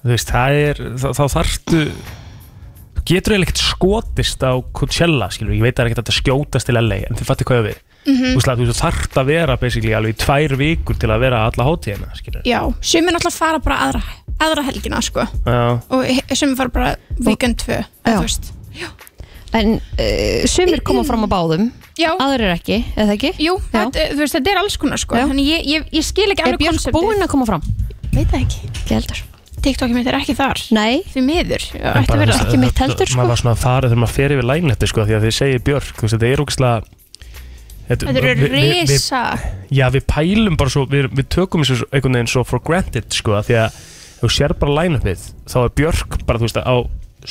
[SPEAKER 6] Þú veist, það er, þá, þá þarftu þú getur eiginlega ekkert skotist á Coachella, skilur, við. ég veit að það er ekkert hægt að skjótast til LA, en þið fattir hvað ég á við mm -hmm. Þú veist, þú þarft að vera basically alveg í tvær vikur til að vera alla hátíðina, skilur
[SPEAKER 9] Já, sumir náttúrulega fara bara aðra, aðra helgina sko.
[SPEAKER 6] Já,
[SPEAKER 9] og he- sumir fara bara weekend 2
[SPEAKER 5] Já.
[SPEAKER 9] Já,
[SPEAKER 5] En uh, sumir koma fram á báðum
[SPEAKER 9] já
[SPEAKER 5] aðrir ekki, eða ekki?
[SPEAKER 9] Jú,
[SPEAKER 5] Já.
[SPEAKER 9] þetta, þú veist, þetta er alls konar sko.
[SPEAKER 5] Já.
[SPEAKER 9] Þannig ég, ég, ég skil ekki
[SPEAKER 5] Er
[SPEAKER 9] alveg
[SPEAKER 5] Björk búinn að koma fram?
[SPEAKER 9] Veit það ekki
[SPEAKER 5] Ekki heldur
[SPEAKER 9] TikTokið mitt er ekki þar
[SPEAKER 5] Nei,
[SPEAKER 9] Því miður, já,
[SPEAKER 6] En
[SPEAKER 9] ætti
[SPEAKER 6] bara
[SPEAKER 9] að vera
[SPEAKER 6] þess-
[SPEAKER 9] það
[SPEAKER 5] ekki mitt heldur, sko.
[SPEAKER 6] maður var svona að fara þegar maður fer yfir lægnetti sko, því að þið segir Björk, þú veist, þetta er ógæslega
[SPEAKER 9] Þetta eru risa
[SPEAKER 6] já, við pælum bara svo, við, við tökum þessu svo- einhvern veginn svo for granted sko, af því að ef þú sér bara lægnettið, þá er Björk bara, þú veist, á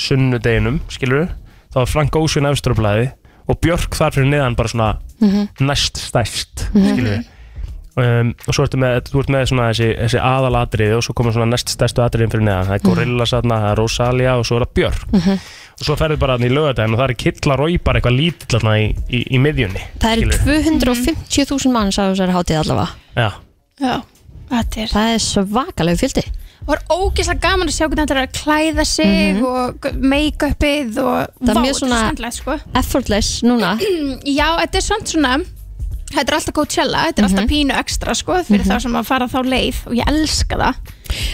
[SPEAKER 6] sunnudeginum skilur þá er Frank Ocean efstur á blæði og Björk þar fyrir neðan bara svona
[SPEAKER 5] Mhm.
[SPEAKER 6] næst stæst skilur Um, og svo ertu með, þú ert með svona þessi, þessi aðalatriði og svo koma svona næst stærstu atriðin fyrir neðan,
[SPEAKER 5] Mhm.
[SPEAKER 6] það er Gorillaz þarna, það er Rosalia og svo er það Björk og svo ferðu bara þannig í lögadaginn og það er killa rói bara eitthvað lítill þarna í, í, í miðjunni
[SPEAKER 5] það eru
[SPEAKER 6] skilurðu.
[SPEAKER 5] Mhm. 250.000 manns á þessari hátíð allavega
[SPEAKER 6] Já,
[SPEAKER 9] Já, þetta er
[SPEAKER 5] Það er svakalegu fjöldi
[SPEAKER 9] Það var ógeðslega gaman að sjá hvernig þetta er að klæða sig og make-upið og
[SPEAKER 5] Mhm. Það er
[SPEAKER 9] Vá,
[SPEAKER 5] mjög
[SPEAKER 9] þetta
[SPEAKER 5] svona-
[SPEAKER 9] skemmtilegt, sko.
[SPEAKER 5] Effortless núna
[SPEAKER 9] Já, þetta er samt svona Þetta er alltaf Coachella, þetta er
[SPEAKER 5] Mhm.
[SPEAKER 9] alltaf pínu ekstra sko, fyrir þá sem að fara þá leið og ég elska það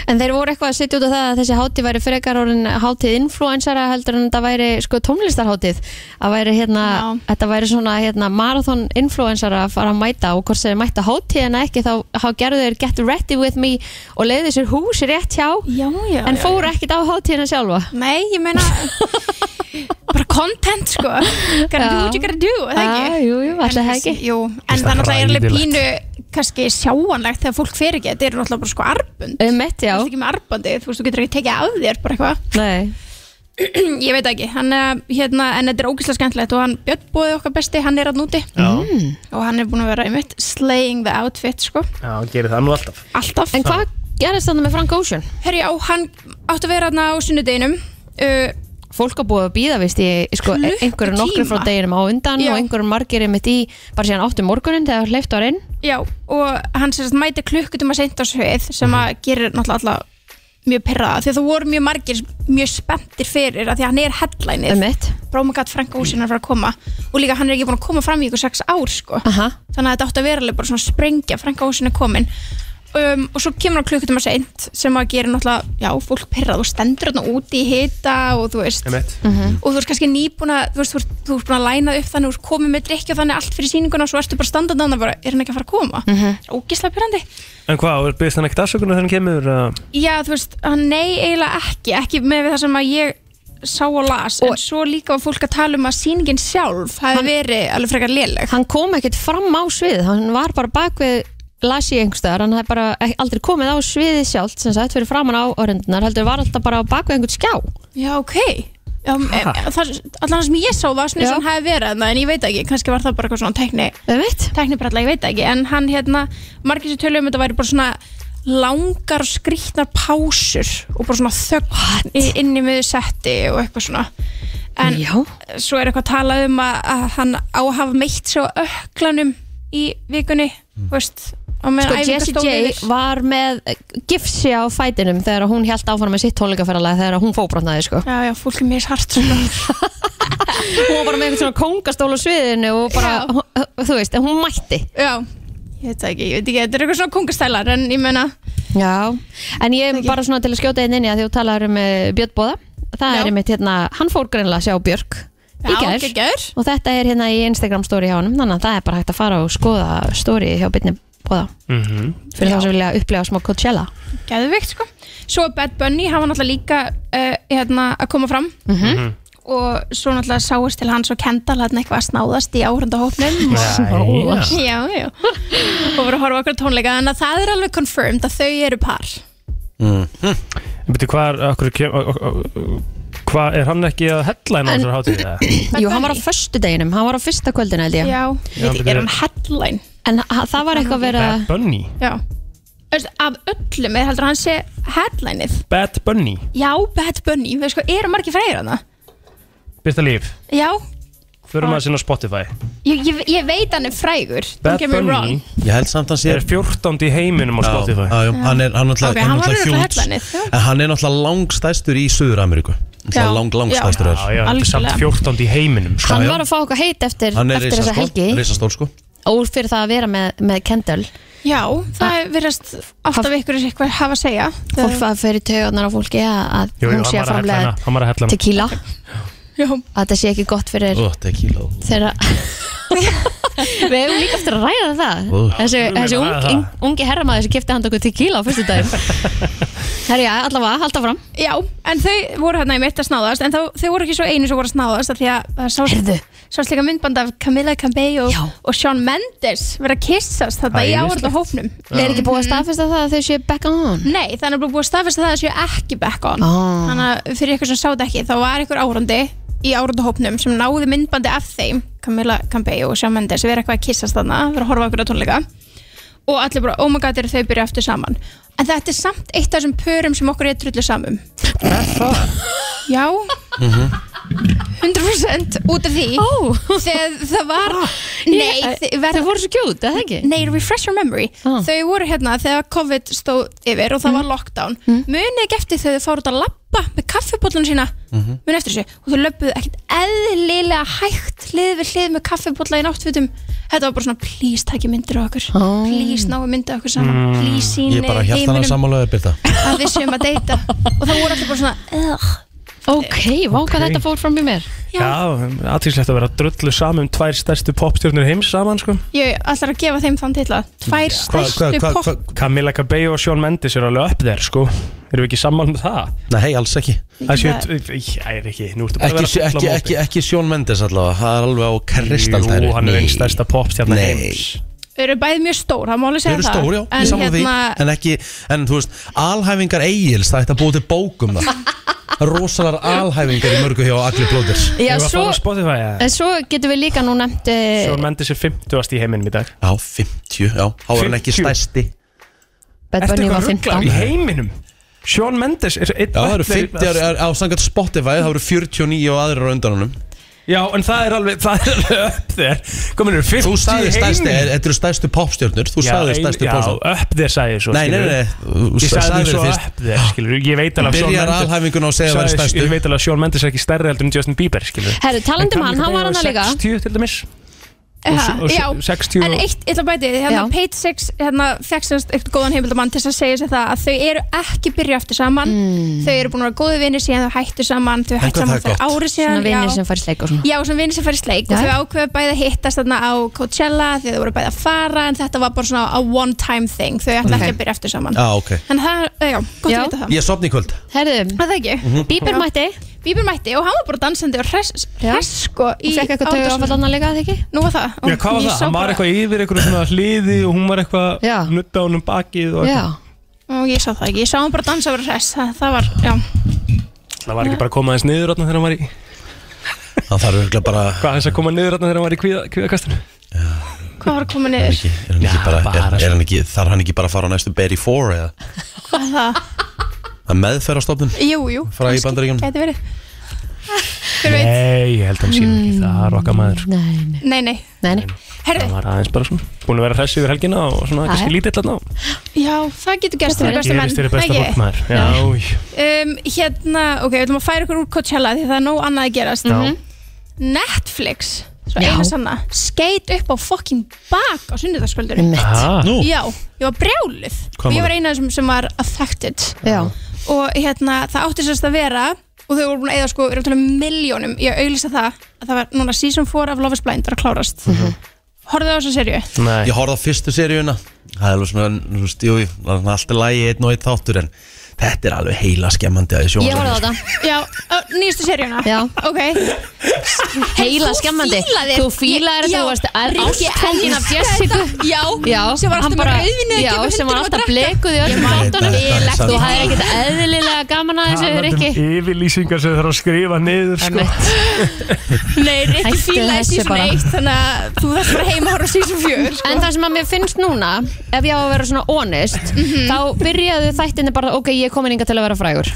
[SPEAKER 5] En þeir voru eitthvað að setja út á það að þessi hátíð væri frekar orðin hátíð influensara heldur en þetta væri sko tónlistarhátíð að væri hérna,
[SPEAKER 9] Já.
[SPEAKER 5] þetta væri svona hérna marathon influensara að fara að mæta og hvort sem þeir mæta hátíðina ekki þá, þá gerðu þeir get ready with me og leiði þessir hús rétt hjá
[SPEAKER 9] Já, já,
[SPEAKER 5] en fóru ekkert á hátíðina sjálfa
[SPEAKER 9] Nei, ég meina bara content sko gotta do what you gotta do, er það
[SPEAKER 5] Ah,
[SPEAKER 9] ekki?
[SPEAKER 5] jú, jú, alltaf það ekki
[SPEAKER 9] Jú, en
[SPEAKER 6] Finnst
[SPEAKER 9] það
[SPEAKER 6] það
[SPEAKER 9] náttúrulega er alveg
[SPEAKER 6] hræðilegt.
[SPEAKER 9] pínu kannski sjáanlegt þegar fólk fer ekki þetta er náttúrulega bara sko arbund
[SPEAKER 5] Um mitt, já
[SPEAKER 9] Þú veist ekki með arbandi, þú veist, þú getur ekki tekið af þér bara eitthvað
[SPEAKER 5] Nei,
[SPEAKER 9] Ég veit ekki, hann, eh, hérna, en þetta er ógeðslega skemmtilegt og hann Björn bóði okkar besti, hann er að núti
[SPEAKER 6] já,
[SPEAKER 5] Mm.
[SPEAKER 9] og hann er búin að vera einmitt slaying the outfit sko,
[SPEAKER 6] já, gerir það nú alltaf
[SPEAKER 9] alltaf
[SPEAKER 5] en hvað gerðist þannig með Frank Ocean?
[SPEAKER 9] Herri, já, hann átti að vera hann á sunnudeginum uh,
[SPEAKER 5] fólk að búið að býða veist ég sko,
[SPEAKER 9] Klukkutíma.
[SPEAKER 5] einhverjum nokkur frá deginum á undan
[SPEAKER 9] Já.
[SPEAKER 5] og einhverjum margir einmitt í bara síðan áttum morgunin þegar hleyft var inn
[SPEAKER 9] Já, og hann sérst mæti klukkutum að seinta á svið sem að gerir náttúrulega alla mjög perraða því að það voru mjög margir mjög spenntir fyrir að því að hann er headlænið
[SPEAKER 5] einmitt
[SPEAKER 9] Brómagat Frank Ósinn er að fara að koma og líka hann er ekki búin að koma fram í ykkur sex ár sko.
[SPEAKER 5] Aha.
[SPEAKER 9] þannig að þetta átti að vera alveg bara svona sprengja Frank Ósinn er komin um, og svo kemur hann klukkutum að seint sem að gera náttúrulega, já, fólk perrað og stendur hann úti í hita og þú veist
[SPEAKER 6] Einmitt.
[SPEAKER 9] og þú ert kannski nýbúin að þú veist, þú ert, þú ert búin að læna upp þannig, þú ert komið með drikki og þannig allt fyrir sýninguna og svo ertu bara standandi þannig bara, er hann ekki að fara að koma? Mm -hmm. Ógislega pyrrandi.
[SPEAKER 6] En hvað, og byrðist hann ekkert afsökunar þegar hann kemur? Uh,
[SPEAKER 9] Já, þú veist, hann nei eiginlega ekki, ekki með við það sem að ég sá og las, en svo líka var fólk að tala um að sýningin sjálf hafi verið alveg frekar léleg.
[SPEAKER 5] hann kom ekkert fram á sviðið hann var bara bak við lasi einhverstaðar, hann hafði bara ek- aldrei komið á sviðið sjálft sem sagt fyrir framann á orðindunar heldur var alltaf bara á bak við einhvern skjá
[SPEAKER 9] Já, ok. Já, e, það, allan það sem ég sá var
[SPEAKER 5] Já.
[SPEAKER 9] svona eins og hann hafi verið þarna, en ég veit ekki, kannski var það bara eitthvað svona tekni
[SPEAKER 5] einmitt
[SPEAKER 9] teknibrella, ég veit það ekki, en hann hérna, margir sér tölum þetta væri bara svona langar og skrýtnar pásur og bara svona þögn í- inn í miður setti og eitthvað svona en
[SPEAKER 5] Já.
[SPEAKER 9] svo er eitthvað talað um að, að hann á að hafa meitt sig á öklanum í vikunni þú veist, á
[SPEAKER 5] Sko,
[SPEAKER 9] meðan
[SPEAKER 5] Jessie
[SPEAKER 9] æfingastóð
[SPEAKER 5] J var með eh, gifsi á fætinum þegar hún held áfram með sitt tónleikaferðalega þegar hún fóbrotnaði sko.
[SPEAKER 9] Já, já, fólk er mér hart svona.
[SPEAKER 5] hún var bara með einhvern svona kongastól á sviðinu og bara, þú veist, en hún mætti
[SPEAKER 9] Já, ég veit það ekki, ég veit ekki, þetta er eitthvað svona kongastælar en ég meina,
[SPEAKER 5] Já, en ég bara svona til að skjóta einn inn í að því þú talar um uh, Björn Bóða það
[SPEAKER 9] Já.
[SPEAKER 5] er einmitt hérna, hann fór greinlega að sjá Björk í
[SPEAKER 9] já,
[SPEAKER 5] gær
[SPEAKER 9] geggjör
[SPEAKER 5] og þetta er hérna í Instagram story hjá hann þannig að það er bara hægt að fara og skoða story hjá Björn Bóða
[SPEAKER 6] mm -hmm.
[SPEAKER 5] fyrir þá sem vilja upplega smá Coachella
[SPEAKER 9] Geðvikt sko Svo er Bad Bunny, hann var náttúrulega líka uh, hérna, að koma fram
[SPEAKER 5] Mhm.
[SPEAKER 9] Og svo náttúrulega sáist til hans og Kendall hann eitthvað að snáðast í áhrundahópnum
[SPEAKER 6] Snáðast.
[SPEAKER 9] Já, já Og voru að horfa okkur á tónleika Þannig að það er alveg confirmed að þau eru par
[SPEAKER 4] Mhm.
[SPEAKER 6] Veitu, hvað, okkur, kem, ok, ok, Hvað, er hann ekki að hella hennar þessar hátíð? eða?
[SPEAKER 5] Jú, hann var á föstu deginum, hann var á fyrsta kvöldinu held ég
[SPEAKER 9] Já,
[SPEAKER 6] Já,
[SPEAKER 9] Veit,
[SPEAKER 6] byrju.
[SPEAKER 9] er hann headline?
[SPEAKER 5] En ha- það var eitthvað verið að
[SPEAKER 6] Bad Bunny
[SPEAKER 9] Já Veist, af öllum, eða heldur hann sé headlineið
[SPEAKER 6] Bad Bunny,
[SPEAKER 9] Já, Bad Bunny, veist sko, eru margir fræðir hann
[SPEAKER 6] Byrta Líf
[SPEAKER 9] Já,
[SPEAKER 6] Förum að sinna á Spotify
[SPEAKER 9] ég, ég, ég veit hann er frægur
[SPEAKER 6] Bad
[SPEAKER 9] Don't get me
[SPEAKER 6] Bunny
[SPEAKER 9] wrong.
[SPEAKER 4] Ég held samt að hann sé
[SPEAKER 6] er 14. í heiminum á
[SPEAKER 4] Já,
[SPEAKER 6] Spotify
[SPEAKER 4] já, já, hann er, hann er náttúrulega-
[SPEAKER 9] Ok,
[SPEAKER 4] hann er
[SPEAKER 9] hann var
[SPEAKER 4] náttúrulega huge.
[SPEAKER 9] örugglega headlinið, já.
[SPEAKER 4] En hann er náttúrulega langstæstur í Suður-Ameríku
[SPEAKER 9] Já,
[SPEAKER 4] Lang, langstæstur
[SPEAKER 6] Já,
[SPEAKER 4] er
[SPEAKER 6] já, þetta er samt
[SPEAKER 9] Algjörlega.
[SPEAKER 6] 14. í heiminum sko.
[SPEAKER 5] Hann
[SPEAKER 4] já.
[SPEAKER 5] var að fá okkur heit eftir,
[SPEAKER 4] Hann er
[SPEAKER 5] eftir þessa helgi
[SPEAKER 4] risastól sko
[SPEAKER 5] Úr fyrir það að vera með, með Kendall
[SPEAKER 9] Já, það
[SPEAKER 5] Ah.
[SPEAKER 9] er virðast alltaf ykkur eitthvað hafa að segja
[SPEAKER 5] Fólk var að fyrir taugarnar á fólki að að
[SPEAKER 6] Jú, jú,
[SPEAKER 5] hún
[SPEAKER 6] hann
[SPEAKER 5] sé að
[SPEAKER 6] var að hella
[SPEAKER 5] framlega
[SPEAKER 6] hana, hann var að hella hana.
[SPEAKER 5] tequila
[SPEAKER 9] Já,
[SPEAKER 5] Að þetta sé ekki gott fyrir
[SPEAKER 4] Ó, tequila
[SPEAKER 5] þeirra Við hefum líka eftir að ræða það
[SPEAKER 4] Ó.
[SPEAKER 5] Þessi,
[SPEAKER 6] við
[SPEAKER 5] þessi
[SPEAKER 6] að ræða
[SPEAKER 5] ungi, ungi herramaður sem kipti hann okkur tequila á fyrstu dagum Herja, allavega, halda fram
[SPEAKER 9] já, en þau voru hérna í mitt að snáðast En þá, þau voru ekki svo einu sem voru að snáðast af Því að það
[SPEAKER 5] Heyrðu.
[SPEAKER 9] sást, sást líka myndband af Camilla Cabello
[SPEAKER 5] Já.
[SPEAKER 9] og Shawn Mendes Verið að kissast þetta í
[SPEAKER 6] Æðislegt.
[SPEAKER 9] áhörðu hópnum
[SPEAKER 5] Er ekki búið að staðfesta það að þau séu back on?
[SPEAKER 9] Nei, þannig að búið að staðfesta það að séu ekki back on
[SPEAKER 5] Ah.
[SPEAKER 9] Þannig að fyrir ykkur sem sáðu ekki þá var ykkur árandi í árandahópnum sem náði myndbandi af þeim Camilla Campey og Shawn Mendes við erum eitthvað að kissast þarna, við erum að horfa okkur á tónleika og allir bara, oh my god, eru þau byrja aftur saman en þetta er samt eitt af þessum pörum sem okkur er trullu samum Já 100% út af því
[SPEAKER 5] Ó. Ah.
[SPEAKER 9] þegar það var Nei, þið- verð-
[SPEAKER 5] Þau voru svo kjút, eða ekki?
[SPEAKER 9] Nei, refresh your memory
[SPEAKER 5] Ah.
[SPEAKER 9] Þau voru hérna þegar COVID stóð yfir og það var lockdown mm. Munið ekki eftir þegar þau fóru út að labba með kaffibóllunum sína
[SPEAKER 4] Mhm.
[SPEAKER 9] mm. Munið eftir þessu og þau löbbuðu ekkert eðlilega hægt hlið við hlið með kaffibólla í náttfutum Þetta var bara svona, please takið myndir á okkur
[SPEAKER 5] Ah.
[SPEAKER 9] Please náu myndir okkur saman Please
[SPEAKER 4] Mm.
[SPEAKER 9] síni
[SPEAKER 4] Ég bara hjælt hann að samálaður byrta
[SPEAKER 9] að við séum að deyta Og það voru allir bara svona, ugh
[SPEAKER 5] Ok, vá hvað þetta fór fram í mér
[SPEAKER 6] Já, aðtíslegt að vera drullu saman um tvær stærstu popstjórnir heims saman sko.
[SPEAKER 9] Ég ætlar að gefa þeim þann titla Tvær stærstu pop
[SPEAKER 6] Camilla Cabello og Shawn Mendes eru alveg upp þeir sko. Erum við ekki saman með það?
[SPEAKER 4] Nei, alls ekki
[SPEAKER 6] Það séu, ég er ekki, nú ertu bara að
[SPEAKER 4] Ekki,
[SPEAKER 6] vera fulla
[SPEAKER 4] ekki,
[SPEAKER 6] á
[SPEAKER 4] ekki,
[SPEAKER 6] móti.
[SPEAKER 4] ekki Sjón Mendes allavega Það er alveg á kristaldæri
[SPEAKER 6] Jú, hann er einn stærsta popstjarnar
[SPEAKER 4] Nei.
[SPEAKER 6] heims
[SPEAKER 9] Þau eru bæði mjög stór, það má alveg
[SPEAKER 4] Þau
[SPEAKER 9] segja
[SPEAKER 4] eru
[SPEAKER 9] það
[SPEAKER 4] stór, já, ég
[SPEAKER 9] En
[SPEAKER 4] saman því
[SPEAKER 9] hérna,
[SPEAKER 4] En ekki, en þú veist, alhæfingar eigils Það ætti að búið til bókum það Rósalar alhæfingar í mörgu hjá Agli Blóðir
[SPEAKER 5] Já,
[SPEAKER 6] Erum við að
[SPEAKER 5] svo,
[SPEAKER 6] fara á Spotify, eða?
[SPEAKER 5] en svo getum við líka nú nefnt eh,
[SPEAKER 6] Shawn Mendes er 50 í heiminum í dag
[SPEAKER 4] Já, 50, já, þá er hann ekki
[SPEAKER 6] 50?
[SPEAKER 4] stæsti
[SPEAKER 5] Bad Bunny var
[SPEAKER 6] ruglaður
[SPEAKER 5] 15
[SPEAKER 6] í heiminum? Shawn Mendes er einn
[SPEAKER 4] Já, það eru
[SPEAKER 6] öflegri-
[SPEAKER 4] 50 ári á samkvæmt Spotify Það eru 49 og aðrir á undan honum
[SPEAKER 6] Já, en það er alveg, það er alveg upp þér Komin eru 50
[SPEAKER 4] Þú sagði
[SPEAKER 6] í
[SPEAKER 4] stærsti,
[SPEAKER 6] heiminum.
[SPEAKER 4] þetta eru stærstu popstjörnur Þú sagði stærstu popstjörnur
[SPEAKER 6] Já, upp þér sagði ég svo
[SPEAKER 4] Nei, nei,
[SPEAKER 6] skilur.
[SPEAKER 4] nei, nei,
[SPEAKER 6] Ég
[SPEAKER 4] þú
[SPEAKER 6] sagði
[SPEAKER 4] sagðir
[SPEAKER 6] svo
[SPEAKER 4] fyrst.
[SPEAKER 6] upp þér, skilur Ég veit alveg að Shawn
[SPEAKER 4] Byrjar
[SPEAKER 6] Mendes-
[SPEAKER 4] alhæfinguna og segir að vera
[SPEAKER 6] Sagði-
[SPEAKER 4] stærstu.
[SPEAKER 6] Ég veit alveg að Shawn Mendes er ekki stærri heldur en Justin Bieber, skilur
[SPEAKER 5] Herru, talandi um
[SPEAKER 6] En
[SPEAKER 5] hann, hann var
[SPEAKER 6] Camilla
[SPEAKER 5] hann
[SPEAKER 6] Cabello
[SPEAKER 5] líka
[SPEAKER 6] er 60 til dæmis
[SPEAKER 9] Ja,
[SPEAKER 6] og s- og s-
[SPEAKER 9] já,
[SPEAKER 6] 60
[SPEAKER 9] en
[SPEAKER 6] og-
[SPEAKER 9] eitt, ég ætla að bæti því, hérna
[SPEAKER 5] Já.
[SPEAKER 9] Page 6 hérna, fekk semst eitt góðan heimildamann til þess að segja sér það að þau eru ekki byrju aftur saman þau eru búin að vera góði vinni síðan þau hættu saman þau
[SPEAKER 4] hvað
[SPEAKER 9] hættu
[SPEAKER 4] það er
[SPEAKER 9] saman fyrir
[SPEAKER 4] gott.
[SPEAKER 9] ári
[SPEAKER 5] Svona
[SPEAKER 9] síðan
[SPEAKER 5] vinnir
[SPEAKER 9] já,
[SPEAKER 5] sem fari sleik og svona
[SPEAKER 9] já, sem vinni sem fær í sleik og
[SPEAKER 5] Já.
[SPEAKER 9] þau ákveðu bæði að hittast þarna á Coachella því þau voru bæði að fara en þetta var bara svona a one time thing þau ætla
[SPEAKER 5] Ok.
[SPEAKER 9] ekki að byrja aftur saman
[SPEAKER 4] Já, ok
[SPEAKER 9] en það, já, gott
[SPEAKER 5] Já. Mhm.
[SPEAKER 9] að vita það
[SPEAKER 4] Ég sopni í kvöld
[SPEAKER 5] Herru,
[SPEAKER 9] Er Það ekki,
[SPEAKER 5] Bíber mætti
[SPEAKER 9] Bíbir mætti og hann var bara dansandi og hress,
[SPEAKER 5] Já.
[SPEAKER 9] hress sko í
[SPEAKER 5] Hún fekk eitthvað tauga áfall
[SPEAKER 9] árásinni.
[SPEAKER 5] hann líka, eða ekki?
[SPEAKER 9] Nú var það
[SPEAKER 6] Já, hvað var
[SPEAKER 9] Ég
[SPEAKER 6] það?
[SPEAKER 9] sá
[SPEAKER 6] Hann var
[SPEAKER 9] bara-
[SPEAKER 6] eitthvað yfir eitthvað svona hliði og hún var eitthvað
[SPEAKER 5] Já.
[SPEAKER 6] nutta honum bakið og
[SPEAKER 5] Já,
[SPEAKER 6] eitthvað.
[SPEAKER 9] Ó, ég sá það ekki, ég sá hann bara dansa og vera hress, það, það var, já
[SPEAKER 6] Það var ekki bara að koma aðeins niður þarna þegar hann var í
[SPEAKER 4] Það þarf örgulega bara
[SPEAKER 6] Hvað hans að koma niður þarna þegar hann var í kvíða- kvíðakastinu?
[SPEAKER 9] Hvað var að koma
[SPEAKER 4] Er,
[SPEAKER 9] niður?
[SPEAKER 4] ekki, er, hann ekki
[SPEAKER 6] Já,
[SPEAKER 4] bara,
[SPEAKER 6] bara
[SPEAKER 4] er, er hann ekki, þarf hann ekki bara að fara á næstu Berry 4 eða
[SPEAKER 9] Hvað er það?
[SPEAKER 4] að meðferðarstofnun
[SPEAKER 9] Jú, jú,
[SPEAKER 4] frá í bandaríkjum
[SPEAKER 9] gæti verið Hver veit?
[SPEAKER 6] Nei, ég held að hann síðan
[SPEAKER 5] Mm.
[SPEAKER 6] ekki, það er okkar maður
[SPEAKER 5] nei, nei,
[SPEAKER 9] Nei, nei,
[SPEAKER 5] nei, nei.
[SPEAKER 9] herri,
[SPEAKER 6] Það var aðeins bara svona Búin að vera hressi yfir helgina og svona
[SPEAKER 5] Já,
[SPEAKER 6] kannski
[SPEAKER 5] já.
[SPEAKER 6] lítill þarna á.
[SPEAKER 9] já, það getur gerst fyrir besta menn
[SPEAKER 6] Gerist fyrir besta
[SPEAKER 9] ekki?
[SPEAKER 6] fólk maður Já,
[SPEAKER 9] um, Hérna, ok, við ætlum að færa ykkur úr Coachella því það er nóg annað að gerast Mhm.
[SPEAKER 6] já
[SPEAKER 9] Netflix, svo
[SPEAKER 5] Já.
[SPEAKER 9] einu sanna skeit upp á fucking bak á sunnudagskvöldur
[SPEAKER 6] Aha.
[SPEAKER 4] Nú,
[SPEAKER 9] Já, ég var brjáluð
[SPEAKER 4] Hvað
[SPEAKER 9] og
[SPEAKER 4] var
[SPEAKER 9] ég var eina sem, sem var affected
[SPEAKER 5] Já,
[SPEAKER 9] og hérna, það átti sérst að vera og þau voru búin að eða sko, erum talað um miljónum í að auglýsa það að það var núna season 4 af Love is Blind var að klárast mm horfðu á þessa serju
[SPEAKER 6] Nei,
[SPEAKER 4] ég horfði á fyrstu seríuna Það er alveg svona, þú veist, jú, jú, það er svona allt í lagi einn og einn þáttur en þetta er alveg heila skemmandi að
[SPEAKER 5] ég horfði á þetta
[SPEAKER 9] já, á, nýjastu seríuna
[SPEAKER 5] Já.
[SPEAKER 9] ok,
[SPEAKER 5] Heila skemmandi Þú fílaðir þetta, þú varst að- ástfangin af Jessica
[SPEAKER 9] Já,
[SPEAKER 5] Já,
[SPEAKER 9] sem var
[SPEAKER 5] hann
[SPEAKER 9] alltaf
[SPEAKER 5] bara-
[SPEAKER 9] með rauðinu
[SPEAKER 5] Já, sem
[SPEAKER 9] um
[SPEAKER 5] var alltaf blekuð í öllum
[SPEAKER 4] Nei, þetta-
[SPEAKER 5] þáttunum
[SPEAKER 4] þetta er
[SPEAKER 5] Þú
[SPEAKER 4] satt.
[SPEAKER 5] hafðir ekkert eðlilega gaman að þessu,
[SPEAKER 6] Talandi
[SPEAKER 5] Rikki
[SPEAKER 6] um Yfirlýsingar sem þarf að skrifa niður sko.
[SPEAKER 9] Nei, Rikki
[SPEAKER 5] Hættu
[SPEAKER 9] fílaði
[SPEAKER 5] þessu
[SPEAKER 9] season
[SPEAKER 5] bara.
[SPEAKER 9] 1 Þannig að þú þarfst bara heima að horfa á season 4 sko.
[SPEAKER 5] En það sem að mér finnst núna, ef ég á að vera svona honest,
[SPEAKER 9] Mhm.
[SPEAKER 5] þá byrjaðu þættinni bara, ok, ég er komin inga til að vera frægur.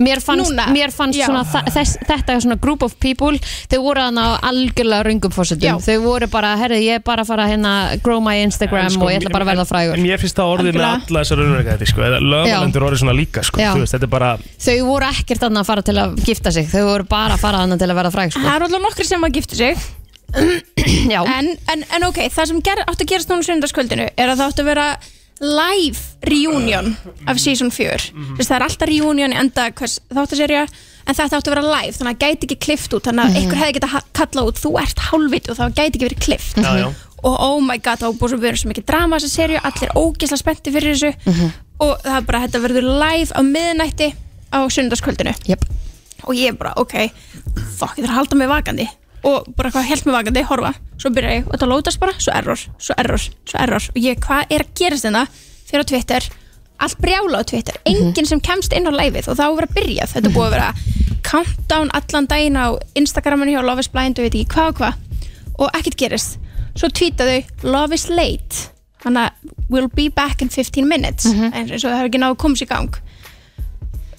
[SPEAKER 5] Mér fannst,
[SPEAKER 9] Núna?
[SPEAKER 5] mér fannst
[SPEAKER 9] Já.
[SPEAKER 5] svona, þa- þess, þetta er svona group of people, þau voru þarna á algjörlega röngum
[SPEAKER 9] Já.
[SPEAKER 5] fósitum. Þau voru bara, herrið, ég er bara að fara að hérna, grow my Instagram
[SPEAKER 6] En sko,
[SPEAKER 5] og ég ætla bara að verða
[SPEAKER 6] En
[SPEAKER 5] frægur.
[SPEAKER 6] mér finnst það orðið með
[SPEAKER 9] Algjörlega.
[SPEAKER 6] alla þessar raunverkæti sko. eða lögmalendur orðið svona líka sko.
[SPEAKER 5] Já.
[SPEAKER 6] Þú veist, þetta er bara
[SPEAKER 5] Þau voru ekkert þarna að fara til að gifta sig, þau voru bara að fara þarna til að verða fræg,
[SPEAKER 9] Það
[SPEAKER 5] sko.
[SPEAKER 9] er alltaf nokkri sem að gifta sig
[SPEAKER 5] Já.
[SPEAKER 9] en, en, en ok, það sem ger, átti að gerast núna sundarskvöldinu er að það átti að vera live reunion af season 4
[SPEAKER 6] Mhm.
[SPEAKER 9] mm það er alltaf reunion í enda hvers, þáttaserja en þetta átti að vera live þannig að það gæti ekki klift út
[SPEAKER 6] Mhm.
[SPEAKER 9] þannig að einhver hefði getað ha- kallað út þú ert hálfvit og það gæti ekki verið klift
[SPEAKER 6] já, já.
[SPEAKER 9] og oh my god, þá búið svo verið svo mikið drama þessa serju, allir ógisla spennti fyrir þessu
[SPEAKER 6] Mhm.
[SPEAKER 9] og það er bara, þetta verður live á miðnætti á sundarskvöldinu
[SPEAKER 5] Jöp.
[SPEAKER 9] og ég bara, ok, fokk, ég þarf að halda mig vakandi og bara hvað held mig vakandi, horfa svo byrja ég og þetta lótast bara, svo error svo error, svo error og ég, hvað er að gerast þetta fyrir á Twitter allt brjála á Twitter, enginn sem kemst inn á læfið og þá er að byrja, þetta er búið að vera countdown allan daginn á Instagraminu hjá Love is Blind og veit ekki hvað og hvað og ekkert gerist svo tweetaðu Love is late þannig að we'll be back in 15 minutes eins eins og það hefur ekki náðu komist í gang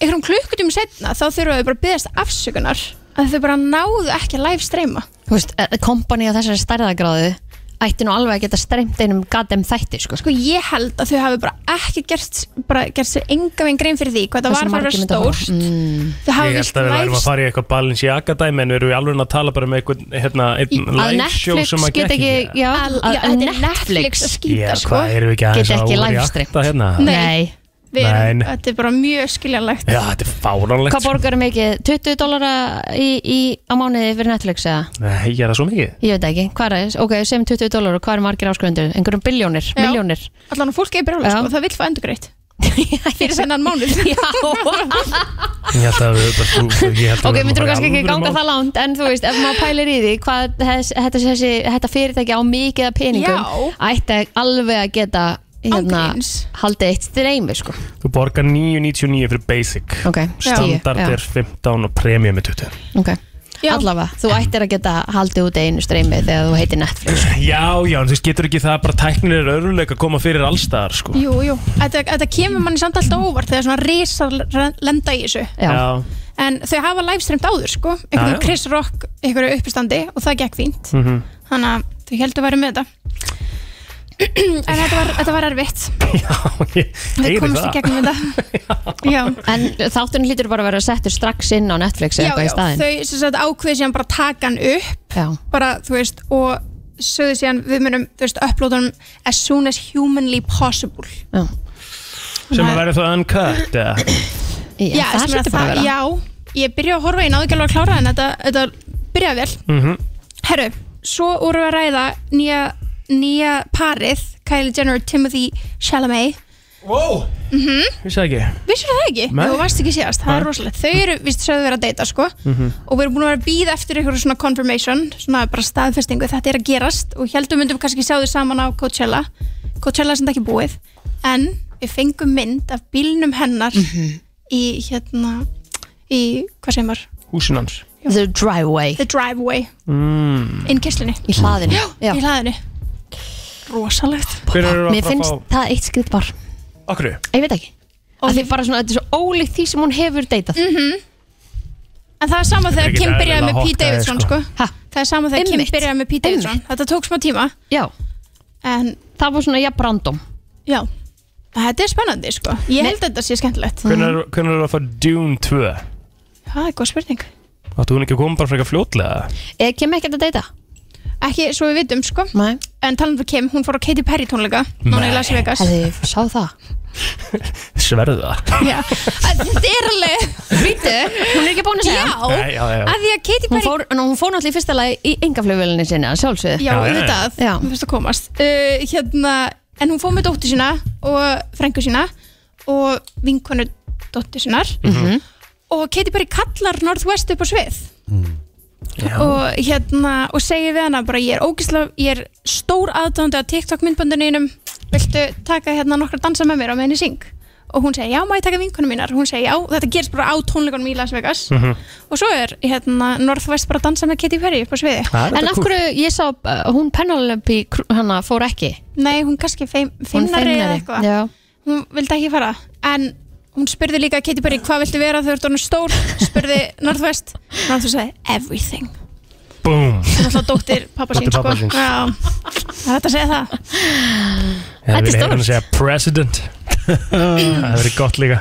[SPEAKER 9] einhverjum klukkutum setna þá þurfa þau bara að byggast afsökunar að þau bara náðu ekki að live streyma
[SPEAKER 5] Þú veist, e, kompani á þessari stærðagráðu ætti nú alveg að geta streymt einum gatem þætti, sko.
[SPEAKER 9] sko ég held að þau hafi bara ekki gert, bara gert sér enga veginn grein fyrir því hvað það
[SPEAKER 5] Hversu
[SPEAKER 9] var bara að
[SPEAKER 5] margir myndu
[SPEAKER 9] vera
[SPEAKER 5] Mm. horfa?
[SPEAKER 9] stórt þau hafi
[SPEAKER 6] Ég held að við værum að
[SPEAKER 9] live
[SPEAKER 6] fara í eitthvað balins í Akadæmi en við erum í alveg að tala bara með einhvern hérna, einn
[SPEAKER 5] Að
[SPEAKER 6] live show
[SPEAKER 5] Netflix
[SPEAKER 6] sem að
[SPEAKER 5] geta
[SPEAKER 6] gekk
[SPEAKER 5] ekki, já,
[SPEAKER 9] Al- já,
[SPEAKER 5] að
[SPEAKER 9] þetta er Netflix
[SPEAKER 5] Netflix
[SPEAKER 9] að
[SPEAKER 6] Já,
[SPEAKER 9] skýta sko
[SPEAKER 6] hvað erum við ekki aðeins
[SPEAKER 5] Geta
[SPEAKER 6] að
[SPEAKER 5] ekki
[SPEAKER 6] overreacta
[SPEAKER 5] livestreamt.
[SPEAKER 6] hérna?
[SPEAKER 9] Nei.
[SPEAKER 5] Nei.
[SPEAKER 9] Við erum,
[SPEAKER 6] Nei.
[SPEAKER 9] þetta er bara mjög skiljanlegt
[SPEAKER 6] Já, þetta er fáránlegt
[SPEAKER 5] Hvað
[SPEAKER 6] sko.
[SPEAKER 5] borgar mikið? 20 dólara í, í, á mánuði fyrir Netflix eða?
[SPEAKER 6] Nei, ég er það svo mikið
[SPEAKER 5] Ég veit ekki, hvað er, ok, sem 20 dólar og hvað er margir áskrifundur? Einhverjum biljónir,
[SPEAKER 9] Já.
[SPEAKER 5] miljónir
[SPEAKER 9] allan að fólk er brjóla
[SPEAKER 5] Já.
[SPEAKER 9] sko, það vil fá endur greitt fyrir þennan mánuð
[SPEAKER 6] Ég held að við bara þú ég held að
[SPEAKER 5] Ok,
[SPEAKER 6] við
[SPEAKER 5] myndur þú
[SPEAKER 6] bara
[SPEAKER 5] kannski ekki
[SPEAKER 6] alvöru
[SPEAKER 5] ganga
[SPEAKER 6] mál.
[SPEAKER 5] það langt en þú veist, ef maður pælir í því hvað þess, þetta, þessi, þetta fyrirtæki á mikið af peningum
[SPEAKER 9] Já.
[SPEAKER 5] ætti alveg að geta hérna,
[SPEAKER 9] Ángríns.
[SPEAKER 5] haldið eitt streymi sko.
[SPEAKER 6] Þú borgar 9,99 fyrir basic
[SPEAKER 5] Ok, stíu
[SPEAKER 6] Standard er 15 og premium er 20
[SPEAKER 5] okay.
[SPEAKER 9] Já.
[SPEAKER 5] Allavega, þú ættir að geta haldið út einu streymi þegar þú heitir Netflix
[SPEAKER 6] Já, já, en þú veist, getur ekki það bara tæknir er öruleik að koma fyrir allstaðar sko.
[SPEAKER 9] jú, jú, þetta, þetta kemur manni samt alltaf óvart þegar svona risar lenda í þessu
[SPEAKER 5] Já,
[SPEAKER 9] en þau hafa livestreamt áður sko
[SPEAKER 6] Já,
[SPEAKER 9] einhverjum
[SPEAKER 6] já.
[SPEAKER 9] Chris Rock, einhverju uppistandi og það gekk fínt
[SPEAKER 6] Mhm.
[SPEAKER 9] þannig að þau heldur að vera með þetta en þetta var, þetta var erfitt
[SPEAKER 6] já ég
[SPEAKER 9] við
[SPEAKER 6] heyri
[SPEAKER 9] komumst í
[SPEAKER 6] það
[SPEAKER 9] gegnum þetta já,
[SPEAKER 5] En þátturinn hlýtur bara að vera settur strax inn á Netflix eða
[SPEAKER 9] já,
[SPEAKER 5] eitthvað
[SPEAKER 9] já
[SPEAKER 5] í staðinn
[SPEAKER 9] þau sem sagt, ákveði síðan bara að taka hann upp
[SPEAKER 5] Já,
[SPEAKER 9] bara, þú veist, og sögðu síðan við munum, þú veist, upplóðunum as soon as humanly possible
[SPEAKER 5] já.
[SPEAKER 6] Sem að vera það uncut eða?
[SPEAKER 5] Já,
[SPEAKER 9] já,
[SPEAKER 5] það
[SPEAKER 9] sem
[SPEAKER 5] hlýtur
[SPEAKER 9] þetta
[SPEAKER 5] bara að vera
[SPEAKER 9] já, ég byrja að horfa í náðu ekki alveg að klára en þetta, þetta byrja vel
[SPEAKER 6] Mhm.
[SPEAKER 9] Herru, svo vorum við að ræða nýja, nýja parið Kylie Jenner og Timothy Chalamet
[SPEAKER 6] Wow Vissi það ekki
[SPEAKER 9] Vissur það ekki?
[SPEAKER 6] Nei. Mhm.
[SPEAKER 9] Þú varst ekki síðast, það er rosalegt Þau eru, víst, sögðu verið að deyta, sko Og við erum búin að vera að býða eftir einhverju svona confirmation Svona bara staðfestingu, þetta er að gerast Og heldum myndum við kannski sjá þau saman á Coachella Coachella er sem þetta ekki búið En við fengum mynd af bílnum hennar
[SPEAKER 5] Mhm.
[SPEAKER 9] Í, hérna, í, hvað segir maður?
[SPEAKER 6] Húsin hans
[SPEAKER 5] The Driveway
[SPEAKER 9] The Driveway
[SPEAKER 6] mm.
[SPEAKER 9] Inn kislinni,
[SPEAKER 5] Í hlaðinu Já.
[SPEAKER 9] í hlaðinu Rosalegt
[SPEAKER 6] Hver eru að
[SPEAKER 5] Mér
[SPEAKER 6] fara að
[SPEAKER 5] finnst það eitt skrið bar
[SPEAKER 6] fá Okkur
[SPEAKER 5] Ég veit ekki Af því bara svona, Þetta er svo ólíkt því sem hún hefur deytað
[SPEAKER 9] Mm. En það er sama þegar
[SPEAKER 6] ekki
[SPEAKER 9] Kim
[SPEAKER 6] eðlilega
[SPEAKER 9] byrjaði með
[SPEAKER 6] hot
[SPEAKER 9] Pete
[SPEAKER 6] guy,
[SPEAKER 9] Davidson
[SPEAKER 6] sko.
[SPEAKER 9] sko.
[SPEAKER 5] Ha.
[SPEAKER 9] Það er sama þegar Kim
[SPEAKER 5] Einmitt.
[SPEAKER 9] byrjaði með Pete Davidson Þetta tók smá tíma
[SPEAKER 5] Já,
[SPEAKER 9] En
[SPEAKER 5] það var svona jafn random
[SPEAKER 9] já, þetta er spennandi sko. Ég held að þetta sé skemmtilegt
[SPEAKER 6] Hvernig eru að fara Dune 2?
[SPEAKER 9] Það er góð spurning
[SPEAKER 6] Áttu hún ekki að koma bara frekar fljótlega?
[SPEAKER 5] Eða kem ekki Eh, að deyta
[SPEAKER 9] Ekki svo við vitum sko.
[SPEAKER 5] Nei
[SPEAKER 9] En talandi um Kim, hún fór á Katy Perry tónleika Núna í
[SPEAKER 6] Nei.
[SPEAKER 9] Las Vegas
[SPEAKER 5] Hefði ég sá það
[SPEAKER 6] Sverða
[SPEAKER 9] Já. Að Þetta er alveg
[SPEAKER 5] Vítu, hún er ekki búin að
[SPEAKER 9] Já,
[SPEAKER 5] segja
[SPEAKER 6] Nei, já, já.
[SPEAKER 9] að því að Katy
[SPEAKER 5] Hún
[SPEAKER 9] Perry
[SPEAKER 5] fór, nú, hún fór náttúrulega í fyrsta lagi í engaflugvölinni sinni að sjálfsögðu
[SPEAKER 6] Já,
[SPEAKER 9] Já,
[SPEAKER 6] já, já.
[SPEAKER 9] auðvitað,
[SPEAKER 5] Já.
[SPEAKER 9] hún fyrst að komast uh, hérna, En hún fór með dóttur sína og frængu sína og vinkonu Mhm. dóttur sínar og Katy Perry kallar Northwest upp á svið og hérna og segi við hana bara ég er ógislega ég er stór aðdóndi á TikTok myndbandunum viltu taka hérna nokkra dansa með mér á meðan ég syng og hún segir já má ég taka vinkunum mínar hún segir já þetta gerst bara á tónleikunum í Las Vegas
[SPEAKER 6] Mhm.
[SPEAKER 9] og svo er hérna Northwest bara að dansa með Katy Perry upp á sviði
[SPEAKER 5] En af hverju, ég sá, uh, hún Penelope Cru- hana fór ekki
[SPEAKER 9] nei hún kannski feim,
[SPEAKER 5] Hún
[SPEAKER 9] feimnari eða
[SPEAKER 5] feimnari.
[SPEAKER 9] eitthvað
[SPEAKER 5] Já,
[SPEAKER 9] hún vildi ekki fara en hún spurði líka Katy Perry hvað viltu vera þegar þú ert orðin stór spurði Northwest Northwest sagði everything
[SPEAKER 6] Búm
[SPEAKER 9] sem alltaf dóttir pappa sín
[SPEAKER 6] Dóttir
[SPEAKER 9] sko.
[SPEAKER 6] pabba síns.
[SPEAKER 9] Já, það er hægt að segja það
[SPEAKER 6] Þetta
[SPEAKER 5] er stórt.
[SPEAKER 6] að segja president Það hefur verið gott líka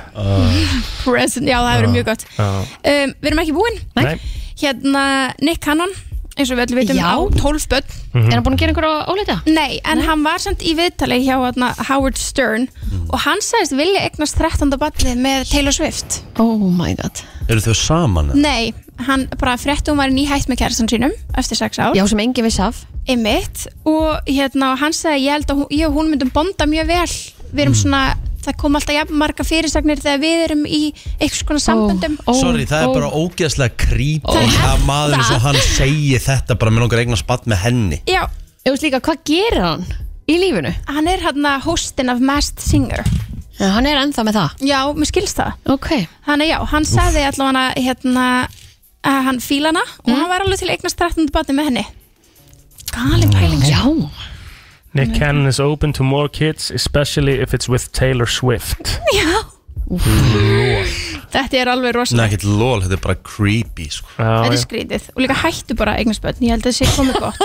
[SPEAKER 9] Present, já það hefur verið mjög gott um, Við erum ekki búin
[SPEAKER 6] Nei.
[SPEAKER 9] Hérna Nick Cannon eins og við öllum veitum
[SPEAKER 5] Já.
[SPEAKER 9] á 12 börn
[SPEAKER 6] Mhm.
[SPEAKER 5] er hann búin að gera einhverja óleita?
[SPEAKER 9] Nei, en hann var samt í viðtali hjá hana, Howard Stern og hann sagðist vilja eignast 13. barnið með Taylor Swift
[SPEAKER 5] Oh my god
[SPEAKER 4] Eru þau saman?
[SPEAKER 9] Nei, hann bara frétti hún var nýhætt með kærastan sínum eftir 6 ár
[SPEAKER 5] Já, sem engin vissi af
[SPEAKER 9] einmitt og hérna og hann sagði ég held að hún, ég og hún myndum bonda mjög vel við erum svona, það kom alltaf jafn marga fyrirsagnir þegar við erum í einhvers konar samböndum
[SPEAKER 5] Ó, ó,
[SPEAKER 4] Sorry, það
[SPEAKER 5] ó.
[SPEAKER 4] er bara ógeðslega creepy
[SPEAKER 9] Það er
[SPEAKER 4] að maður eins og
[SPEAKER 9] það.
[SPEAKER 4] hann segi þetta bara með langar eignar spatt með henni
[SPEAKER 9] Já,
[SPEAKER 5] Ég veist líka, hvað gerir hann í lífinu?
[SPEAKER 9] hann er hérna hostin af Masked Singer
[SPEAKER 5] Já, hann er ennþá með það
[SPEAKER 9] Já, mér skilst það
[SPEAKER 5] Ok,
[SPEAKER 9] Þannig að já, hann sagði allavega hérna að hann fíla hana
[SPEAKER 5] Mm.
[SPEAKER 9] og hann var alveg til að eignast 13. batni með henni Galin pæling
[SPEAKER 5] já
[SPEAKER 6] Nick Cannon is open to more kids especially if it's with Taylor Swift
[SPEAKER 9] Já Þetta er alveg
[SPEAKER 4] Nei,
[SPEAKER 9] rosalega
[SPEAKER 4] ekkert lol, þetta er bara creepy sko.
[SPEAKER 6] Já,
[SPEAKER 9] Þetta
[SPEAKER 6] já.
[SPEAKER 9] er skrítið og líka hættu bara að eignast börn, ég held að það sé komið gott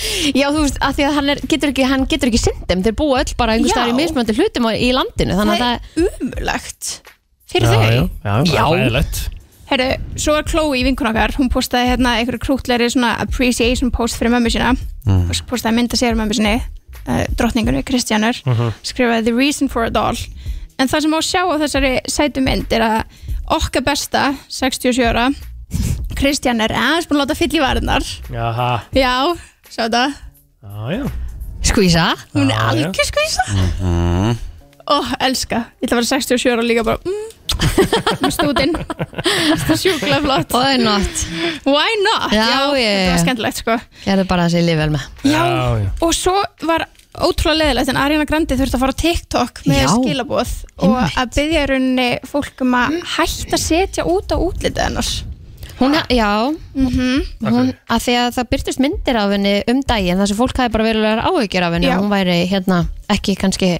[SPEAKER 5] Já, þú veist, af því að hann er, getur ekki, hann getur ekki sint þeim Þeir búa öll bara einhvers
[SPEAKER 9] Já.
[SPEAKER 5] staðar í mismöndi hlutum á- í landinu Þannig að
[SPEAKER 9] það
[SPEAKER 5] það,
[SPEAKER 9] er umulagt fyrir
[SPEAKER 6] Já,
[SPEAKER 9] þau
[SPEAKER 6] já, já, það
[SPEAKER 5] Já.
[SPEAKER 6] er fæðilegt
[SPEAKER 9] Herru, svo er Chloe vinkun okkar hún postaði hérna einhverju krútleiri svona appreciation post fyrir mömmu sína
[SPEAKER 6] Mm.
[SPEAKER 9] og svo postaði mynda sér mömmu sinni uh, drottningunni Kristjánur
[SPEAKER 6] Mhm.
[SPEAKER 9] skrifaði the reason for it all en það sem má sjá á þessari sætu mynd er að okkar besta 67 ára Kristján er aðeins búin að láta fyll í varðnar
[SPEAKER 6] Jaha,
[SPEAKER 9] já, sjá það
[SPEAKER 6] já, já
[SPEAKER 5] skvísa
[SPEAKER 9] hún
[SPEAKER 6] Já, Mhm.
[SPEAKER 9] er
[SPEAKER 6] já.
[SPEAKER 9] algjör skvísa ó, elska ég ætla að vera 67 ára og líka bara mm, með stútin sjúkla flott
[SPEAKER 5] Og er nátt
[SPEAKER 9] why not,
[SPEAKER 5] Já, já,
[SPEAKER 9] þetta var
[SPEAKER 5] já.
[SPEAKER 9] skemmtilegt sko.
[SPEAKER 5] Gerðu bara þessi líf vel með
[SPEAKER 9] já,
[SPEAKER 6] Já, já.
[SPEAKER 9] og svo var ótrúlega leðilegt en Ariana Grande þurfti að fara á TikTok með
[SPEAKER 5] Já.
[SPEAKER 9] skilabóð og að byggja rauninni fólk um að hætta að setja út á útlitið hennar
[SPEAKER 5] Hún,
[SPEAKER 9] Ah.
[SPEAKER 5] já, Mhm. hún, að því að það byrtist myndir af henni um daginn þar sem fólk hafi bara verulegar áhyggjur af henni
[SPEAKER 9] Já.
[SPEAKER 5] og hún væri hérna ekki kannski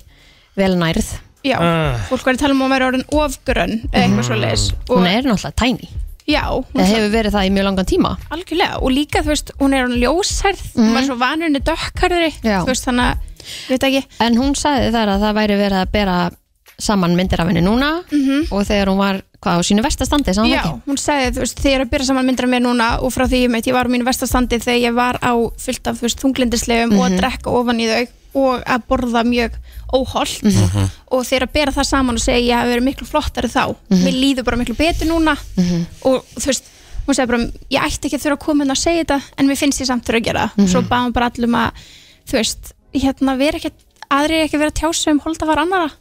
[SPEAKER 5] vel nærð
[SPEAKER 9] já,
[SPEAKER 6] Ah.
[SPEAKER 9] fólk var að tala um að hún væri orðin ofgrönn eða eitthvað svo leis
[SPEAKER 5] hún er náttúrulega tæni,
[SPEAKER 9] já, hún
[SPEAKER 5] það hefur verið það í mjög langan tíma
[SPEAKER 9] Algjörlega, og líka þú veist, hún er hún ljósærð, hún var svo vanur henni dökkarðri,
[SPEAKER 5] Mhm. Já.
[SPEAKER 9] þú veist, þannig að, ég veit ekki,
[SPEAKER 5] en hún sagði þar að það væri verið að bera saman myndir af henni núna og þegar hún var hvað á sínu vestastandi sagði hún
[SPEAKER 9] Mhm. já,
[SPEAKER 5] ekki?
[SPEAKER 9] hún sagði, þú veist, þegar ég er að byrja saman myndra mér núna og frá því ég meitt, ég var á mínu vestastandi þegar ég var á fullt af, þú veist, þunglindislegum og að drekka ofan í þau og að borða mjög óholt og þegar að bera það saman og segja ég hafi verið miklu flottari þá, mér líður bara miklu betur núna og þú veist, hún sagði bara, ég ætti ekki að þurfa að koma hérna að segja þetta en mér finnst ég samt þurfa að gera það svo bað hún bara allum að, þú veist, hérna, vera ekki, aðrir eiga ekki að vera tjásum holdafar annara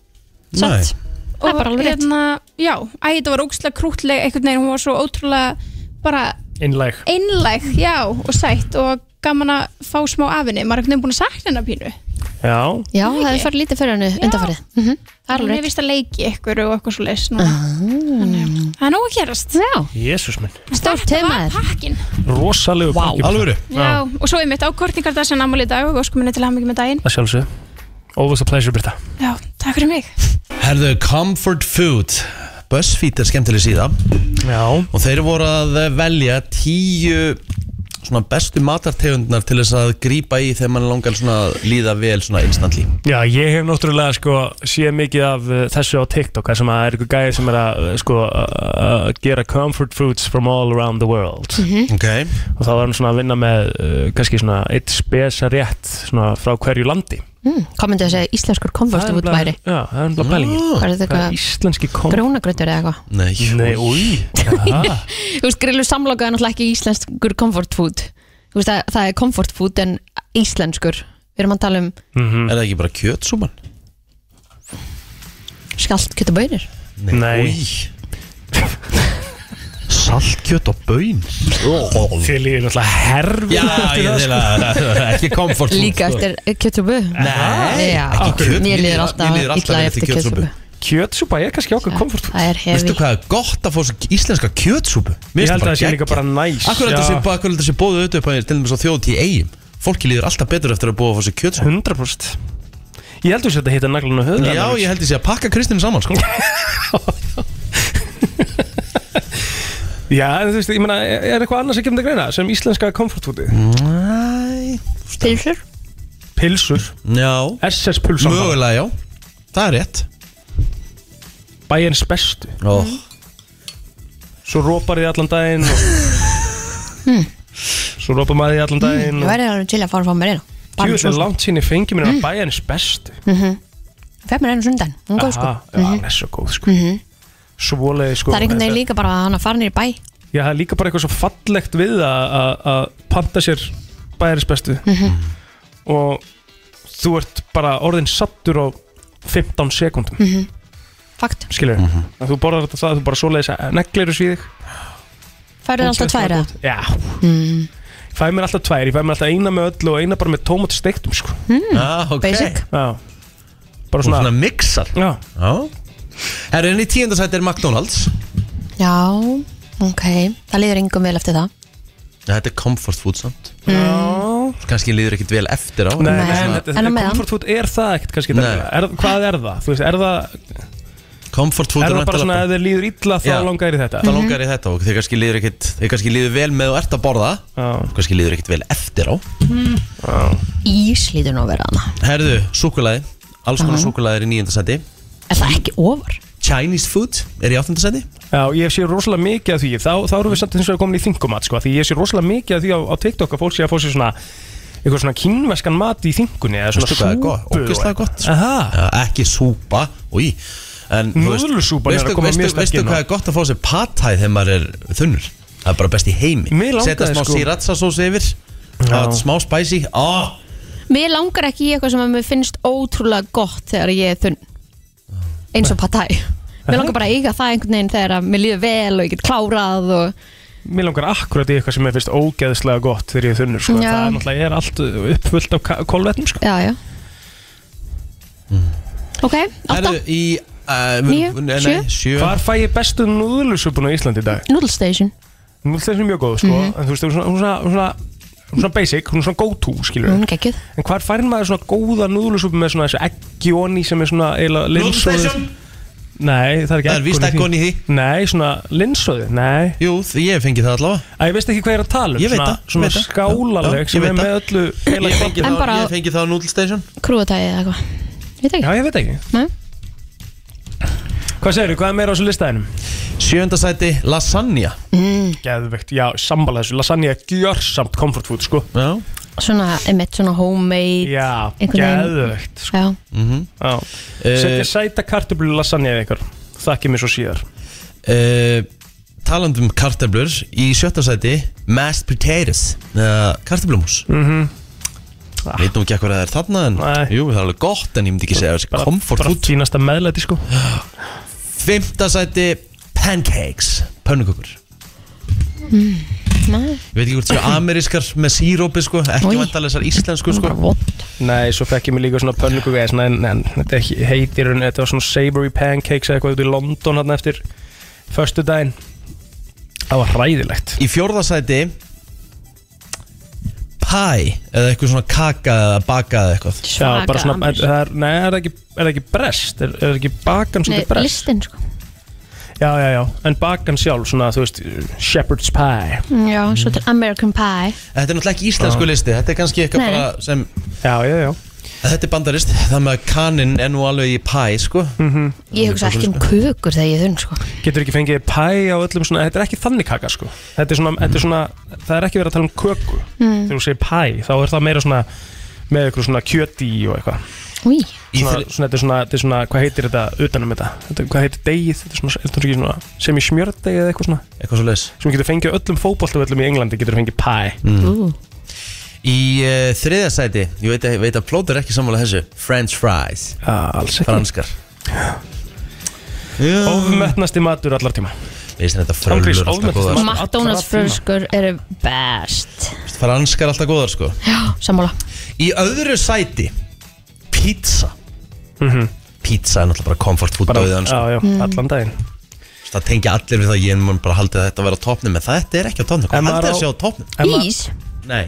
[SPEAKER 4] Nei,
[SPEAKER 5] Það er bara alveg rétt.
[SPEAKER 9] hérna, já, æ, þetta var ógustlega krútleg einhvern veginn, hún var svo ótrúlega bara
[SPEAKER 6] innlæg
[SPEAKER 9] einlæg, já, og sætt og gaman að fá smá afinni maður er einhvern veginn búin að sakna hennar pínu
[SPEAKER 6] Já,
[SPEAKER 5] Já, það hefur farið lítið fyrir henni undanfarið mm Það er
[SPEAKER 9] hún
[SPEAKER 5] alveg
[SPEAKER 9] er
[SPEAKER 5] rétt
[SPEAKER 9] vist að leiki ykkur og eitthvað svo leis það er nóg að gerast
[SPEAKER 5] Já,
[SPEAKER 6] jésus minn
[SPEAKER 5] stórt
[SPEAKER 9] Þetta var
[SPEAKER 5] temaður
[SPEAKER 9] pakkin
[SPEAKER 6] Rosalegu
[SPEAKER 5] Vá.
[SPEAKER 6] pakki.
[SPEAKER 4] alvöru
[SPEAKER 9] já, og svo ég mitt á Kortningardagsinn ámali í dag og óskum henni til að hafa mikið með daginn
[SPEAKER 6] Að sjálfsög Always a pleasure, Britta
[SPEAKER 9] já, takk fyrir mig
[SPEAKER 4] Herðu, comfort food BuzzFeed er skemmtileg síða
[SPEAKER 6] Já,
[SPEAKER 4] og þeir voru að velja tíu svona bestu matartegundunar til þess að grípa í þegar mann langar svona að líða vel svona instantly
[SPEAKER 6] Já, ég hef náttúrulega sko séð mikið af uh, þessu á TikTok þar sem að er eitthvað gæði sem er að uh, sko að að gera comfort foods from all around the world
[SPEAKER 5] Mhm.
[SPEAKER 9] Mm.
[SPEAKER 4] Ok
[SPEAKER 6] og þá var hann svona að vinna með uh, kannski svona eitt spesa rétt svona frá hverju landi
[SPEAKER 5] mm, Hvað myndi að segja íslenskur komfort út
[SPEAKER 6] nefnilega-
[SPEAKER 5] væri?
[SPEAKER 6] Já, það er umlað pælingi
[SPEAKER 5] Hvað er þetta
[SPEAKER 6] Hvað er
[SPEAKER 5] eitthvað
[SPEAKER 6] íslenski kom?
[SPEAKER 5] grúnagrötur eða eitthvað?
[SPEAKER 4] Ah, Nei,
[SPEAKER 6] Nei, új Jaha.
[SPEAKER 5] Þú veist, grillu samloka er náttúrulega ekki íslenskur comfort food Þú veist, það, það er comfort food en íslenskur Við erum að tala um
[SPEAKER 6] Mhm.
[SPEAKER 4] er það ekki bara kjötsúman?
[SPEAKER 5] skalt kjötabauðir
[SPEAKER 6] Nei.
[SPEAKER 4] Új saltkjöt og bön
[SPEAKER 6] Til ég er náttúrulega herfið
[SPEAKER 4] Já, ég
[SPEAKER 6] sko.
[SPEAKER 4] vil að það er ekki komfort food,
[SPEAKER 5] Líka
[SPEAKER 4] sko.
[SPEAKER 5] eftir eh, kjötsúbu
[SPEAKER 4] Nei,
[SPEAKER 5] Já,
[SPEAKER 4] ekki kjöt
[SPEAKER 5] Mér líður
[SPEAKER 4] mér
[SPEAKER 5] alltaf
[SPEAKER 4] líður
[SPEAKER 5] illa eftir kjötsúbu
[SPEAKER 6] Kjötsúpa er kannski okkur komfort
[SPEAKER 5] Það er
[SPEAKER 4] Veistu
[SPEAKER 5] hefi
[SPEAKER 4] hvað er gott að fá svo íslenska kjötsúpu? Mér
[SPEAKER 6] Ég
[SPEAKER 4] finnst
[SPEAKER 6] held að það sé líka
[SPEAKER 4] geggjað.
[SPEAKER 6] bara næs
[SPEAKER 4] Akkur er
[SPEAKER 6] Já.
[SPEAKER 4] þetta sem- akkur er þetta sem bóðu auðvitað upp að til dæmis á þjóðt í eigum Fólki líður alltaf betur eftir að búa að fá sér kjötsúpu
[SPEAKER 6] 100% Ég held að þetta hitta naglan á höfðu
[SPEAKER 4] Já, ég held ég sé að pakka Kristinn saman sko
[SPEAKER 6] Já, en þú veist, ég meina, er eitthvað annars að kemur til greina sem íslenska komfortfúti?
[SPEAKER 4] Næ
[SPEAKER 5] Pilsur
[SPEAKER 6] Pilsur,
[SPEAKER 4] Já
[SPEAKER 6] SS pulsa
[SPEAKER 4] Mögulega, já Það er rétt
[SPEAKER 6] Bæjens bestu
[SPEAKER 4] Ó,
[SPEAKER 5] Mm.
[SPEAKER 6] Svo rópar þið allan daginn og...
[SPEAKER 5] Hmm.
[SPEAKER 6] Svo rópar maður þið allan
[SPEAKER 5] Ég
[SPEAKER 6] daginn og...
[SPEAKER 5] væri alveg til að fara að fá mér einu
[SPEAKER 6] Jú,
[SPEAKER 5] Hmm. Bara
[SPEAKER 6] svo
[SPEAKER 5] svo Hmm.
[SPEAKER 6] langt sín ég fengi mér að bæjens bestu
[SPEAKER 5] Fætt mér einu sundan Hún er góð sko Mhm.
[SPEAKER 6] Aha, Já, hann er svo góð sko Svoleiði sko
[SPEAKER 5] Það er einhvern veginn
[SPEAKER 6] þetta-
[SPEAKER 5] líka bara að hann að fara nýri bæ
[SPEAKER 6] Já, það er líka bara eitthvað svo fallegt við að- að að panta sér bæjens bestu
[SPEAKER 5] Mhm.
[SPEAKER 6] Mm-hmm. Og þú ert bara orðin sattur á 15 sekundum
[SPEAKER 5] Mhm. Fakt
[SPEAKER 6] skilur mm
[SPEAKER 4] Mhm.
[SPEAKER 6] -hmm. þú borðar þetta það, þú bara svoleiðis að neglir þessu í þig
[SPEAKER 5] Færðu alltaf tvær eða?
[SPEAKER 6] já mm.
[SPEAKER 5] Mhm.
[SPEAKER 6] fæ mér alltaf tvær, ég fæ mér alltaf eina með öllu og eina bara með tómat steiktum sko.
[SPEAKER 5] Mhm.
[SPEAKER 4] ah, ok
[SPEAKER 5] Basic
[SPEAKER 6] já, bara
[SPEAKER 4] Svona, svona
[SPEAKER 6] svona
[SPEAKER 4] mixar
[SPEAKER 6] já,
[SPEAKER 4] Já Það er enn í tíundasæti er McDonalds
[SPEAKER 5] Já, ok Það líður engum vel eftir það
[SPEAKER 4] Þetta er comfort food samt
[SPEAKER 6] já
[SPEAKER 4] Kanski líður ekkit vel eftir á
[SPEAKER 6] Nei,
[SPEAKER 5] Nei,
[SPEAKER 6] nei, þetta,
[SPEAKER 5] Mhm. en á
[SPEAKER 6] þetta
[SPEAKER 5] meðan.
[SPEAKER 6] comfort food er það ekkert kannski
[SPEAKER 4] Nei.
[SPEAKER 6] þetta er, hvað er það, þú veist, er það
[SPEAKER 4] Comfort food
[SPEAKER 6] er það
[SPEAKER 4] væntanlega
[SPEAKER 6] bara svona Mhm. að þið líður illa þá
[SPEAKER 4] Já.
[SPEAKER 6] langar þér í þetta
[SPEAKER 4] Það langar í þetta og þeir kannski líður ekkit Þeir kannski líður vel með og ert að borða
[SPEAKER 6] já,
[SPEAKER 4] Kannski líður ekkit vel eftir á
[SPEAKER 5] Ís lítur nú að vera hana
[SPEAKER 4] Herðu, súkulaði Alls konar súkulaði er í níundasæti
[SPEAKER 5] Er það ekki ofar?
[SPEAKER 4] Chinese food er í áttundasæti
[SPEAKER 6] já, ég sé rosalega mikið af því þá, þá erum við samt eins og komin í þingumat sko, því ég sé rosalega mikið af því á, á TikTok að fólk sé að fá sér svona eitthvað svona kínveskan mat í þingunni eða svona
[SPEAKER 4] Veistu hvað er
[SPEAKER 6] súpu
[SPEAKER 4] gott? Ógeðslega
[SPEAKER 6] og-
[SPEAKER 4] gott.
[SPEAKER 6] Aha.
[SPEAKER 4] Já, ekki súpa Í En þú veist-
[SPEAKER 6] Núðlusúpan er að
[SPEAKER 4] veistu-
[SPEAKER 6] koma
[SPEAKER 4] veistu-
[SPEAKER 6] mjög sterk
[SPEAKER 4] Veistu
[SPEAKER 6] inn á.
[SPEAKER 4] hvað er gott að fá sér patæð þegar maður er þunnur Það er bara best í heimi
[SPEAKER 6] Mig langaði,
[SPEAKER 4] Setja smá
[SPEAKER 6] sko.
[SPEAKER 4] sriracha sós yfir og Smá spicy Ó,
[SPEAKER 5] Mér langar ekki í eitthvað sem að mér finnst ótrúlega gott þegar ég er þunn eins og patæ Mér langar bara að eiga það einhvern veginn þegar að mér líður vel og ég get klárað og
[SPEAKER 6] Mér langar akkurat í eitthvað sem er fyrst ógeðslega gott þegar ég er þunnur sko.
[SPEAKER 5] Já.
[SPEAKER 6] Það er náttúrulega er allt uppfullt af kolvetnum sko.
[SPEAKER 5] já, já Ok, átta
[SPEAKER 4] Herðu í uh,
[SPEAKER 5] Níu,
[SPEAKER 4] nei,
[SPEAKER 5] sjö.
[SPEAKER 4] sjö.
[SPEAKER 6] Hvar fæ ég bestu núðlusupun á Íslandi í dag?
[SPEAKER 5] Noodle Station
[SPEAKER 6] Nú er þessi mjög góð sko. En þú veist, hún er svona, hún er svona, hún er svona, hún er svona basic, hún er svona go-to skilur
[SPEAKER 5] Hún er Mm, geggjuð
[SPEAKER 6] En hvar fær maður svona góða núðlusupu með svona þessu eggjóni sem er svona eiginlega linsóðu
[SPEAKER 4] Núðlustation?
[SPEAKER 6] Nei, það er ekki
[SPEAKER 4] Það er víst eggjóni
[SPEAKER 6] eggjóni
[SPEAKER 4] í
[SPEAKER 6] Nei, svona linsóðu, nei
[SPEAKER 4] Jú, því ég hef fengið það allavega
[SPEAKER 6] Æ, ég veist ekki hvað ég er að tala um
[SPEAKER 4] Ég veit
[SPEAKER 6] Svona,
[SPEAKER 4] það,
[SPEAKER 6] svona
[SPEAKER 4] veit það. Já, já,
[SPEAKER 6] skálaleg
[SPEAKER 4] ég
[SPEAKER 6] sem
[SPEAKER 4] veit
[SPEAKER 6] er
[SPEAKER 4] það.
[SPEAKER 6] með öllu
[SPEAKER 4] Ég hef
[SPEAKER 6] heila
[SPEAKER 4] fengið
[SPEAKER 5] En
[SPEAKER 4] það,
[SPEAKER 5] bara-
[SPEAKER 4] ég hef fengið það á Noodle Station
[SPEAKER 5] Krúatæði eða eitthvað Veit
[SPEAKER 6] Já,
[SPEAKER 5] ekki
[SPEAKER 6] ég veit ekki
[SPEAKER 5] Nei.
[SPEAKER 6] Hvað segirðu, hvað er meira á þessu listaðinum?
[SPEAKER 4] Sjöndasæti lasagna
[SPEAKER 6] Geðvegt, já, sambalað þessu Lasagna er gjörsamt comfort food, sko
[SPEAKER 4] Já
[SPEAKER 5] Svona, emitt, svona homemade
[SPEAKER 6] Já,
[SPEAKER 5] Einhvern veginn.
[SPEAKER 6] geðvegt sko.
[SPEAKER 5] Já,
[SPEAKER 6] Já.
[SPEAKER 4] Eh,
[SPEAKER 6] Setja sæta kartöflu lasagna eða ykkur Þakki mér svo síðar
[SPEAKER 4] uh, Talandum kartablur um Í sjötta sæti Mashed potatoes uh, Kartablumús mm -hmm. Veit nú ekki eitthvað að það er þarna en,
[SPEAKER 6] Nei.
[SPEAKER 4] Jú, það er alveg gott en ég myndi ekki segja þessi
[SPEAKER 6] Bara,
[SPEAKER 4] Comfort
[SPEAKER 6] bara
[SPEAKER 4] food
[SPEAKER 6] fínasta meðlæti, sko
[SPEAKER 4] Fymta sæti Pancakes Pönnukökur
[SPEAKER 5] næ,
[SPEAKER 4] Ég veit ekki hvort séu amerískar með sírópi sko Ekki
[SPEAKER 5] Oj.
[SPEAKER 4] vantarlega þessar íslensku sko
[SPEAKER 5] bara vond
[SPEAKER 6] Nei, svo fekk ég mér líka svona pönnuköku eða svona, en, en þetta er ekki- heitir hún, þetta var svona savory pancakes eða eitthvað út í London hann eftir Föstu daginn Það var hræðilegt
[SPEAKER 4] Í fjórða sæti Pie Eða eitthvað svona kaka eða baka eða eitthvað
[SPEAKER 6] Já, bara svona, er,
[SPEAKER 5] Svaka
[SPEAKER 6] það er, nei, er það ekki, er það ekki brest? Er, er það ekki bakan
[SPEAKER 5] Nei,
[SPEAKER 6] svolítið brest?
[SPEAKER 5] listin sko
[SPEAKER 6] Já, já, já, en bakan sjálf, svona, þú veist, shepherd's pie
[SPEAKER 5] Já, svo til American Pie
[SPEAKER 4] Þetta er náttúrulega ekki íslensku listi Þetta er kannski eitthvað
[SPEAKER 5] Nei.
[SPEAKER 4] bara sem
[SPEAKER 6] Já, já, já
[SPEAKER 4] Þetta er bandarist, það með að kaninn er nú alveg í pæ, sko
[SPEAKER 5] Ég hugsa ekki um kökur þegar ég er þunn sko
[SPEAKER 6] Getur ekki fengið pie á öllum svona, þetta er ekki þannig kaka, sko Þetta er svona, þetta er svona það er ekki verið að tala um köku Þegar þú segir pie, þá er það meira svona með ykkur svona kjöti í og eitthvað
[SPEAKER 5] Új,
[SPEAKER 6] svona,
[SPEAKER 4] þri-
[SPEAKER 6] svona, þetta er svona, þetta er svona, hvað heitir þetta utanum þetta? þetta hvað heitir degið, þetta er svona, er þetta ekki svona sem í smjördegi eða eitthvað svona
[SPEAKER 4] Eitthvað svo leis
[SPEAKER 6] sem getur fengið á öllum fótboltavöllum í Englandi getur fengið pie
[SPEAKER 4] Mm.
[SPEAKER 5] ú,
[SPEAKER 4] Í uh, þriðja sæti, ég veit, að- veit að plótur er ekki sammála þessu French fries,
[SPEAKER 6] Já, alls ekki
[SPEAKER 4] franskar Já.
[SPEAKER 6] Ofmetnasti matur allar tíma
[SPEAKER 4] Veist þetta
[SPEAKER 6] Ángríns,
[SPEAKER 4] frölur alltaf
[SPEAKER 6] ofmetið
[SPEAKER 4] góðar
[SPEAKER 6] mat.
[SPEAKER 4] sko.
[SPEAKER 5] McDonalds
[SPEAKER 6] Allra tíma.
[SPEAKER 5] fröskur eru best
[SPEAKER 4] Franskar alltaf góðar sko
[SPEAKER 5] Já, sammála
[SPEAKER 4] Í öðru sæti Pizza Pizza er náttúrulega bara comfort food
[SPEAKER 6] bara,
[SPEAKER 4] döðan sko.
[SPEAKER 6] já, já, allan daginn
[SPEAKER 4] Það tengja allir við það Ég mun bara haldið að þetta vera á topnum En þetta er ekki á topnum
[SPEAKER 6] En
[SPEAKER 4] Hvað
[SPEAKER 6] maður
[SPEAKER 4] haldið
[SPEAKER 6] á-
[SPEAKER 4] að sé á topnum?
[SPEAKER 6] En ma-
[SPEAKER 5] Ís
[SPEAKER 4] Nei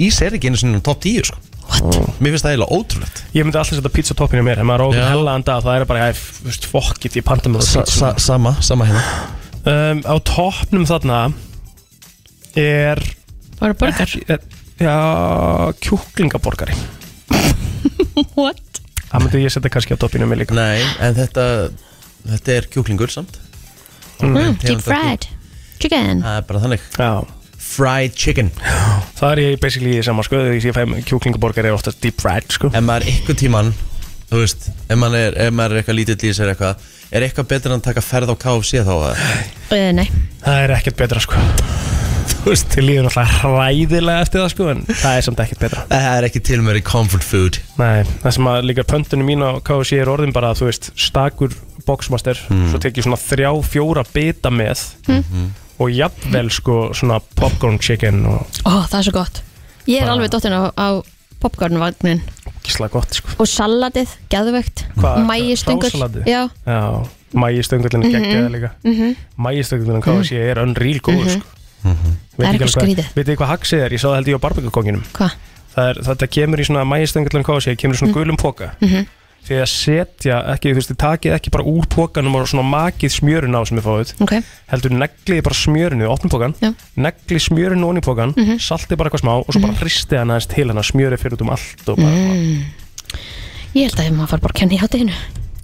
[SPEAKER 4] Ís er ekki einu sinni um top 10 sko Mér finnst það eiginlega ótrúlegt
[SPEAKER 6] Ég myndi alltaf setja pizza toppinu mér En
[SPEAKER 4] Já.
[SPEAKER 6] maður rókum hellaðan dag Það er bara, ég, veist, fuck it, ég panta með
[SPEAKER 4] sa, sa, Sama, sama hérna
[SPEAKER 6] um, Á toppnum þarna Er
[SPEAKER 5] Bara burger
[SPEAKER 6] er- Já, kjúklingaborgari
[SPEAKER 5] What?
[SPEAKER 6] Það myndi ég setja kannski á toppinu mér líka
[SPEAKER 4] Nei, en þetta Þetta er kjúklingur samt
[SPEAKER 5] Mm,
[SPEAKER 4] Tegund
[SPEAKER 5] deep
[SPEAKER 4] af
[SPEAKER 5] fried Chicken
[SPEAKER 4] Það er bara þannig
[SPEAKER 6] Já,
[SPEAKER 4] Fried chicken
[SPEAKER 6] það er ég basically í sama sko Þegar ég fæm kjúklingaborgari er oftast deep fried sko
[SPEAKER 4] Ef maður er eitthvað tíman Þú veist Ef maður er, ef maður er eitthvað lítill í sér eitthvað Er eitthvað betur en að taka ferð á KFC þá að
[SPEAKER 5] uh, Nei
[SPEAKER 6] Það er ekkert betra sko Þú veist, til líður alltaf hræðilega eftir það sko En það er samt ekkert betra
[SPEAKER 4] Það er ekki til mér í comfort food
[SPEAKER 6] Nei, það sem að líka pöntunum mín á KFC er orðin bara að þú veist stakur boxmaster, svo tek ég svona þrjá, fjóra bita með
[SPEAKER 5] Hmm.
[SPEAKER 6] og jafnvel sko svona popcorn chicken og
[SPEAKER 5] Ó, það er svo gott Ég er alveg dottin á, á popcornvagnin
[SPEAKER 6] gísla gott sko
[SPEAKER 5] Og salatið, geðvögt
[SPEAKER 6] Hvað,
[SPEAKER 5] Mægistöngur
[SPEAKER 6] hrásalatið?
[SPEAKER 5] Já,
[SPEAKER 6] Já, mægistöngullin
[SPEAKER 5] Mhm.
[SPEAKER 6] er geggjaði líka mægistöngullin á KFC er unreal góður sko
[SPEAKER 5] Mhm. Það er
[SPEAKER 6] Veit ekki
[SPEAKER 5] eitthvað
[SPEAKER 6] alveg
[SPEAKER 5] skrítið.
[SPEAKER 6] hvað- Veit ekki hvað haxið er, ég sá það held ég á barbekukókinum
[SPEAKER 5] hvað?
[SPEAKER 6] það er, þetta kemur í svona mægistöngullin kási, það kemur
[SPEAKER 5] Mhm.
[SPEAKER 6] í svona gulum póka því að setja ekki, þú veist, þið takið ekki bara úr pókanum og svona makið smjörun á sem þið fáið,
[SPEAKER 5] Ok,
[SPEAKER 6] heldur neglið bara smjörinu, opnum pókan,
[SPEAKER 5] Já. Mhm.
[SPEAKER 6] neglið smjörinu onni í pókan, saltið bara eitthvað smá og svo bara ristið hann aðeins til hann að smjörið fyrir út um allt og bara,
[SPEAKER 5] Mhm. ég held að maður fara bara að kenna í hátteginu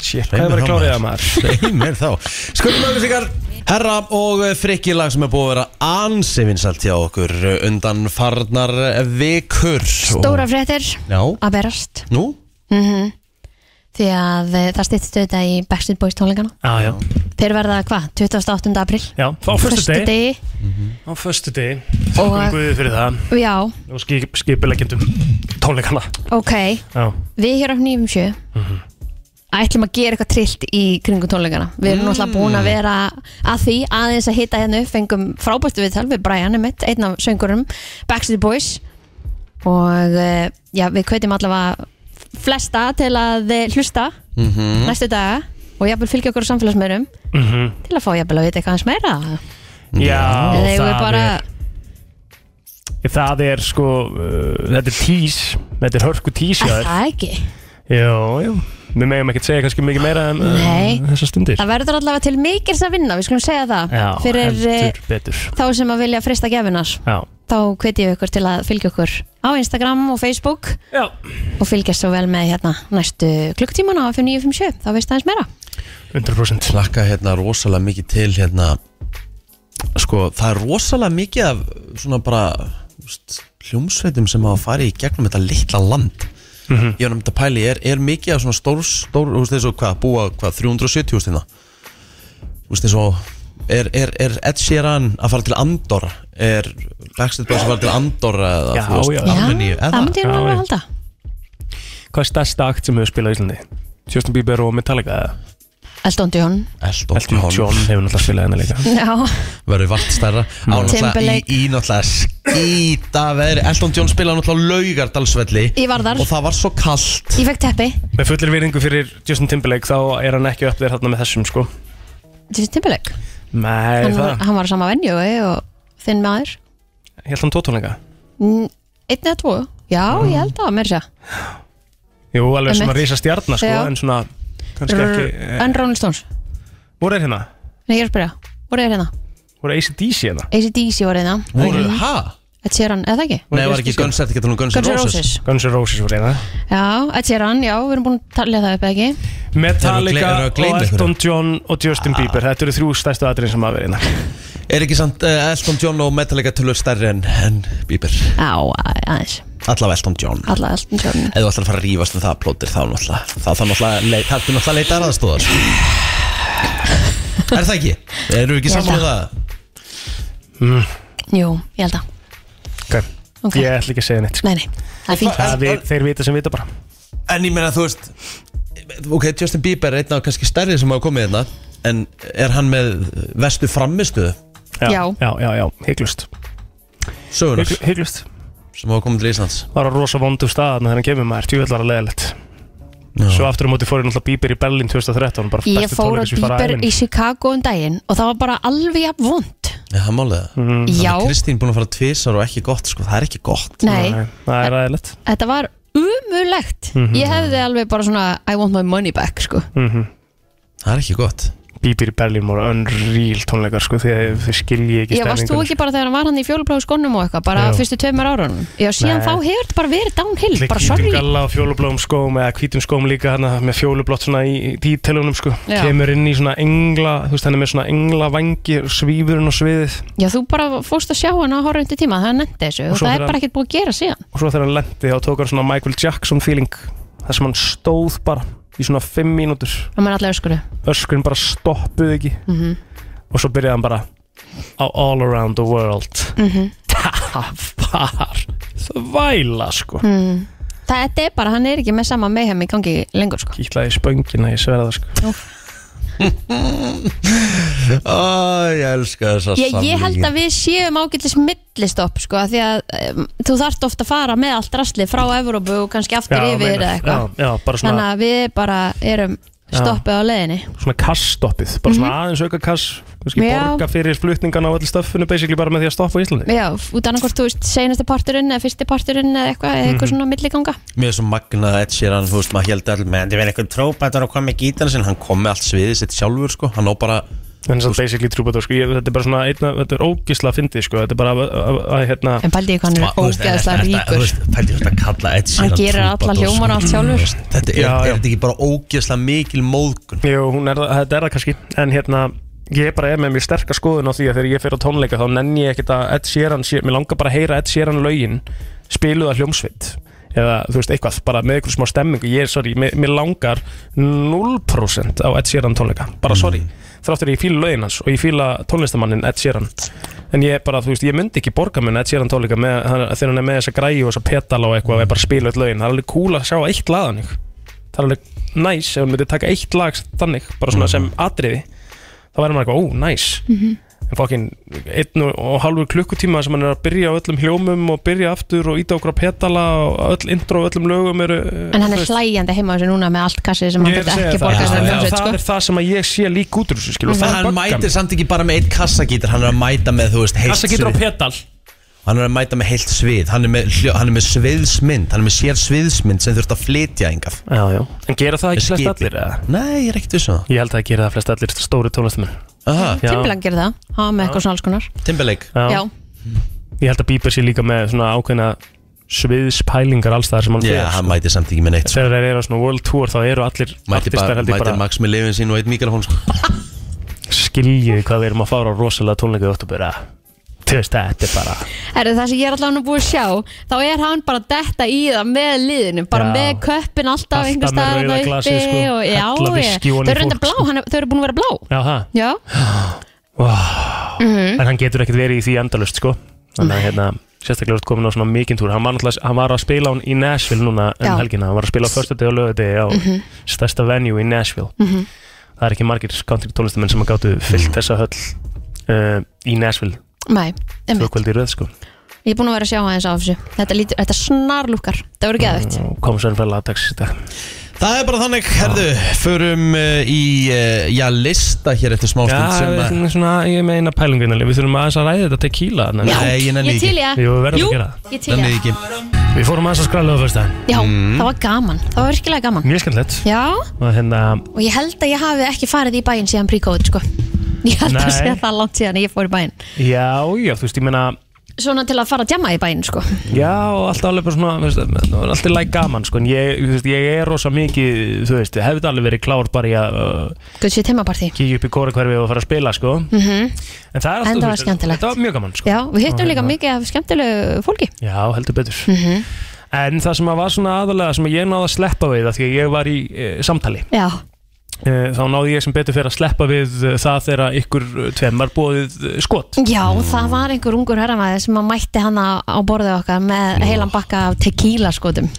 [SPEAKER 6] shit, hvað er verið klárið að maður
[SPEAKER 4] Reymir þá Skulum auðvitsingar Herra og frikkilag sem er búið að vera ansi vinsalt hjá okkur undan farnar vikur
[SPEAKER 5] Stóra fréttir
[SPEAKER 4] Já,
[SPEAKER 5] að berast
[SPEAKER 4] nú
[SPEAKER 5] Því að eh, það styttist auðvitað í Backstreet Boys tónleikana
[SPEAKER 6] Já, já,
[SPEAKER 5] Þeir verða hvað? 28. april
[SPEAKER 6] já, á fyrstu deg
[SPEAKER 5] degi
[SPEAKER 6] á fyrstu deg,
[SPEAKER 5] Og-
[SPEAKER 6] þakkum guðið fyrir það
[SPEAKER 5] Já,
[SPEAKER 6] og skip, skipulegjendum tónleikana
[SPEAKER 5] ok
[SPEAKER 6] Já,
[SPEAKER 5] Við hér á Nýjum sjö
[SPEAKER 6] Mhm.
[SPEAKER 5] ætlum að gera eitthvað trillt í kringum tónleikana Við erum náttúrulega búin
[SPEAKER 6] Mm.
[SPEAKER 5] að vera að því aðeins að hitta hérna upp fengum frábæstu viðtal við Brian mitt, einn af söngurum Backstreet Boys og eh, já, við kveitjum allavega flesta til að eh, hlusta næstu daga og jafnvel fylgja okkur á samfélagsmeirum til að fá jafnvel að vita eitthvað hans meira
[SPEAKER 6] Mhm. já
[SPEAKER 5] Eða eigum við
[SPEAKER 6] það
[SPEAKER 5] bara,
[SPEAKER 6] er- Það er sko, uh, þetta er tís, þetta er hörku tís hjá
[SPEAKER 5] að
[SPEAKER 6] þér.
[SPEAKER 5] það ekki
[SPEAKER 6] Jú, jú, við megum ekkert segja kannski mikið meira en
[SPEAKER 5] Nei.
[SPEAKER 6] þessar stundir.
[SPEAKER 5] Það verður allavega til mikils að vinna, við skulum segja það
[SPEAKER 6] Já,
[SPEAKER 5] Fyrir eh,
[SPEAKER 6] heldur betur.
[SPEAKER 5] þá sem að vilja frista gefinar
[SPEAKER 6] Já.
[SPEAKER 5] Þá hvetjum við ykkur til að fylgja okkur á Instagram og Facebook
[SPEAKER 6] já,
[SPEAKER 5] Og fylgjast svo vel með hérna næstu klukkutímana á 4957 Þá veist aðeins meira
[SPEAKER 6] 100%.
[SPEAKER 4] Klakka hérna rosalega mikið til hérna Sko, það er rosalega mikið af svona bara úst, hljómsveitum sem hafa farið í gegnum þetta litla land
[SPEAKER 6] Mhm.
[SPEAKER 4] Ég var nefnd að pæli, er, er mikið af svona stór, stór, þú veist þessu, hvað, búa, hvað, 370 hústina Þú veist þessu, er, er, er Ed Sheeran að fara til Andorra? Er Backstreet Boys að fara til Andorra eða,
[SPEAKER 6] Já,
[SPEAKER 4] þú
[SPEAKER 6] já.
[SPEAKER 4] veist, Armeníu,
[SPEAKER 5] það
[SPEAKER 4] eða?
[SPEAKER 5] myndi ég nú
[SPEAKER 6] Já,
[SPEAKER 5] alveg
[SPEAKER 6] já.
[SPEAKER 5] að halda
[SPEAKER 6] Hvað er stærsta akt sem hefur spilað í Íslandi? Justin Bieber og Metallica eða?
[SPEAKER 5] Elton John
[SPEAKER 4] Elton
[SPEAKER 6] Elton
[SPEAKER 4] John
[SPEAKER 6] John hefur náttúrulega spilað hennar líka.
[SPEAKER 5] Já,
[SPEAKER 4] verður vart stærra á náttúrulega í,
[SPEAKER 5] Mm. Timberlake.
[SPEAKER 4] í náttúrulega skýta veðri Elton John spilaði náttúrulega laugardalsvelli
[SPEAKER 5] Í Varðar.
[SPEAKER 4] og það var svo kallt
[SPEAKER 5] ég fekk teppi
[SPEAKER 6] Með fullir virðingu fyrir Justin Timberlake þá er hann ekki upp þér þarna með þessum sko.
[SPEAKER 5] Justin Timberlake
[SPEAKER 6] Nei,
[SPEAKER 5] hann var,
[SPEAKER 6] það,
[SPEAKER 5] hann var á sama venju og þinn maður
[SPEAKER 6] ég held hann tótónleika.
[SPEAKER 5] Mm, Einn eða tvo Já,
[SPEAKER 6] Mm.
[SPEAKER 5] ég held að mér sé
[SPEAKER 6] Jú, alveg svona
[SPEAKER 5] Einmitt.
[SPEAKER 6] risa stjarnar sko,
[SPEAKER 5] Já.
[SPEAKER 6] en svona kannski ekki. eh,
[SPEAKER 5] En Ronald Stones
[SPEAKER 6] Hvor er hérna?
[SPEAKER 5] Nei, ég er að spyrja Hvor er hérna?
[SPEAKER 6] Hvor er ACDC hérna?
[SPEAKER 5] ACDC var hérna
[SPEAKER 4] voru, hæ?
[SPEAKER 5] Ed Sheeran, eða ekki?
[SPEAKER 4] Nei, var ekki Guns N' Roses Guns
[SPEAKER 5] Guns
[SPEAKER 4] N'
[SPEAKER 5] N'
[SPEAKER 4] Roses
[SPEAKER 5] Roses
[SPEAKER 6] Guns N' Roses voru hérna.
[SPEAKER 5] Já, Ed Sheeran, já, við erum búin að talja það upp eða ekki
[SPEAKER 6] Metallica
[SPEAKER 4] Eru að gle- eru að
[SPEAKER 6] og
[SPEAKER 4] gleyma Ah.
[SPEAKER 6] Elton John og Justin Bieber Þetta eru þrjú stærstu atriðin sem hafa verið hérna
[SPEAKER 4] er ekki samt uh, Elton John og Metallica tölur stærri en, en Bieber
[SPEAKER 5] Já, a- aðeins,
[SPEAKER 4] allavega Elton John
[SPEAKER 5] alla Elton John
[SPEAKER 4] eða þú ætlar að fara að rífast um það plótir þá náttúrulega þá þarf náttúrulega að leita- þarftu náttúrulega að leita aðraðstóðar er það ekki? erum við ekki
[SPEAKER 5] Ég held
[SPEAKER 4] saman um það?
[SPEAKER 5] Jú, ég held að,
[SPEAKER 6] okay.
[SPEAKER 5] Ok.
[SPEAKER 6] Ég ætla ekki að segja neitt sko.
[SPEAKER 5] nei, nei, það er fínt
[SPEAKER 6] Það við, Þeir vita sem vita bara
[SPEAKER 4] En ég meina þú veist Ok, Justin Bieber er einn af kannski stærri sem hafa komið hérna en er hann með vestu framistuðu
[SPEAKER 5] Já.
[SPEAKER 6] já, já, já, hygglust
[SPEAKER 4] sögunar
[SPEAKER 6] Hyggl- Hygglust
[SPEAKER 4] sem hafa komið til Íslands
[SPEAKER 6] var á rosa vondu staðan þegar hann kemur maður, tjúvill var að leiðilegt Svo aftur á móti fór ég náttúrulega Bieber í Berlin 2013 bara
[SPEAKER 5] Ég
[SPEAKER 6] bestu
[SPEAKER 5] fór á
[SPEAKER 6] tónleikar sem ég fara
[SPEAKER 5] Bieber
[SPEAKER 6] ævinni.
[SPEAKER 5] í Chicago um daginn og það var bara alveg jafn vond
[SPEAKER 4] Já, það málega það
[SPEAKER 6] Mm,
[SPEAKER 5] Já,
[SPEAKER 4] Kristín búin að fara tvisar og ekki gott sko, það er ekki gott
[SPEAKER 5] nei,
[SPEAKER 6] Nei, Mhm. Það er aðeinlegt
[SPEAKER 5] þetta var umulegt Ég hefði alveg bara svona I want my money back, sko
[SPEAKER 4] það er ekki gott
[SPEAKER 6] Mhm. Bieber í Berlin voru unreal tónleikar sko því að þau skilji ekki
[SPEAKER 5] Ég varst þú
[SPEAKER 6] stemninguna.
[SPEAKER 5] ekki bara þegar hann var hann í fjólubláðu skónum og eitthvað bara
[SPEAKER 6] Jú.
[SPEAKER 5] fyrstu tveimur árunum Já, síðan
[SPEAKER 6] Nei.
[SPEAKER 5] þá hefur þetta bara verið downhill,
[SPEAKER 6] Með
[SPEAKER 5] bara
[SPEAKER 6] hvítum
[SPEAKER 5] sorry
[SPEAKER 6] galla og fjólubláum skóm eða hvítum skóm líka hana, með fjólublátt svona í dítelunum sko.
[SPEAKER 5] Já.
[SPEAKER 6] kemur inn í svona engla þú veist hann er með svona engla vangi svífur hann á sviðið
[SPEAKER 5] Já, þú bara fórst að sjá hann á horfundu tíma, það nefndi þessu og
[SPEAKER 6] svo
[SPEAKER 5] það er
[SPEAKER 6] þegar-
[SPEAKER 5] bara ekkert búið að gera síðan
[SPEAKER 6] og svo þegar hann lendi þá tók hann svona Michael Jackson feeling þar sem hann stóð bara í svona 5 mínútur
[SPEAKER 5] Það maður allir öskuru
[SPEAKER 6] öskurinn bara stoppuð ekki
[SPEAKER 5] Mhm.
[SPEAKER 6] og svo byrjaði hann bara "A- all around the world
[SPEAKER 5] Mhm.
[SPEAKER 6] það var þvæla sko mm.
[SPEAKER 5] Það þetta er bara, hann er ekki með sama meðhæm í gangi lengur sko.
[SPEAKER 6] í spöngina ég sverða það sko
[SPEAKER 4] Æ, ég elska þessa
[SPEAKER 5] ég, ég held að við séum ágætlis millistopp sko, af því að um, þú þarft ofta að fara með allt rastlið frá Evrópu og kannski aftur yfir
[SPEAKER 6] meinar.
[SPEAKER 5] eða eitthvað
[SPEAKER 6] já, já, bara svona,
[SPEAKER 5] Þannig að við bara erum stoppið á leiðinni
[SPEAKER 6] svona kassstoppið bara svona aðeins auka kass kannski
[SPEAKER 5] Já.
[SPEAKER 6] borga fyrir flutningan á öllu stöffinu basically bara með því að stoppa á Íslandi
[SPEAKER 5] Já, út annað hvort þú veist seinasti parturinn eða fyrsti parturinn eða eitthvað, eða
[SPEAKER 6] Mhm.
[SPEAKER 5] eitthvað svona milliganga
[SPEAKER 4] Mér er svo magnað að Ed Sheeran, þú veist, maður held allir með Það er eitthvað trópatar að koma með gítana sinni Hann kom með allt sviðið sitt sjálfur, sko Hann á bara,
[SPEAKER 6] þannig að basically trúpatur sko ég, þetta er bara svona einna, þetta er ógisla fyndið sko þetta er bara að, að, að hérna
[SPEAKER 5] En pældi ég hvað hann er
[SPEAKER 4] þú veist,
[SPEAKER 5] ógeðslega
[SPEAKER 4] þetta- Þú
[SPEAKER 5] ríkur
[SPEAKER 4] veist, pældi þú veist að kalla Ed Sheeran
[SPEAKER 5] Hann gerir alla
[SPEAKER 4] trúbadúr,
[SPEAKER 5] hljómana
[SPEAKER 4] sko.
[SPEAKER 5] allt Mm. sjálfur.
[SPEAKER 4] Þú veist, Þetta er,
[SPEAKER 6] Já, já.
[SPEAKER 4] er þetta ekki bara ógeðslega mikil móðgun
[SPEAKER 6] Jú, hún er, það- þetta er það kannski En hérna, ég bara er með mjög sterka skoðun á því að þegar ég fyrir á tónleika þá nenni ég ekkert að Ed Sheeran, sé, mér langar bara að heyra Ed Sheeran lögin spiluð að hljómsveit eða þú veist eitthvað, bara með einhver smá stemmingu ég er, sorry, mér, mér langar 0% á Ed Sheeran tónleika bara sorry, þráttur ég fíla lögin hans og ég fíla tónlistamannin Ed Sheeran en ég bara, þú veist, ég myndi ekki borga mun Ed Sheeran tónleika með, hann- þegar hann er með þessa græju og þessa petala og eitthvað og er bara að spila öll lögin það er alveg cool að sjá eitt laðan ykkur það er alveg næs ef hún myndi taka eitt lag þannig, bara
[SPEAKER 4] Mhm.
[SPEAKER 6] svona sem atriði þá verður maður eitthvað, ó, næs
[SPEAKER 5] Mhm.
[SPEAKER 6] en fokkin, einn og, og halvur klukkutíma sem hann er að byrja á öllum hljómum og byrja aftur og íta okkur á petala og öll intro og öllum lögum eru eh,
[SPEAKER 5] En hann er hlægjandi heima á þessu núna með allt kassið sem hann
[SPEAKER 6] Ég er að
[SPEAKER 5] getur
[SPEAKER 6] segja
[SPEAKER 5] ekki
[SPEAKER 6] það,
[SPEAKER 5] borgað sem
[SPEAKER 6] það, það,
[SPEAKER 5] hljómsveit
[SPEAKER 6] það
[SPEAKER 5] sko.
[SPEAKER 6] er það sem að ég sé líka út úr þessu skil og það
[SPEAKER 4] Mm. Hann
[SPEAKER 6] er
[SPEAKER 4] mætir
[SPEAKER 6] baggan
[SPEAKER 4] samt ekki bara með eitt kassagítar Hann er að mæta með, þú veist, heilt
[SPEAKER 6] Kassa getur á
[SPEAKER 4] svið.
[SPEAKER 6] petal
[SPEAKER 4] Hann er að mæta með heilt svið Hann er með, hljó- hann er með sviðsmynd Hann er með sér sviðsmynd sem þurft að flytja engað
[SPEAKER 6] já, já. En gera það
[SPEAKER 4] Með
[SPEAKER 6] ekki flest
[SPEAKER 4] skipi.
[SPEAKER 6] allir? eða?
[SPEAKER 4] Nei, ég er ekkert viss um það.
[SPEAKER 6] Ég held að það gera það flest allir stóri tónlistamenn
[SPEAKER 4] Aha,
[SPEAKER 6] Já.
[SPEAKER 5] Timbaland gerir það, hafa með eitthvað svona alls konar
[SPEAKER 4] Timberlake
[SPEAKER 6] Já.
[SPEAKER 5] Já,
[SPEAKER 6] Ég held að Bieber sé líka með svona ákveðna sviðspælingar alls þar sem hann
[SPEAKER 4] Já,
[SPEAKER 6] fer,
[SPEAKER 4] hann mætir samt ekki með neitt sko.
[SPEAKER 6] þegar þeir eru á svona world tour þá eru allir
[SPEAKER 4] Mætir
[SPEAKER 6] artistar
[SPEAKER 4] bara,
[SPEAKER 6] held ég
[SPEAKER 4] mætir
[SPEAKER 6] bara
[SPEAKER 4] Max með lifin sín og eitt mikrofón sko.
[SPEAKER 6] skiljiði hvað við erum að fara á rosalega tónleika í oktober að þú veist þetta er bara
[SPEAKER 5] Herru, það sem ég er allavega nú búið að sjá þá er hann bara að detta í það með liðinu bara
[SPEAKER 6] Já.
[SPEAKER 5] með köppin alltaf
[SPEAKER 6] Alltaf
[SPEAKER 5] einhver
[SPEAKER 6] með
[SPEAKER 5] staðar
[SPEAKER 6] rauða
[SPEAKER 5] þarna
[SPEAKER 6] glasið, sko.
[SPEAKER 5] og, já,
[SPEAKER 6] Hella
[SPEAKER 5] ég,
[SPEAKER 6] viskí ofan í
[SPEAKER 5] þau eru enda
[SPEAKER 6] fólk,
[SPEAKER 5] blá,
[SPEAKER 6] sko.
[SPEAKER 5] hann, þau eru búin að vera blá
[SPEAKER 6] já það
[SPEAKER 5] Já,
[SPEAKER 6] en hann getur ekkert verið í því endalust sko þannig að hérna sérstaklega ert komin á svona mikinn túr hann var, náttúrulega- hann var að spila hún í Nashville núna um
[SPEAKER 5] Já.
[SPEAKER 6] helgina hann var að spila á förstudegi og lögudegi á stærsta venue í Nashville það er ekki margir country tónlistamenn sem að gáttu fyllt þessa höll uh, í Nashville
[SPEAKER 5] mæ,
[SPEAKER 6] tvö
[SPEAKER 5] emmi,
[SPEAKER 6] kvöldi í röð sko
[SPEAKER 5] ég er búin að vera að sjá aðeins á þessu Þetta, lítur, þetta snarlúkar, þetta verður geðvægt
[SPEAKER 6] og kom svo enn fyrir lagdags í dag
[SPEAKER 4] Það er bara þannig, herðu, förum uh, í, uh, já, lista hér eftir
[SPEAKER 6] já,
[SPEAKER 4] smástund sem eh,
[SPEAKER 6] við
[SPEAKER 4] að
[SPEAKER 6] þurfum svona, ég meina pælingunni við þurfum aðeins að ræða þetta tequila þarna.
[SPEAKER 5] Já,
[SPEAKER 4] Nei, ég nenni
[SPEAKER 5] ég
[SPEAKER 4] ekki.
[SPEAKER 5] til ég að-
[SPEAKER 6] Jú, við verðum
[SPEAKER 5] Jú,
[SPEAKER 6] að gera
[SPEAKER 5] ég til
[SPEAKER 4] Nennið
[SPEAKER 5] ég að-
[SPEAKER 4] ekki
[SPEAKER 6] Við fórum aðeins að skrala á fyrsta
[SPEAKER 5] Já,
[SPEAKER 4] Mm.
[SPEAKER 5] það var gaman, það var virkilega gaman
[SPEAKER 6] Mjög skemmtilegt
[SPEAKER 5] Já,
[SPEAKER 6] Og hérna,
[SPEAKER 5] og ég held að ég hafi ekki farið í bæinn síðan príkóð, sko Ég held að
[SPEAKER 6] Nei.
[SPEAKER 5] sé það langt síðan ég fór í bæinn
[SPEAKER 6] já, já, þú veist, ég meina
[SPEAKER 5] Svona til að fara að djama í bæinn, sko
[SPEAKER 6] Já, og alltaf alveg bara svona, þú veist, það var alltaf læk gaman, sko En ég, þú veist, ég er rosa mikið, þú veist, ég hefði alveg verið klár bara í að uh,
[SPEAKER 5] Guð sér heimapartí
[SPEAKER 6] Kíkja upp í kórakverfi og fara að spila, sko
[SPEAKER 5] Mhm.
[SPEAKER 6] En það er
[SPEAKER 5] En það
[SPEAKER 6] alltaf, þú
[SPEAKER 5] var
[SPEAKER 6] veist,
[SPEAKER 5] skemmtilegt.
[SPEAKER 6] Þetta var mjög gaman, sko
[SPEAKER 5] Já, við hittum líka mikið af skemmtilegu fólki
[SPEAKER 6] Já, heldur betur
[SPEAKER 5] Mm.
[SPEAKER 6] En það sem að var svona aðalega, sem ég náði að sleppa við af Því að ég var í e, samtali
[SPEAKER 5] Já,
[SPEAKER 6] e, Þá náði ég sem betur fyrir að sleppa við eh, það þegar ykkur eh, tveim var búið skot
[SPEAKER 5] já það var einhver ungur herramæði sem að mætti hana á borðið okkar með heilan bakka af tequila skotum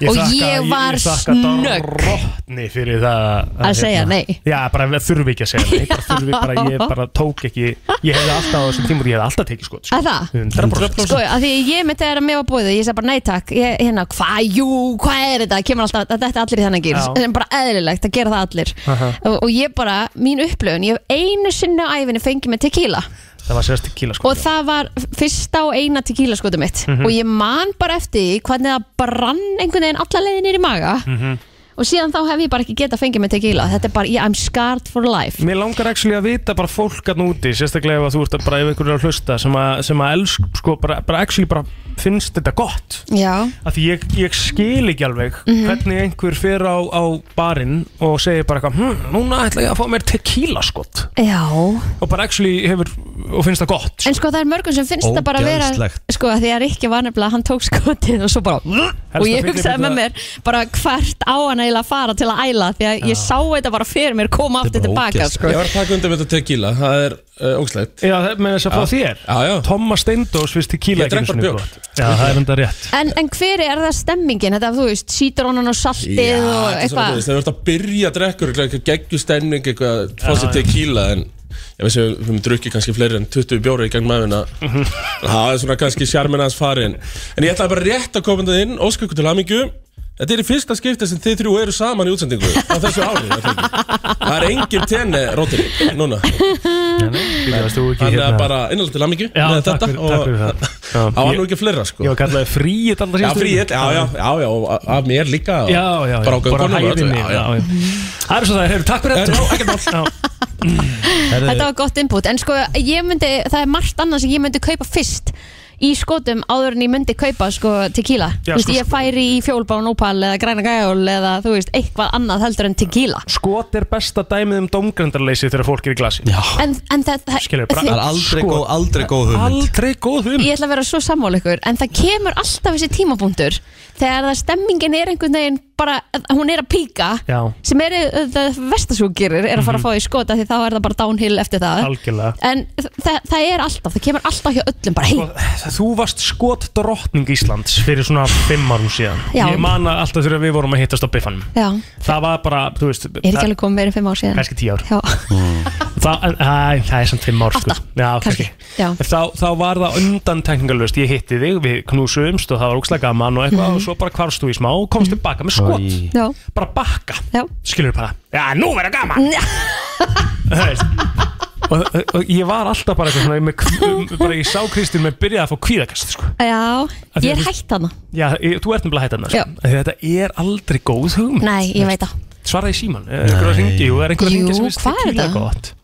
[SPEAKER 5] og ég var snögg
[SPEAKER 6] Róttni fyrir það hérna.
[SPEAKER 5] Að segja nei.
[SPEAKER 6] Já, bara við þurfum ekki að segja nei bara þurfi, bara, Ég bara tók ekki Ég hefði alltaf á þessum tímur, ég hefði alltaf tekið skot sko.
[SPEAKER 5] Að það?
[SPEAKER 6] 100%
[SPEAKER 5] Sko, að því ég myndi að mér var búið Ég sagði bara nei takk, ég, hérna, hvað, jú, hvað er þetta Kemur alltaf, þetta er allir í þennan gýr
[SPEAKER 6] Já.
[SPEAKER 5] Það er bara eðlilegt að gera það allir
[SPEAKER 6] Aha.
[SPEAKER 5] og, og ég bara, mín upplöfun Ég hef einu sinni á æfinni fengið með tequila
[SPEAKER 6] Það var sérst tequila sko
[SPEAKER 5] Og það var fyrsta og eina tequila skotum mitt
[SPEAKER 6] Mhm.
[SPEAKER 5] Og ég man bara eftir því Hvernig það brann einhvern veginn alla leiðin niður í maga
[SPEAKER 2] Mhm.
[SPEAKER 5] Og síðan þá hef ég bara ekki getað fengið með tequila Þetta er bara, ég, I'm scarred for life
[SPEAKER 6] Mér langar actually að vita bara fólk að núti Sérstaklega ef að þú ert að bara ef einhverju er að hlusta Sem að, sem að elsk, sko, bara, bara actually bara finnst þetta gott
[SPEAKER 5] Já
[SPEAKER 6] Af því ég, ég skil ekki alveg
[SPEAKER 5] Mhm.
[SPEAKER 6] Hvernig einhver fer á, á barinn Og segir bara eitthvað hm, Núna ætla ég að fá mér tequila skot
[SPEAKER 5] Já
[SPEAKER 6] Og bara actually hefur Og finnst það gott
[SPEAKER 5] En sko það er mörgum sem finnst það bara að vera
[SPEAKER 6] Ógeðslegt.
[SPEAKER 5] Sko að því að Rikki var nefnilega Hann tók skotið og svo bara Og ég
[SPEAKER 6] fyllir
[SPEAKER 5] hugsaði með
[SPEAKER 6] þetta-
[SPEAKER 5] mér bara hvert á hann eiginlega að fara til að æla Því að ég sá þetta bara fyrir mér koma aftur tilbaka sko.
[SPEAKER 2] Ég var að taka undir með þetta tequila, það er uh, ógslætt
[SPEAKER 6] Já, það er með þess að frá þér
[SPEAKER 2] Já, já
[SPEAKER 6] Thomas Steindós finnst tequila
[SPEAKER 2] Ég drekk bara bjór.
[SPEAKER 6] Já, það er enda rétt
[SPEAKER 5] en, en hver er það stemmingin? Þetta þú veist, sítrónan og saltið
[SPEAKER 2] Já,
[SPEAKER 5] og
[SPEAKER 2] þetta er svona, þú
[SPEAKER 5] eitthvað
[SPEAKER 2] veist, þegar þú ert að byrja að drekkur eitthvað geggjustemning, eitthvað, fá sér
[SPEAKER 6] já.
[SPEAKER 2] tequila en ég veist að við höfum drukkið kannski fleiri en 20 bjóra í gang maðurina það er svona kannski sjarmin aðeins farin en ég ætlaði bara rétt að koma þetta inn ósku ykkur til hamingju Þetta er í fyrsta skipti sem þið þrjú eru saman í útsendingu á þessu ári, ég þekki. Það er engin tenni rótinni, núna. Þannig að
[SPEAKER 6] hérna-
[SPEAKER 2] bara innlega til hamingju
[SPEAKER 6] Já,
[SPEAKER 2] með
[SPEAKER 6] takk
[SPEAKER 2] þetta
[SPEAKER 6] fyrir- takk fyrir það. Já,
[SPEAKER 2] Það var
[SPEAKER 6] ég-
[SPEAKER 2] nú ekki fleira, sko.
[SPEAKER 6] Ég var kallaði fríið alltaf
[SPEAKER 2] Já,
[SPEAKER 6] síðustu
[SPEAKER 2] fríið, já, já, já, já, og a- af mér líka og
[SPEAKER 6] Já, já, já,
[SPEAKER 2] bara á
[SPEAKER 6] bara
[SPEAKER 2] göngunum og öllu,
[SPEAKER 6] hæðinni
[SPEAKER 2] já, já.
[SPEAKER 6] já, já. Það er svo það, hefur takk fyrir þetta
[SPEAKER 5] Þetta var gott input En sko ég myndi, það er margt annað sem ég myndi kaupa fyrst í skotum áður en ég myndi kaupa sko tequila
[SPEAKER 6] Já,
[SPEAKER 5] Þú veist,
[SPEAKER 6] sko-
[SPEAKER 5] Ég færi í fjólbán opal eða græna gæjól eða þú veist, eitthvað annað heldur en tequila
[SPEAKER 6] Skot er besta dæmið um domgrændarleysi þegar fólk er í glasi Já,
[SPEAKER 5] En, en það, það
[SPEAKER 6] skilur bara
[SPEAKER 5] þið-
[SPEAKER 4] góð- aldrei góð hugmynd.
[SPEAKER 6] Aldrei góð hugmynd
[SPEAKER 5] Ég ætla að vera svo sammál ykkur En það kemur alltaf þessi tímapunktur Þegar það stemmingin er einhvern veginn bara, Hún er að píka
[SPEAKER 6] Já, Mhm.
[SPEAKER 5] Sem er það vestasúgerir Er að fara að fá í skota Því þá er það bara downhill eftir það
[SPEAKER 6] algjörlega Sko,
[SPEAKER 5] En það, það er alltaf Það kemur alltaf hjá öllum bara heim
[SPEAKER 6] Þú varst skot drottning Íslands fyrir svona fimm árum síðan
[SPEAKER 5] Já.
[SPEAKER 6] Ég man að alltaf þegar við vorum að hittast á biffanum
[SPEAKER 5] Já,
[SPEAKER 6] Það var bara, þú veist
[SPEAKER 5] ég er ekki alveg komið meira en fimm ár síðan
[SPEAKER 6] Kannski tíu ár
[SPEAKER 5] Já,
[SPEAKER 6] Það, æ, það er samt fimm ár sko. Já,
[SPEAKER 5] kannski Já,
[SPEAKER 6] En Þá, þá var það undantekningalust Ég hitti þig, við knúsumst og það var ógslag gaman og
[SPEAKER 5] Mhm.
[SPEAKER 6] eitthvað og svo bara hvarfst þú í smá og komst tilbaka með skot
[SPEAKER 4] Í-
[SPEAKER 5] já,
[SPEAKER 6] bara bakka,
[SPEAKER 5] já
[SPEAKER 6] skilur bara Já, nú verður gaman Þú veist. og, og, og ég var alltaf bara eitthvað svona ég með, kv- bara ég sá Kristín með byrjaði að fá kvíðakast sko.
[SPEAKER 5] Já,
[SPEAKER 6] Af því
[SPEAKER 5] ég
[SPEAKER 6] að
[SPEAKER 5] er
[SPEAKER 6] þú-
[SPEAKER 5] hætt hana
[SPEAKER 6] Já, ég, þú ert nefnilega hættan
[SPEAKER 5] Já.
[SPEAKER 6] sko. Af því að þetta er aldrei góð hugmynd
[SPEAKER 5] Nei, ég veit það
[SPEAKER 6] Svaraði síman, einhverju að ringi Jú, er einhverju að
[SPEAKER 5] Jú,
[SPEAKER 6] ringi sem finnst
[SPEAKER 5] hvað er
[SPEAKER 6] tequila
[SPEAKER 5] þetta?
[SPEAKER 6] gott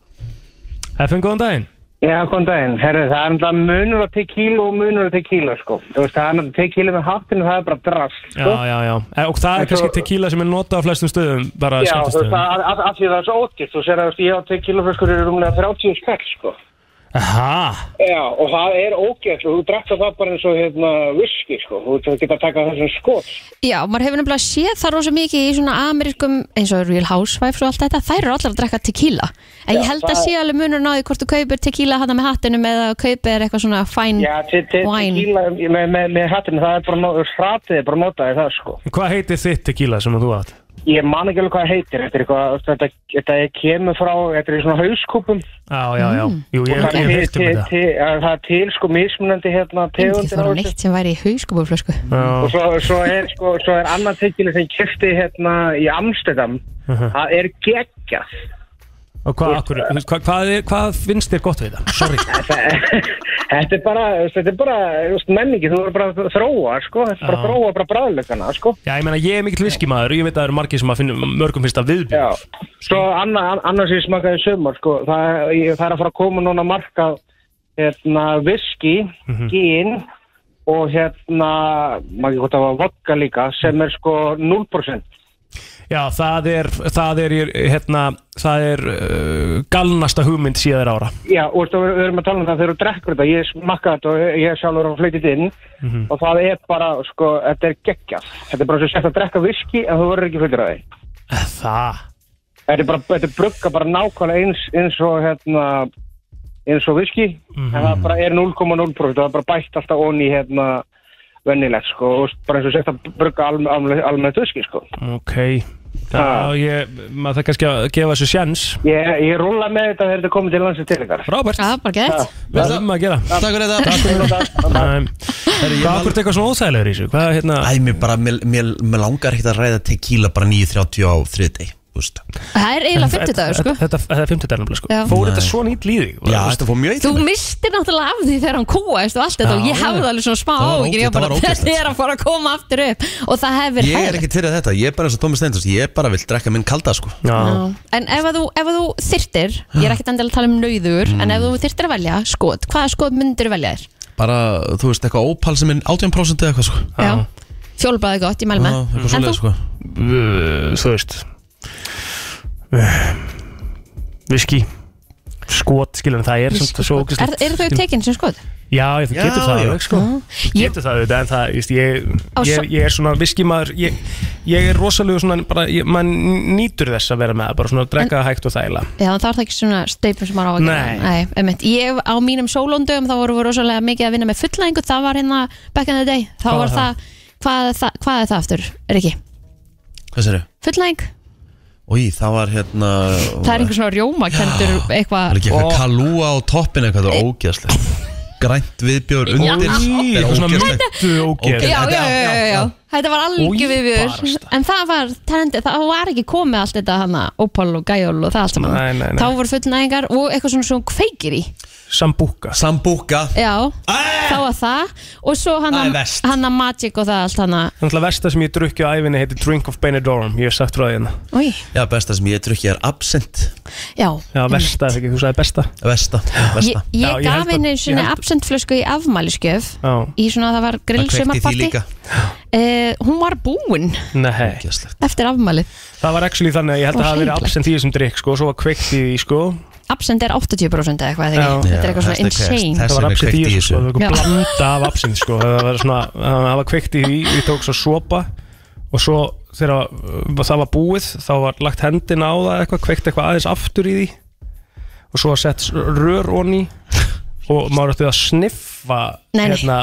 [SPEAKER 6] FN, góðan daginn
[SPEAKER 9] Já, góðan daginn. Herru, það er náttúrulega munur á tequila og munur á tequila, sko. Þú veist, það er náttúrulega tequila með hattinu, það er bara drast,
[SPEAKER 6] Já,
[SPEAKER 9] sko.
[SPEAKER 6] já, já, Eh, og það er
[SPEAKER 9] En svo-
[SPEAKER 6] kannski tequila sem er notað á flestum stöðum bara
[SPEAKER 9] Já, þú veist,
[SPEAKER 6] skemmtistöðum
[SPEAKER 9] það um. er af því það er svo óttist. Þú sér að þú veist, ég á tequilaflöskur eru rúmlega 30 skall, sko.
[SPEAKER 6] Aha,
[SPEAKER 9] Já, og það er ógæst og þú drakta það bara eins og, hérna, whisky, sko. Þú veist, það geta að taka þessum skot.
[SPEAKER 5] Já, maður hefur nefnilega séð það rosa mikið í svona amerískum eins og Real Housewives og allt þetta þær eru allar að drekka tequila en ég
[SPEAKER 9] Já,
[SPEAKER 5] held að
[SPEAKER 9] það-
[SPEAKER 5] sé alveg munur náði hvort þú kaupir tequila hana með hattinum eða kaupir eitthvað svona fine
[SPEAKER 9] Já, te te
[SPEAKER 5] wine
[SPEAKER 9] tequila með, með, með hattinu, það er bara, nó- hratið er bara notaði það, sko.
[SPEAKER 6] hvað heitir þitt tequila sem þú átt?
[SPEAKER 9] Ég man ekki alveg hvað það heitir, þetta er eitthvað, þetta, þetta kemur frá, þetta er í svona hauskúpum
[SPEAKER 6] Já, já, já,
[SPEAKER 5] Mm.
[SPEAKER 6] jú, ég
[SPEAKER 9] og
[SPEAKER 6] ég
[SPEAKER 9] það
[SPEAKER 6] hef
[SPEAKER 9] er
[SPEAKER 6] heilt um
[SPEAKER 9] til-
[SPEAKER 6] þetta
[SPEAKER 9] til- að það er til sko mismunandi hérna
[SPEAKER 5] Engi
[SPEAKER 9] tegundir á
[SPEAKER 5] þóra
[SPEAKER 9] þessu.
[SPEAKER 5] neitt sem væri í hauskúbúrflösku
[SPEAKER 6] Já,
[SPEAKER 9] og svo, svo er sko, svo er annar tequila sem ég kefti hérna í Amsterdam það er geggjað
[SPEAKER 6] og hvað, akkur, hvað, hvað, er- hvað finnst þér gott við þetta? Sorry
[SPEAKER 9] Eh, þetta er bara, þú veist, þetta er bara þú veist, menningi, þú verður bara að þróa sko, þetta er bara að
[SPEAKER 6] Já.
[SPEAKER 9] þróa bara bræðlökana sko.
[SPEAKER 6] Já, ég meina, ég er mikill viskimaður og ég veit að það eru margir sem að finna mörgum finnst að
[SPEAKER 9] Já.
[SPEAKER 6] viðbjörn
[SPEAKER 9] svo anna, an- annars ég smakaði í sumar sko, það, er- ég, það er að fara að koma núna markað hérna viski gín og hérna maður ekki hvort það var vodka líka sem er sko 0%
[SPEAKER 6] Já, það er, það er, hérna, það er uh, galnasta hugmynd síðar ára
[SPEAKER 9] Já, og veistu, við við erum að tala um það þegar þú drekkur þetta, ég smakka þetta og ég- ég sjálfur að flytja þetta inn og það er bara, sko, þetta er geggjað. Þetta er bara svo sett að drekka viski en þú verður ekki fullur af því.
[SPEAKER 6] Eh, Það,
[SPEAKER 9] Þetta er bara, þetta er brugga bara nákvæmlega eins, eins og, hérna, eins og viski en það bara er 0,0% og það er bara bætt alltaf onni, hérna, vennilegt sko og bara eins og sett að brugga almennt alme, alme viski sko
[SPEAKER 6] Ok Já, ég, maður það kannski að gefa þessu sjans
[SPEAKER 9] Ég, ég rúla með þetta þegar þetta komið til landsins til ykkar
[SPEAKER 6] Robert
[SPEAKER 5] Já, bara gett
[SPEAKER 6] Við ætlum um að gera
[SPEAKER 4] Takk fyrir þetta
[SPEAKER 6] Takk fyrir þetta Hvað akkur eitthvað svona óþægilegur í þessu? Hvað hérna
[SPEAKER 4] Æ, mér bara, mér, mér, mér langar ekkert að ræða tequila bara 9.30 á þriðdeg
[SPEAKER 5] Það er eiginlega 50 dagur sko
[SPEAKER 6] Þetta þetta er 50 dagar sko
[SPEAKER 5] Já.
[SPEAKER 6] Fór
[SPEAKER 4] Nei.
[SPEAKER 6] þetta svona íll í þig?
[SPEAKER 4] Já, þetta fór mjög
[SPEAKER 5] Þú mistir náttúrulega af því þegar hann kúaðist og allt þetta
[SPEAKER 6] Já,
[SPEAKER 5] og ég hafði
[SPEAKER 6] já.
[SPEAKER 5] alveg svona smá
[SPEAKER 4] Það var
[SPEAKER 5] áhyggjur, ég
[SPEAKER 4] ógeðslegt,
[SPEAKER 5] var
[SPEAKER 4] það
[SPEAKER 5] bara
[SPEAKER 4] var ógeðslegt.
[SPEAKER 5] þetta er að fara að koma aftur upp og það hefur verið
[SPEAKER 4] Ég er
[SPEAKER 5] hræðilegt.
[SPEAKER 4] ekkert fyrir þetta, ég er bara eins og Tómi Steindors Ég bara vil drekka minn kalda sko
[SPEAKER 5] Já. En ef að þú, ef að þú þyrtir, ég er ekkert endilega að tala um nauður, en
[SPEAKER 4] Mm.
[SPEAKER 5] ef þú þyrtir að velja skot, hvaða skot myndir velja þér?
[SPEAKER 4] Bara, þú veist, eitthvað ópal sem er 18% eða eitthvað sko
[SPEAKER 5] Já. Fjólbræði gott, ég mæl
[SPEAKER 4] Já,
[SPEAKER 5] með.
[SPEAKER 4] eitthvað
[SPEAKER 5] en
[SPEAKER 4] svoleið
[SPEAKER 5] þú?
[SPEAKER 4] sko
[SPEAKER 6] Eh, Þú veist Viski Skot, skilur það er samt svo
[SPEAKER 5] Er,
[SPEAKER 6] ógeðslegt.
[SPEAKER 5] eru þau tekin sem skot?
[SPEAKER 6] Já, ég, þú
[SPEAKER 5] Já,
[SPEAKER 6] getur það
[SPEAKER 5] já.
[SPEAKER 6] alveg sko Getur það auðvitað en það, ég, ég,
[SPEAKER 5] Á sa-
[SPEAKER 6] ég, ég er svona viskimaður ég, ég er rosalega svona, bara, ég, mann nýtur þess að vera með það, bara svona að drekka hægt og þægilega
[SPEAKER 5] Já, en það er það ekki svona steipur sem maður á að gera.
[SPEAKER 6] Nei.
[SPEAKER 5] Nei, einmitt. Ég á mínum sólóndum, þá voru við rosalega mikið að vinna með fullæðingu, það var hérna back in the day. Þá
[SPEAKER 4] Hvað
[SPEAKER 5] var
[SPEAKER 4] var
[SPEAKER 5] það, hvað, er það, hvað er það aftur, Riki?
[SPEAKER 4] Hvað sér þau?
[SPEAKER 5] Fullæðing?
[SPEAKER 4] Í, það var hérna
[SPEAKER 5] Það er einhver svona rjómakendur
[SPEAKER 4] Það er
[SPEAKER 5] eitthvað.
[SPEAKER 4] ekki eitthvað
[SPEAKER 5] Ó.
[SPEAKER 4] kalúa á toppin eitthvað, það er ógeðslegt Grænt viðbjör
[SPEAKER 5] Já.
[SPEAKER 4] undir
[SPEAKER 5] Í,
[SPEAKER 4] Það er
[SPEAKER 5] eitthvað svona
[SPEAKER 4] ógeðslegt.
[SPEAKER 5] Já,
[SPEAKER 4] Ógeðslegt.
[SPEAKER 5] já, já, já, já, já. Þetta var algjör viðbjör
[SPEAKER 6] Óbarasta.
[SPEAKER 5] En það var, trendi, það var ekki komið allt þetta hana Opal og Gæjól og það allt saman
[SPEAKER 6] Nei, nei, nei.
[SPEAKER 5] Þá voru fullnæðingar og eitthvað svona svona kveikir í
[SPEAKER 6] Sambúka
[SPEAKER 4] Sambúka
[SPEAKER 5] Já, þá var það Og svo
[SPEAKER 6] Það er
[SPEAKER 5] hana,
[SPEAKER 6] verst.
[SPEAKER 5] hana Magic og það allt hana
[SPEAKER 6] Þannig að versta sem ég drukki á ævinni heitir Drink of Benidorm Ég hef sagt frá því hérna
[SPEAKER 5] Új,
[SPEAKER 4] Já, besta sem ég trukki er absent
[SPEAKER 5] já
[SPEAKER 6] Já, versta, ekki, þú sagði besta
[SPEAKER 4] Vesta,
[SPEAKER 5] Ég,
[SPEAKER 4] vesta
[SPEAKER 5] ég, gaf henni svona absentflösku í afmælisgjöf
[SPEAKER 6] Já.
[SPEAKER 5] Í svona það var grillsumarparti uh, Hún var búin
[SPEAKER 6] Nei
[SPEAKER 5] eftir afmælið
[SPEAKER 6] Það var actually þannig að ég held að það hafi verið absent í þessum drikk sko, svo var kveikt í því sko
[SPEAKER 5] Absent er 80% eða eitthvað eða
[SPEAKER 6] Já.
[SPEAKER 5] ekki. Þetta er eitthvað svona insane
[SPEAKER 6] Það var absent í þessu sko, það var
[SPEAKER 5] Já.
[SPEAKER 6] eitthvað blanda af absent sko Það var svona, það var kveikt í því, ég tók svo sopa Og svo þegar uh, það var búið, þá var lagt hendin á það eitthvað, kveikt eitthvað aðeins aftur í því Og svo var sett rör onni Og maður ætti að sniffa
[SPEAKER 5] Nei, nei.
[SPEAKER 6] hérna,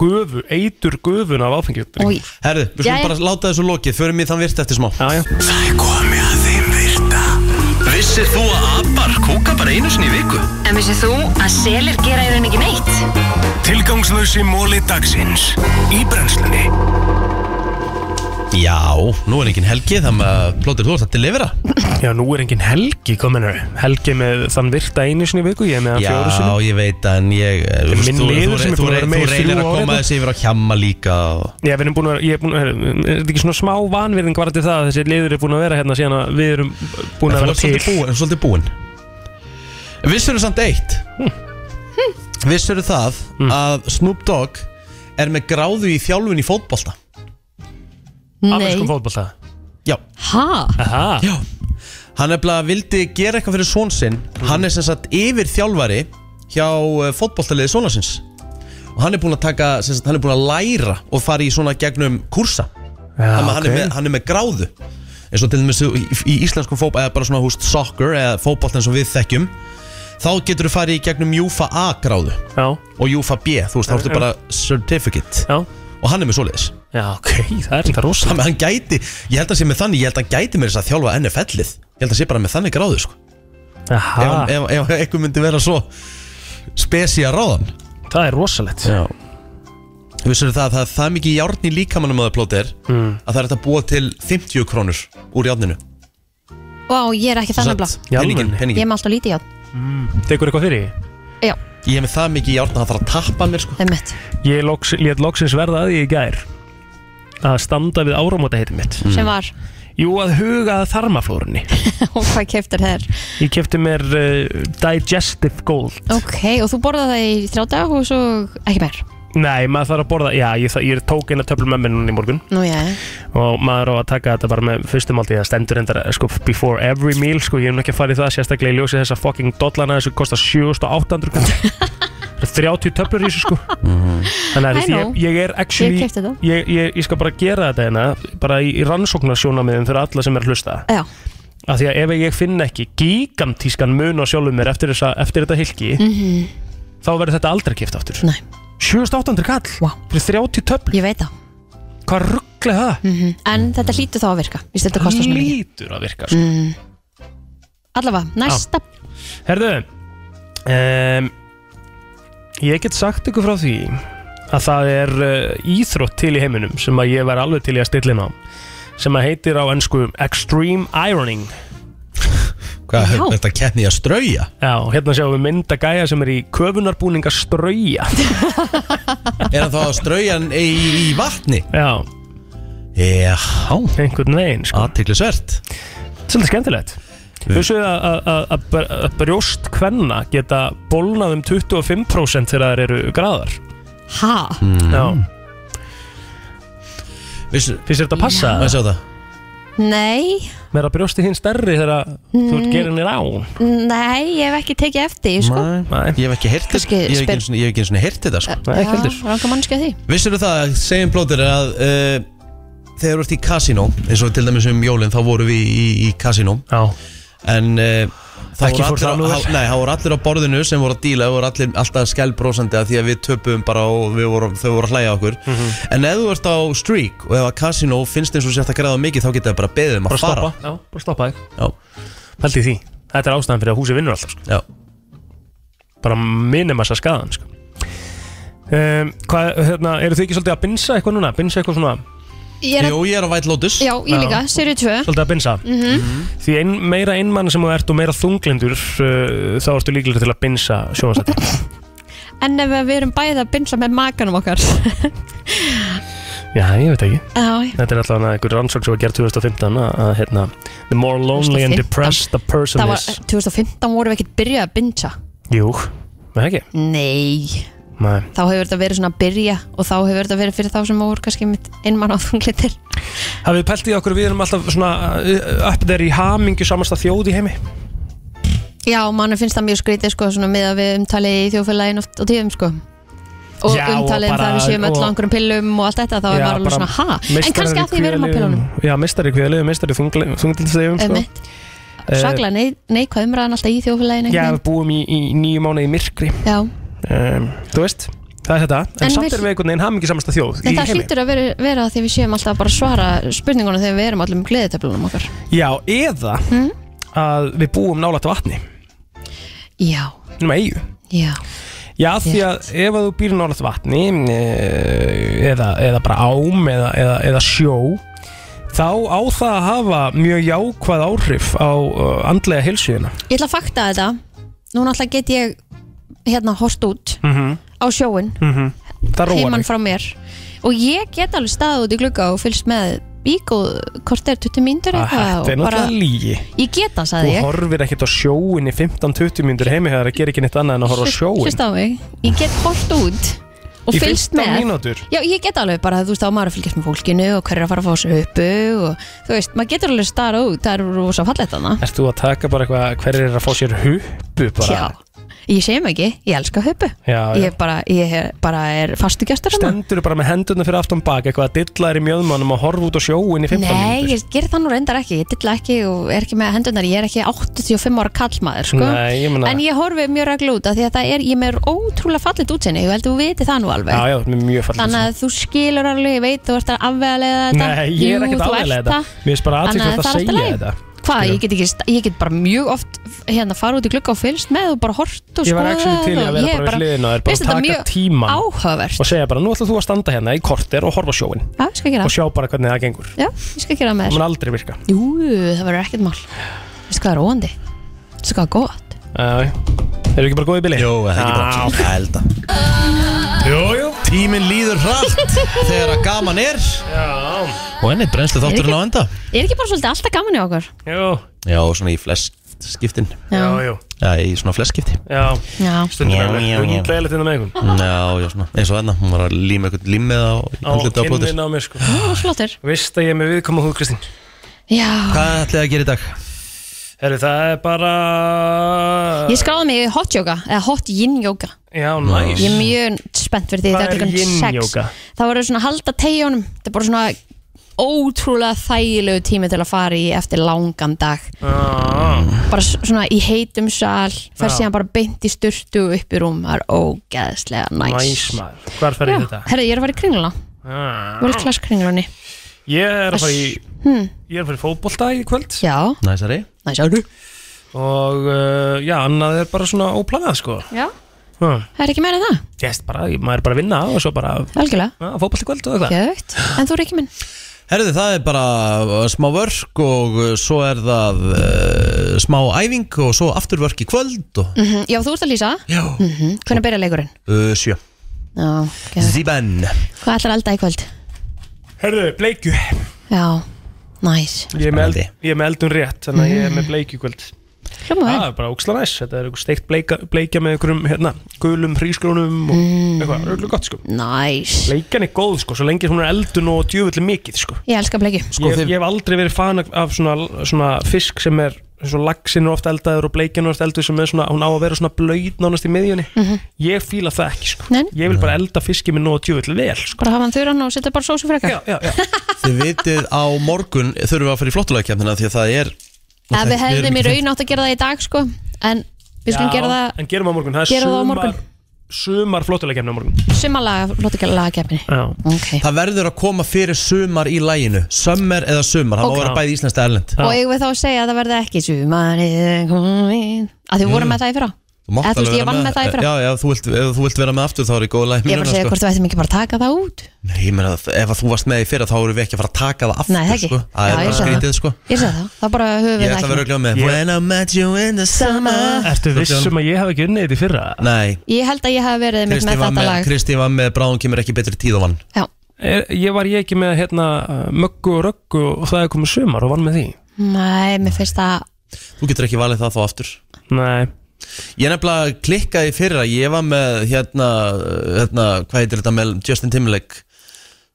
[SPEAKER 6] gufu, eitur gufun af áfengjum
[SPEAKER 5] Oj.
[SPEAKER 4] Herðu, við
[SPEAKER 5] Jæja.
[SPEAKER 4] skulum bara láta þessu lokið, förum í þann virt eftir smá
[SPEAKER 6] Já, já
[SPEAKER 2] Það er komið að þeim virta Vissir þú að abar kúka bara einu sinni í viku?
[SPEAKER 8] En vissið þú að selir gera í rauninni ekki neitt?
[SPEAKER 2] Tilgangslösi móli dagsins Í brennslunni
[SPEAKER 4] Já, nú er engin helgi þannig að plótir þú ert að delivera
[SPEAKER 6] Já, nú er engin helgi kominur Helgi með þann virta einu sinni í viku Ég er með hann
[SPEAKER 4] Já,
[SPEAKER 6] fjóru sinni
[SPEAKER 4] ég veit en ég eh, þú veist,
[SPEAKER 6] minn
[SPEAKER 4] þú- þú-
[SPEAKER 6] liður sem
[SPEAKER 4] þú-
[SPEAKER 6] er búin að vera með í
[SPEAKER 4] Þú reynir
[SPEAKER 6] þrjú
[SPEAKER 4] að koma
[SPEAKER 6] ár hérna.
[SPEAKER 4] þessi yfir á hjamma líka og-
[SPEAKER 6] Ég er búin að, ég er búin að, er þetta ekki svona smá vanvirðing varandi það að þessi liður er búin að vera hérna síðan að við erum búin að
[SPEAKER 4] En
[SPEAKER 6] vera
[SPEAKER 4] þú ert
[SPEAKER 6] til
[SPEAKER 4] svolítið búin- svolítið búinn Vissur þú samt eitt
[SPEAKER 6] Hm.
[SPEAKER 4] Vissur þú það að Snoop Dogg er með gráðu í þjálfun í fótbolta
[SPEAKER 6] Afriskum fótbolta
[SPEAKER 4] Já
[SPEAKER 5] Hæ?
[SPEAKER 6] Aha.
[SPEAKER 4] Já Hann nefnilega vildi gera eitthvað fyrir són sinn
[SPEAKER 6] Mhm.
[SPEAKER 4] Hann er sem sagt yfir þjálfari hjá eh, fótboltaliði sónasins og hann er búinn að taka sem sagt, hann er búinn að læra og fara í svona gegnum kursa
[SPEAKER 6] Já,
[SPEAKER 4] Þannig að hann, er
[SPEAKER 6] Ah, ok.
[SPEAKER 4] með, hann er með gráðu eins og til dæmis í, í íslenskum fótbolt eða bara svona húst soccer eða fótbolt eins og við þekkjum þá getur þú farið í gegnum UFA A gráðu
[SPEAKER 6] Já.
[SPEAKER 4] og UFA B þú veist þá ertu bara certificate
[SPEAKER 6] Já.
[SPEAKER 4] og hann er með svoleiðis
[SPEAKER 6] Já ok, það er þetta rosa
[SPEAKER 4] Þannig að hann gæti, ég held að sé með þannig, ég held að hann gæti með þess að þjálfa NFL-ið Ég held að sé bara með þannig gráðu sko
[SPEAKER 6] Aha.
[SPEAKER 4] Ef, hann- ef, ef eitthvað myndi vera svo spesi að ráðan
[SPEAKER 6] Það er rosalegt
[SPEAKER 4] Já Vissur það að það er það mikið járn í líkamannum að það plótir mm. að það er hægt að búa til 50 krónur úr járninu
[SPEAKER 5] Vá, ég er ekki
[SPEAKER 4] Sem
[SPEAKER 5] þannig blá
[SPEAKER 4] sagt, peningin,
[SPEAKER 5] Ég er
[SPEAKER 4] peningin.
[SPEAKER 5] með alltaf lítið játn
[SPEAKER 6] Tekur eitthvað fyrir?
[SPEAKER 5] Já,
[SPEAKER 4] Ég hef með það mikið járn að það þarf að tappa mér sko
[SPEAKER 5] það er mitt
[SPEAKER 6] Ég loks, lét loksins verða að ég í gær að standa við áramóta mitt
[SPEAKER 4] Mm.
[SPEAKER 5] Sem var,
[SPEAKER 6] Jú, að huga að þarmaflórunni
[SPEAKER 5] og hvað keftur þér
[SPEAKER 6] Ég kefti mér uh, Digestive Gold
[SPEAKER 5] Ok, og þú borðað það í þrjá dag og svo ekki meir
[SPEAKER 6] Nei, maður þarf að borða, já, ég, þa- ég tók eina töflum með mér núna í morgun
[SPEAKER 5] Nú já,
[SPEAKER 6] og maður á að taka þetta bara með fyrstum áldi það stendur endar sko before every meal sko ég hef nú ekki að fara í það sérstaklega í ljósi þess að fucking dollana þessu kostar 7800 kall. Það eru 30 töflur í þessu sko þannig að
[SPEAKER 5] I
[SPEAKER 6] því
[SPEAKER 5] know.
[SPEAKER 6] ég, ég er actually
[SPEAKER 5] Ég keypti þetta.
[SPEAKER 6] ég, ég, ég skal bara gera þetta hérna bara í, í rannsóknarsjónamiðum fyrir alla sem er að hlusta
[SPEAKER 5] já,
[SPEAKER 6] af því að ef ég finn ekki gigantískan mun á sjálfum mér eftir, þessa, eftir þetta hilki
[SPEAKER 5] mhm,
[SPEAKER 6] þá verður þetta aldrei kipt aftur
[SPEAKER 5] Nei.
[SPEAKER 6] 7800 kall wow. fyrir 30 töfl
[SPEAKER 5] ég veit það
[SPEAKER 6] hvað rugglega það
[SPEAKER 5] en þetta hlýtur þá að virka Vist, þetta kostar svona mikið
[SPEAKER 6] lítur að virka sko. mm.
[SPEAKER 5] allavega, næsta
[SPEAKER 6] herðu um, ég get sagt ykkur frá því að það er uh, íþrótt til í heiminum sem að ég væri alveg til í að stilla inn á sem að heitir á ennsku Extreme Ironing
[SPEAKER 4] Hvað, Já. þetta kenni að strauja?
[SPEAKER 6] Já, hérna sjáum við mynda gæja sem er í köfunarbúninga strauja
[SPEAKER 4] Er það þá að strauja hann í, í vatni?
[SPEAKER 6] Já
[SPEAKER 4] Já
[SPEAKER 6] Einhvern veginn sko
[SPEAKER 4] Aðtiklisvert
[SPEAKER 6] Svolítið skemmtilegt Þú séu að, að- að, að, br- að brjóst kvenna geta bólnað um 25% þegar þær eru graðar
[SPEAKER 5] ha?
[SPEAKER 6] Já Finnst þér þetta passa?
[SPEAKER 4] Má ég sjá það?
[SPEAKER 5] nei,
[SPEAKER 6] Meira brjósti hinn stærri þegar mm. þú ert gerin í rán
[SPEAKER 5] nei, ég hef ekki tekið eftir því, sko.
[SPEAKER 6] Nei,
[SPEAKER 4] ég hef ekki heyrt þetta
[SPEAKER 5] Kannski
[SPEAKER 4] Ég hef ekki
[SPEAKER 5] spyr-
[SPEAKER 4] einu sinni- ég hef ekki einu sinni heyrt þetta sko.
[SPEAKER 5] Já, ranga mannskja því
[SPEAKER 4] Vissirðu það, segjum plótir að uh, þegar þú ert í kasínó eins og til dæmis um jólinn þá vorum við í, í kasínó
[SPEAKER 6] Já
[SPEAKER 4] En uh, það
[SPEAKER 6] Ekki
[SPEAKER 4] voru
[SPEAKER 6] fór
[SPEAKER 4] allir,
[SPEAKER 6] það nú
[SPEAKER 4] á,
[SPEAKER 6] vel.
[SPEAKER 4] á- nei, það voru allir á borðinu sem voru að díla, það voru allir alltaf skælbrósandi að því að við töpum bara og við voru, þau voru að hlæja að okkur
[SPEAKER 6] Mhm.
[SPEAKER 4] En ef þú ert á streak og ef að kasínó finnst eins og sér að græða mikið þá geta það bara beðið um að
[SPEAKER 6] bara
[SPEAKER 4] fara
[SPEAKER 6] stoppa Já, bara stoppa þig
[SPEAKER 4] Já
[SPEAKER 6] Pældi í því Þetta er ástæðan fyrir að húsi vinnur alltaf sko.
[SPEAKER 4] Já
[SPEAKER 6] Bara minimassa skaðan sko. um, Hvað, hérna, eru þið ekki svolítið að binsa eitthvað núna? Binsa eitthvað svona
[SPEAKER 5] Ég er að-
[SPEAKER 4] ég er á White Lotus
[SPEAKER 5] Já, ég líka, serið 2
[SPEAKER 6] Svolítið að binsa
[SPEAKER 5] Mhm.
[SPEAKER 6] Því ein, meira einmann sem þú ert og meira þunglindur uh, þá ertu líklega til að binsa sjónastætti
[SPEAKER 5] En ef við erum bæðið að binsa með makanum okkar
[SPEAKER 6] Já, ég veit ekki
[SPEAKER 5] Já, já.
[SPEAKER 6] Þetta er alltaf einhver rannsók sem var gerð 2015 að, að hérna, the more lonely and
[SPEAKER 5] 2015.
[SPEAKER 6] depressed a person
[SPEAKER 5] Það var,
[SPEAKER 6] is
[SPEAKER 5] 2015 vorum við ekkert byrjað að binsa
[SPEAKER 6] Jú, með ekki
[SPEAKER 5] Nei,
[SPEAKER 6] Nei.
[SPEAKER 5] þá hefur þetta verið svona að byrja og þá hefur þetta verið fyrir þá sem voru kannski mitt innmann á þunglitir
[SPEAKER 6] Hafið þið pælt í okkur að við erum alltaf svona uh, upp þeir í hamingju samasta þjóð í heimi
[SPEAKER 5] Já, mann finnst það mjög skrítið sko svona með að við umtalið í þjóðfélagin oft og tíðum sko og
[SPEAKER 6] Já, og
[SPEAKER 5] umtalið um það
[SPEAKER 6] bara-
[SPEAKER 5] að við séum öll
[SPEAKER 6] og-
[SPEAKER 5] á einhverjum pillum og allt þetta þá er
[SPEAKER 6] Já,
[SPEAKER 5] maður alveg
[SPEAKER 6] bara
[SPEAKER 5] svona ha en
[SPEAKER 6] meistarar
[SPEAKER 5] kannski
[SPEAKER 6] í
[SPEAKER 5] að því við erum á
[SPEAKER 6] kviðarlyfjum.
[SPEAKER 5] pillunum
[SPEAKER 6] Já, mistari kviðalegu, mistari þunglindstegum
[SPEAKER 5] Einmitt. Svaklega nei, neikvæð umræðan alltaf í þjóðfélagin
[SPEAKER 6] Eh, Já, við búum í, í nýju mánu í myrkri
[SPEAKER 5] Já,
[SPEAKER 6] um, Þú veist, það er þetta En,
[SPEAKER 5] En
[SPEAKER 6] samt
[SPEAKER 5] við-
[SPEAKER 6] erum við einhvern veginn hamingju samasta þjóð
[SPEAKER 5] en
[SPEAKER 6] í
[SPEAKER 5] það
[SPEAKER 6] heimi
[SPEAKER 5] hlýtur að vera, vera að því við séum alltaf að bara svara spurningunum þegar við erum allir um gleðitöflunum okkar
[SPEAKER 6] Já, eða
[SPEAKER 5] Hmm?
[SPEAKER 6] að við búum nálægt vatni
[SPEAKER 5] Já,
[SPEAKER 6] Nýma eigu
[SPEAKER 5] já
[SPEAKER 6] Já, því að ef að þú býr nálægt vatni eh, eða, eða bara ám eða, eða, eða sjó þá á það að hafa mjög jákvæð áhrif á uh, andlega heilsuðina
[SPEAKER 5] Ég ætla að fakta þetta Núna alltaf get ég hérna hort út
[SPEAKER 6] mm -hmm.
[SPEAKER 5] á sjóin
[SPEAKER 6] Það róar
[SPEAKER 5] heiman
[SPEAKER 6] mig
[SPEAKER 5] frá mér og ég get alveg staðið út í glugga og fylgst með vík og hvort er 20 mínútur
[SPEAKER 6] Ah,
[SPEAKER 5] eitthvað
[SPEAKER 6] Þetta er
[SPEAKER 5] og bara,
[SPEAKER 6] náttúrulega lígi
[SPEAKER 5] ég get það
[SPEAKER 6] Þú
[SPEAKER 5] sagði ég
[SPEAKER 6] horfir ekkert á sjóin í 15-20 mínútur heimi þegar það gerir ekki neitt annað en að horfa á sjóin
[SPEAKER 5] Hlust á mig, ég get hort út og
[SPEAKER 6] Í
[SPEAKER 5] fylgst
[SPEAKER 6] 15
[SPEAKER 5] með
[SPEAKER 6] mínútur?
[SPEAKER 5] Já, ég get alveg bara, þú veist, þá á maður að fylgjast með fólkinu og hverju er að fara að fá sér uppu og þú veist, maður getur alveg starað út, það er rosa fallegt þarna
[SPEAKER 6] Erst þú að taka bara eitthvað hverjir er að fá sér huppu bara
[SPEAKER 5] Já, ég segjum ekki, ég elska huppu
[SPEAKER 6] Já, já.
[SPEAKER 5] Ég bara, ég bara er fastugjastur þarna
[SPEAKER 6] Stendur þú bara með hendurna fyrir aftan bak eitthvað að dilla þér í mjöðmannum og horfa út á sjóin í 15
[SPEAKER 5] Nei,
[SPEAKER 6] mínútur
[SPEAKER 5] ég ger það nú reyndar ekki, ég dilla ekki og er ekki með hendunar, ég er ekki 85 ára kallmaður sko.
[SPEAKER 6] Nei, ég meina-
[SPEAKER 5] en ég horfi mjög reglu út af því að það er, ég með er ótrúlega fallit útsinni, ég held að þú viti það nú alveg
[SPEAKER 6] Já, já, með mjög fallið
[SPEAKER 5] Þannig að þú skilur alveg, ég veit, þú ert að afvegalega þetta
[SPEAKER 6] Nei, ég er
[SPEAKER 5] Jú,
[SPEAKER 6] ekkert
[SPEAKER 5] þú
[SPEAKER 6] aðlega
[SPEAKER 5] ert
[SPEAKER 6] þetta Mér finnst bara
[SPEAKER 5] Þannig að það
[SPEAKER 6] aðtíkvæmt að
[SPEAKER 5] er allt í
[SPEAKER 6] segja
[SPEAKER 5] lagi.
[SPEAKER 6] þetta
[SPEAKER 5] Hvað, ég get, ekki, sta- ég get bara mjög oft hérna fara út í glugga og fylgst með og bara hort og
[SPEAKER 6] Ég var
[SPEAKER 5] skoða
[SPEAKER 6] actually til í
[SPEAKER 5] og
[SPEAKER 6] að vera
[SPEAKER 5] ég er
[SPEAKER 6] bara við hliðina og er bara
[SPEAKER 5] Veist
[SPEAKER 6] að
[SPEAKER 5] þetta
[SPEAKER 6] taka
[SPEAKER 5] mjög
[SPEAKER 6] tíman
[SPEAKER 5] áhugavert.
[SPEAKER 6] og segja bara, nú ætlar þú að standa hérna í korter og horfa á sjóin
[SPEAKER 5] Já, ég skal gera
[SPEAKER 6] og sjá bara hvernig það gengur
[SPEAKER 5] Já, ég skal gera það með
[SPEAKER 6] Það
[SPEAKER 5] þér
[SPEAKER 6] mun aldrei virka
[SPEAKER 5] Jú, það verður ekkert mál Veistu hvað það er óandi? Veistu hvað það er gott?
[SPEAKER 6] uh, Eru ekki bara góðið bili? Jó,
[SPEAKER 4] það er ekki bara-
[SPEAKER 6] ekki
[SPEAKER 4] bara held að
[SPEAKER 6] Jú, jú
[SPEAKER 4] Tíminn líður hratt þegar að gaman er
[SPEAKER 6] Já
[SPEAKER 4] Og ennig brennslu þátturinn á enda
[SPEAKER 5] Er ekki bara svolítið alltaf gaman í okkur?
[SPEAKER 6] Jú
[SPEAKER 4] Já, svona í flest skiptin
[SPEAKER 5] Já. Já,
[SPEAKER 6] já
[SPEAKER 4] Já, í svona flest skipti
[SPEAKER 6] Já,
[SPEAKER 5] Já.
[SPEAKER 6] stundum
[SPEAKER 4] Já,
[SPEAKER 6] er
[SPEAKER 4] já, já.
[SPEAKER 6] hundleiðilegt innan hérna með einhvern
[SPEAKER 4] Já, já, svona eins og þarna Hún var að líma eitthvað límið á
[SPEAKER 6] Á
[SPEAKER 4] andlitið á plótir
[SPEAKER 6] kynnin á mér sko
[SPEAKER 5] Já, flottur
[SPEAKER 6] Vist að ég er með viðkoma húð, Kristín
[SPEAKER 5] Já
[SPEAKER 4] Hvað ætlið þið að gera í dag?
[SPEAKER 6] Herru, það er bara
[SPEAKER 5] Ég skráði mig í hot yoga eða hot yin yoga
[SPEAKER 6] Já, næs
[SPEAKER 5] Ég er mjög spennt fyrir því
[SPEAKER 6] Hvað
[SPEAKER 5] þetta
[SPEAKER 6] er
[SPEAKER 5] klukkan
[SPEAKER 6] yin
[SPEAKER 5] sex.
[SPEAKER 6] yoga?
[SPEAKER 5] Það voru svona að halda tegjónum Þetta er bara svona ótrúlega þægilegu tími til að fara í eftir langan dag bara s- svona í heitum sal fer
[SPEAKER 6] Já.
[SPEAKER 5] síðan bara beint í sturtu og upp í rúm, það er ógeðslega næs
[SPEAKER 6] Næs maður, hvar fer ég þetta?
[SPEAKER 5] herri, ég er að fara í kringluna
[SPEAKER 6] Ah.
[SPEAKER 5] World Class kringlunni
[SPEAKER 6] Ég er að fara í
[SPEAKER 5] hmm.
[SPEAKER 6] Ég er að fara í fótbolta í kvöld
[SPEAKER 5] Já,
[SPEAKER 4] Næsari
[SPEAKER 5] Næsari
[SPEAKER 6] Og uh, já, annað er bara svona óplanað sko
[SPEAKER 5] já,
[SPEAKER 6] huh.
[SPEAKER 5] það er ekki meira en það
[SPEAKER 6] Yes, bara, maður er bara að vinna og svo bara
[SPEAKER 5] Algjörlega.
[SPEAKER 6] Já, fótbolta í kvöld og eitthvað
[SPEAKER 5] Gjögt. en þú Rikki minn
[SPEAKER 4] Herðu það er bara uh, smá vörk og uh, svo er það uh, smá æfing og svo aftur vörk í kvöld og
[SPEAKER 5] mm já, þú ert að lýsa
[SPEAKER 4] Já.
[SPEAKER 5] mm hvernig byrja leikurinn
[SPEAKER 4] uh, sjö
[SPEAKER 5] já, geðveikt.
[SPEAKER 4] Zíben
[SPEAKER 5] hvað ætlar elda í kvöld
[SPEAKER 6] Herðu, bleikju
[SPEAKER 5] já, næs
[SPEAKER 6] Ég er með, eld- ég er með eldun rétt, þannig að ég er með bleikju í kvöld
[SPEAKER 5] Hljóma
[SPEAKER 6] Það er bara óksla næs, þetta er eitthvað steikt bleika, bleikja með einhverjum hérna, gulum hrísgrónum og
[SPEAKER 5] Mm.
[SPEAKER 6] eitthvað, röglu gott sko
[SPEAKER 5] Næs
[SPEAKER 6] Bleikjan er góð sko, svo lengi hún er eldun og djöfulli mikið sko
[SPEAKER 5] ég elska bleikju
[SPEAKER 6] ég, ég hef aldrei verið fan af- af svona, svona fisk sem er eins og laxinn er ofta eldaður og bleikjan er ofta eldaður sem er svona, hún á að vera svona blöyt nánast í miðjunni
[SPEAKER 5] Mhm.
[SPEAKER 6] Ég fíla það ekki sko
[SPEAKER 5] Nei.
[SPEAKER 6] Ég vil bara elda fiski með nóg djöfulli vel sko
[SPEAKER 5] bara hafa hann þurran og setja bara sósu frekar
[SPEAKER 6] já, já, já.
[SPEAKER 4] Þið vitið á morgun þurfum við að fara í flottulegkjæmdina því að það er
[SPEAKER 5] Ef við hefðum í
[SPEAKER 4] erum ekki-
[SPEAKER 5] raun átt að gera það í dag sko En við skulum
[SPEAKER 6] Já,
[SPEAKER 5] gera það
[SPEAKER 6] En gerum það á morgun, það er
[SPEAKER 5] Gera það á
[SPEAKER 6] sumar,
[SPEAKER 5] morgun.
[SPEAKER 6] sumar flottulega kemna á morgun
[SPEAKER 5] Sumalaga, lóta ekki að laga keppinni okay.
[SPEAKER 4] Það verður að koma fyrir sumar í læginu Sömmer eða sumar, það
[SPEAKER 5] Ok.
[SPEAKER 4] má vera bæði íslenskt eða erlend
[SPEAKER 5] Og eigum við þá að segja að það verði ekki Sumarið er komin Að þið
[SPEAKER 4] Jú,
[SPEAKER 5] vorum
[SPEAKER 4] jú.
[SPEAKER 5] með það í fyrra
[SPEAKER 4] Mm. Þú mátt
[SPEAKER 5] Eða þú veist,
[SPEAKER 4] alveg
[SPEAKER 5] ég
[SPEAKER 4] vera
[SPEAKER 5] vann með það í fyrra.
[SPEAKER 4] Já, já, þú sko. vilt, ef þú vilt vera með aftur þá er ég góð læg
[SPEAKER 5] Ég var að segja hvort við ættum ekki bara að taka það út
[SPEAKER 4] Nei, ég meina, að ef að þú varst með í fyrra þá erum við ekki að fara að taka það aftur
[SPEAKER 5] Nei, það ekki.
[SPEAKER 4] sko. Það
[SPEAKER 5] Já,
[SPEAKER 4] er bara
[SPEAKER 5] ég sé það.
[SPEAKER 4] skrítið, sko
[SPEAKER 5] Ég segi það, það bara
[SPEAKER 4] Ég
[SPEAKER 5] höfum við
[SPEAKER 4] ætla að
[SPEAKER 5] það
[SPEAKER 4] vera
[SPEAKER 5] ekki
[SPEAKER 4] örugglega með
[SPEAKER 6] Ég-
[SPEAKER 4] When I met you in the summer
[SPEAKER 6] Ertu viss um að ég hef ekki unnið þetta í fyrra?
[SPEAKER 4] Nei
[SPEAKER 5] Ég held að ég hef verið mitt
[SPEAKER 4] Kristín
[SPEAKER 5] með
[SPEAKER 4] var
[SPEAKER 5] þetta
[SPEAKER 4] með,
[SPEAKER 5] lag
[SPEAKER 4] Kristín var með Bráðum kemur ekki betri tíð á vann
[SPEAKER 5] Já,
[SPEAKER 6] Er, ég var ég ekki með hérna uh, möggu og röggu og það er komið sumar og vann með því
[SPEAKER 5] nei, mér finnst það
[SPEAKER 4] Þú getur ekki valið það þá aftur
[SPEAKER 6] Nei
[SPEAKER 4] Ég nefnilega klikkaði í fyrra Ég var með hérna, hérna Hvað heitir þetta með Justin Timberlake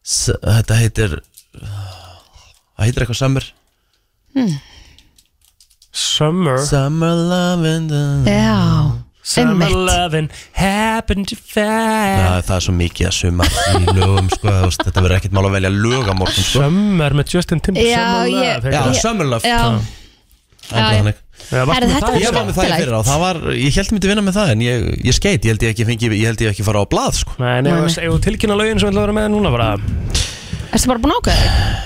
[SPEAKER 4] S Þetta heitir Það heitir eitthvað Summer
[SPEAKER 5] hmm.
[SPEAKER 6] Summer
[SPEAKER 4] Summer loving
[SPEAKER 5] Já,
[SPEAKER 6] Summer
[SPEAKER 5] einmitt.
[SPEAKER 6] loving happened
[SPEAKER 5] Eh.
[SPEAKER 6] fast
[SPEAKER 4] Það, það er svo mikið að sumar í lögum sko, þú veist, Þetta verður ekkert mál að velja lög á morgun sko.
[SPEAKER 6] Summer með Justin Timberlake
[SPEAKER 5] Já,
[SPEAKER 6] Summer love,
[SPEAKER 5] ég-
[SPEAKER 6] heitir
[SPEAKER 4] Já,
[SPEAKER 6] það.
[SPEAKER 4] Summer Love
[SPEAKER 5] Já.
[SPEAKER 4] Það er
[SPEAKER 5] Já,
[SPEAKER 4] þannig.
[SPEAKER 6] Já, varstu
[SPEAKER 5] Herðu,
[SPEAKER 6] með
[SPEAKER 5] þetta
[SPEAKER 6] það í
[SPEAKER 5] var
[SPEAKER 4] Ég
[SPEAKER 6] fyrra?
[SPEAKER 4] var með það í fyrra og það var, ég held ég myndi vinna með það en ég, ég skeit, ég held ég ekki fengi, ég held ég ekki fara á blað sko.
[SPEAKER 6] Nei, nei, nei. Ef þú tilkynna lögin sem ætla að vera með núna bara
[SPEAKER 5] Erstu bara búin að ákveða þig?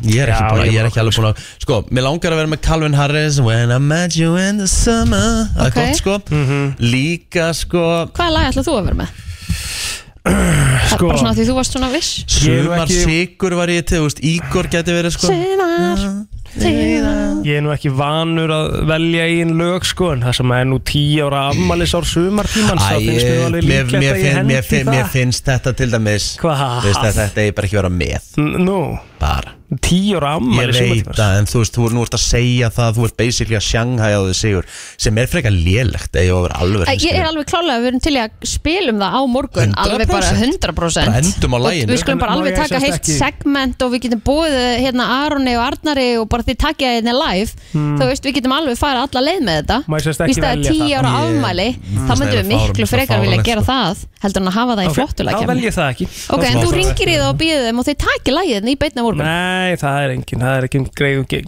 [SPEAKER 4] Ég er ekki,
[SPEAKER 6] Já,
[SPEAKER 4] búin, að-
[SPEAKER 6] ég
[SPEAKER 4] ég er ekki alveg búin að Sko, mér langar að vera með Calvin Harris When I met you in the summer Það er
[SPEAKER 5] Ok.
[SPEAKER 4] gott sko
[SPEAKER 6] Mhm.
[SPEAKER 4] Líka sko
[SPEAKER 5] Hvaða lag ætla þú að vera með? Það er
[SPEAKER 4] Sko.
[SPEAKER 5] bara svona því þú varst svona viss
[SPEAKER 6] Ég hef
[SPEAKER 4] Sumar
[SPEAKER 6] ekki-
[SPEAKER 4] Sigur var ég til, þú veist, Ígor geti verið sko
[SPEAKER 5] Sumar Sumar
[SPEAKER 6] Ég er nú ekki vanur að velja einn lög sko en það sem er nú 10 ára afmælisár sumartíman
[SPEAKER 4] Æ,
[SPEAKER 6] það finnst mér nú alveg
[SPEAKER 4] mér,
[SPEAKER 6] líklegt
[SPEAKER 4] mér,
[SPEAKER 6] að ég
[SPEAKER 4] finn, mér,
[SPEAKER 6] hendi
[SPEAKER 4] finn, mér
[SPEAKER 6] það
[SPEAKER 4] finnst þetta til dæmis
[SPEAKER 6] Hvað?
[SPEAKER 4] Þú veist, að Þetta er bara ekki að vera með
[SPEAKER 6] Nú,
[SPEAKER 4] Bara
[SPEAKER 6] 10 ára
[SPEAKER 4] Ég
[SPEAKER 6] afmæli
[SPEAKER 4] veit
[SPEAKER 6] sumartíman
[SPEAKER 4] það, en þú veist, þú er nú ert að segja það Þú ert basically að shanghai á því sigur Sem er frekar lélegt, eða ég var alveg
[SPEAKER 5] Æ, Ég er alveg klálega að við erum til í að spilum það á morgun Alveg bara 100%
[SPEAKER 4] Bara endum á laginu.
[SPEAKER 5] Og Við skulum bara
[SPEAKER 4] En má
[SPEAKER 5] alveg
[SPEAKER 4] ég
[SPEAKER 5] taka
[SPEAKER 4] sem sagt
[SPEAKER 5] heilt
[SPEAKER 4] ekki-
[SPEAKER 5] segment og við getum búið hérna Aroni og Arnari og bara þið takja hérna live
[SPEAKER 6] Hmm.
[SPEAKER 5] Þú veist, við getum alveg fara alla leið með þetta
[SPEAKER 6] Má ég sem sagt ekki
[SPEAKER 5] Víst að
[SPEAKER 6] velja
[SPEAKER 5] 10
[SPEAKER 6] það?
[SPEAKER 5] ára
[SPEAKER 6] Ég-
[SPEAKER 5] afmæli
[SPEAKER 6] Mm.
[SPEAKER 5] Þá
[SPEAKER 6] Það
[SPEAKER 5] myndum
[SPEAKER 6] er
[SPEAKER 5] við
[SPEAKER 6] fáránlegt,
[SPEAKER 5] miklu
[SPEAKER 6] það er
[SPEAKER 5] frekar vilja
[SPEAKER 6] fáránlegt,
[SPEAKER 5] gera
[SPEAKER 6] sko.
[SPEAKER 5] það heldur en að hafa það í
[SPEAKER 6] Ok,
[SPEAKER 5] flottulega
[SPEAKER 6] Þá vel ég það ekki
[SPEAKER 5] Ok, en þú ringir í það og býður þeim og þið takja lagið hérna í beinna á morgun
[SPEAKER 6] Nei, það er engin, það er ekki greiði,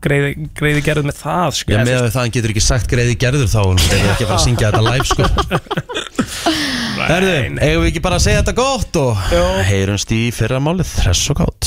[SPEAKER 6] greiði, greiði gerð með það sko.
[SPEAKER 4] Já, með að það hann getur ekki sagt greiði gerður þá hún er ekki að fara að syngja þetta live sko Herðu, eigum við ekki bara að segja þetta gott og heyrumst í fyrramálið, hress og gátt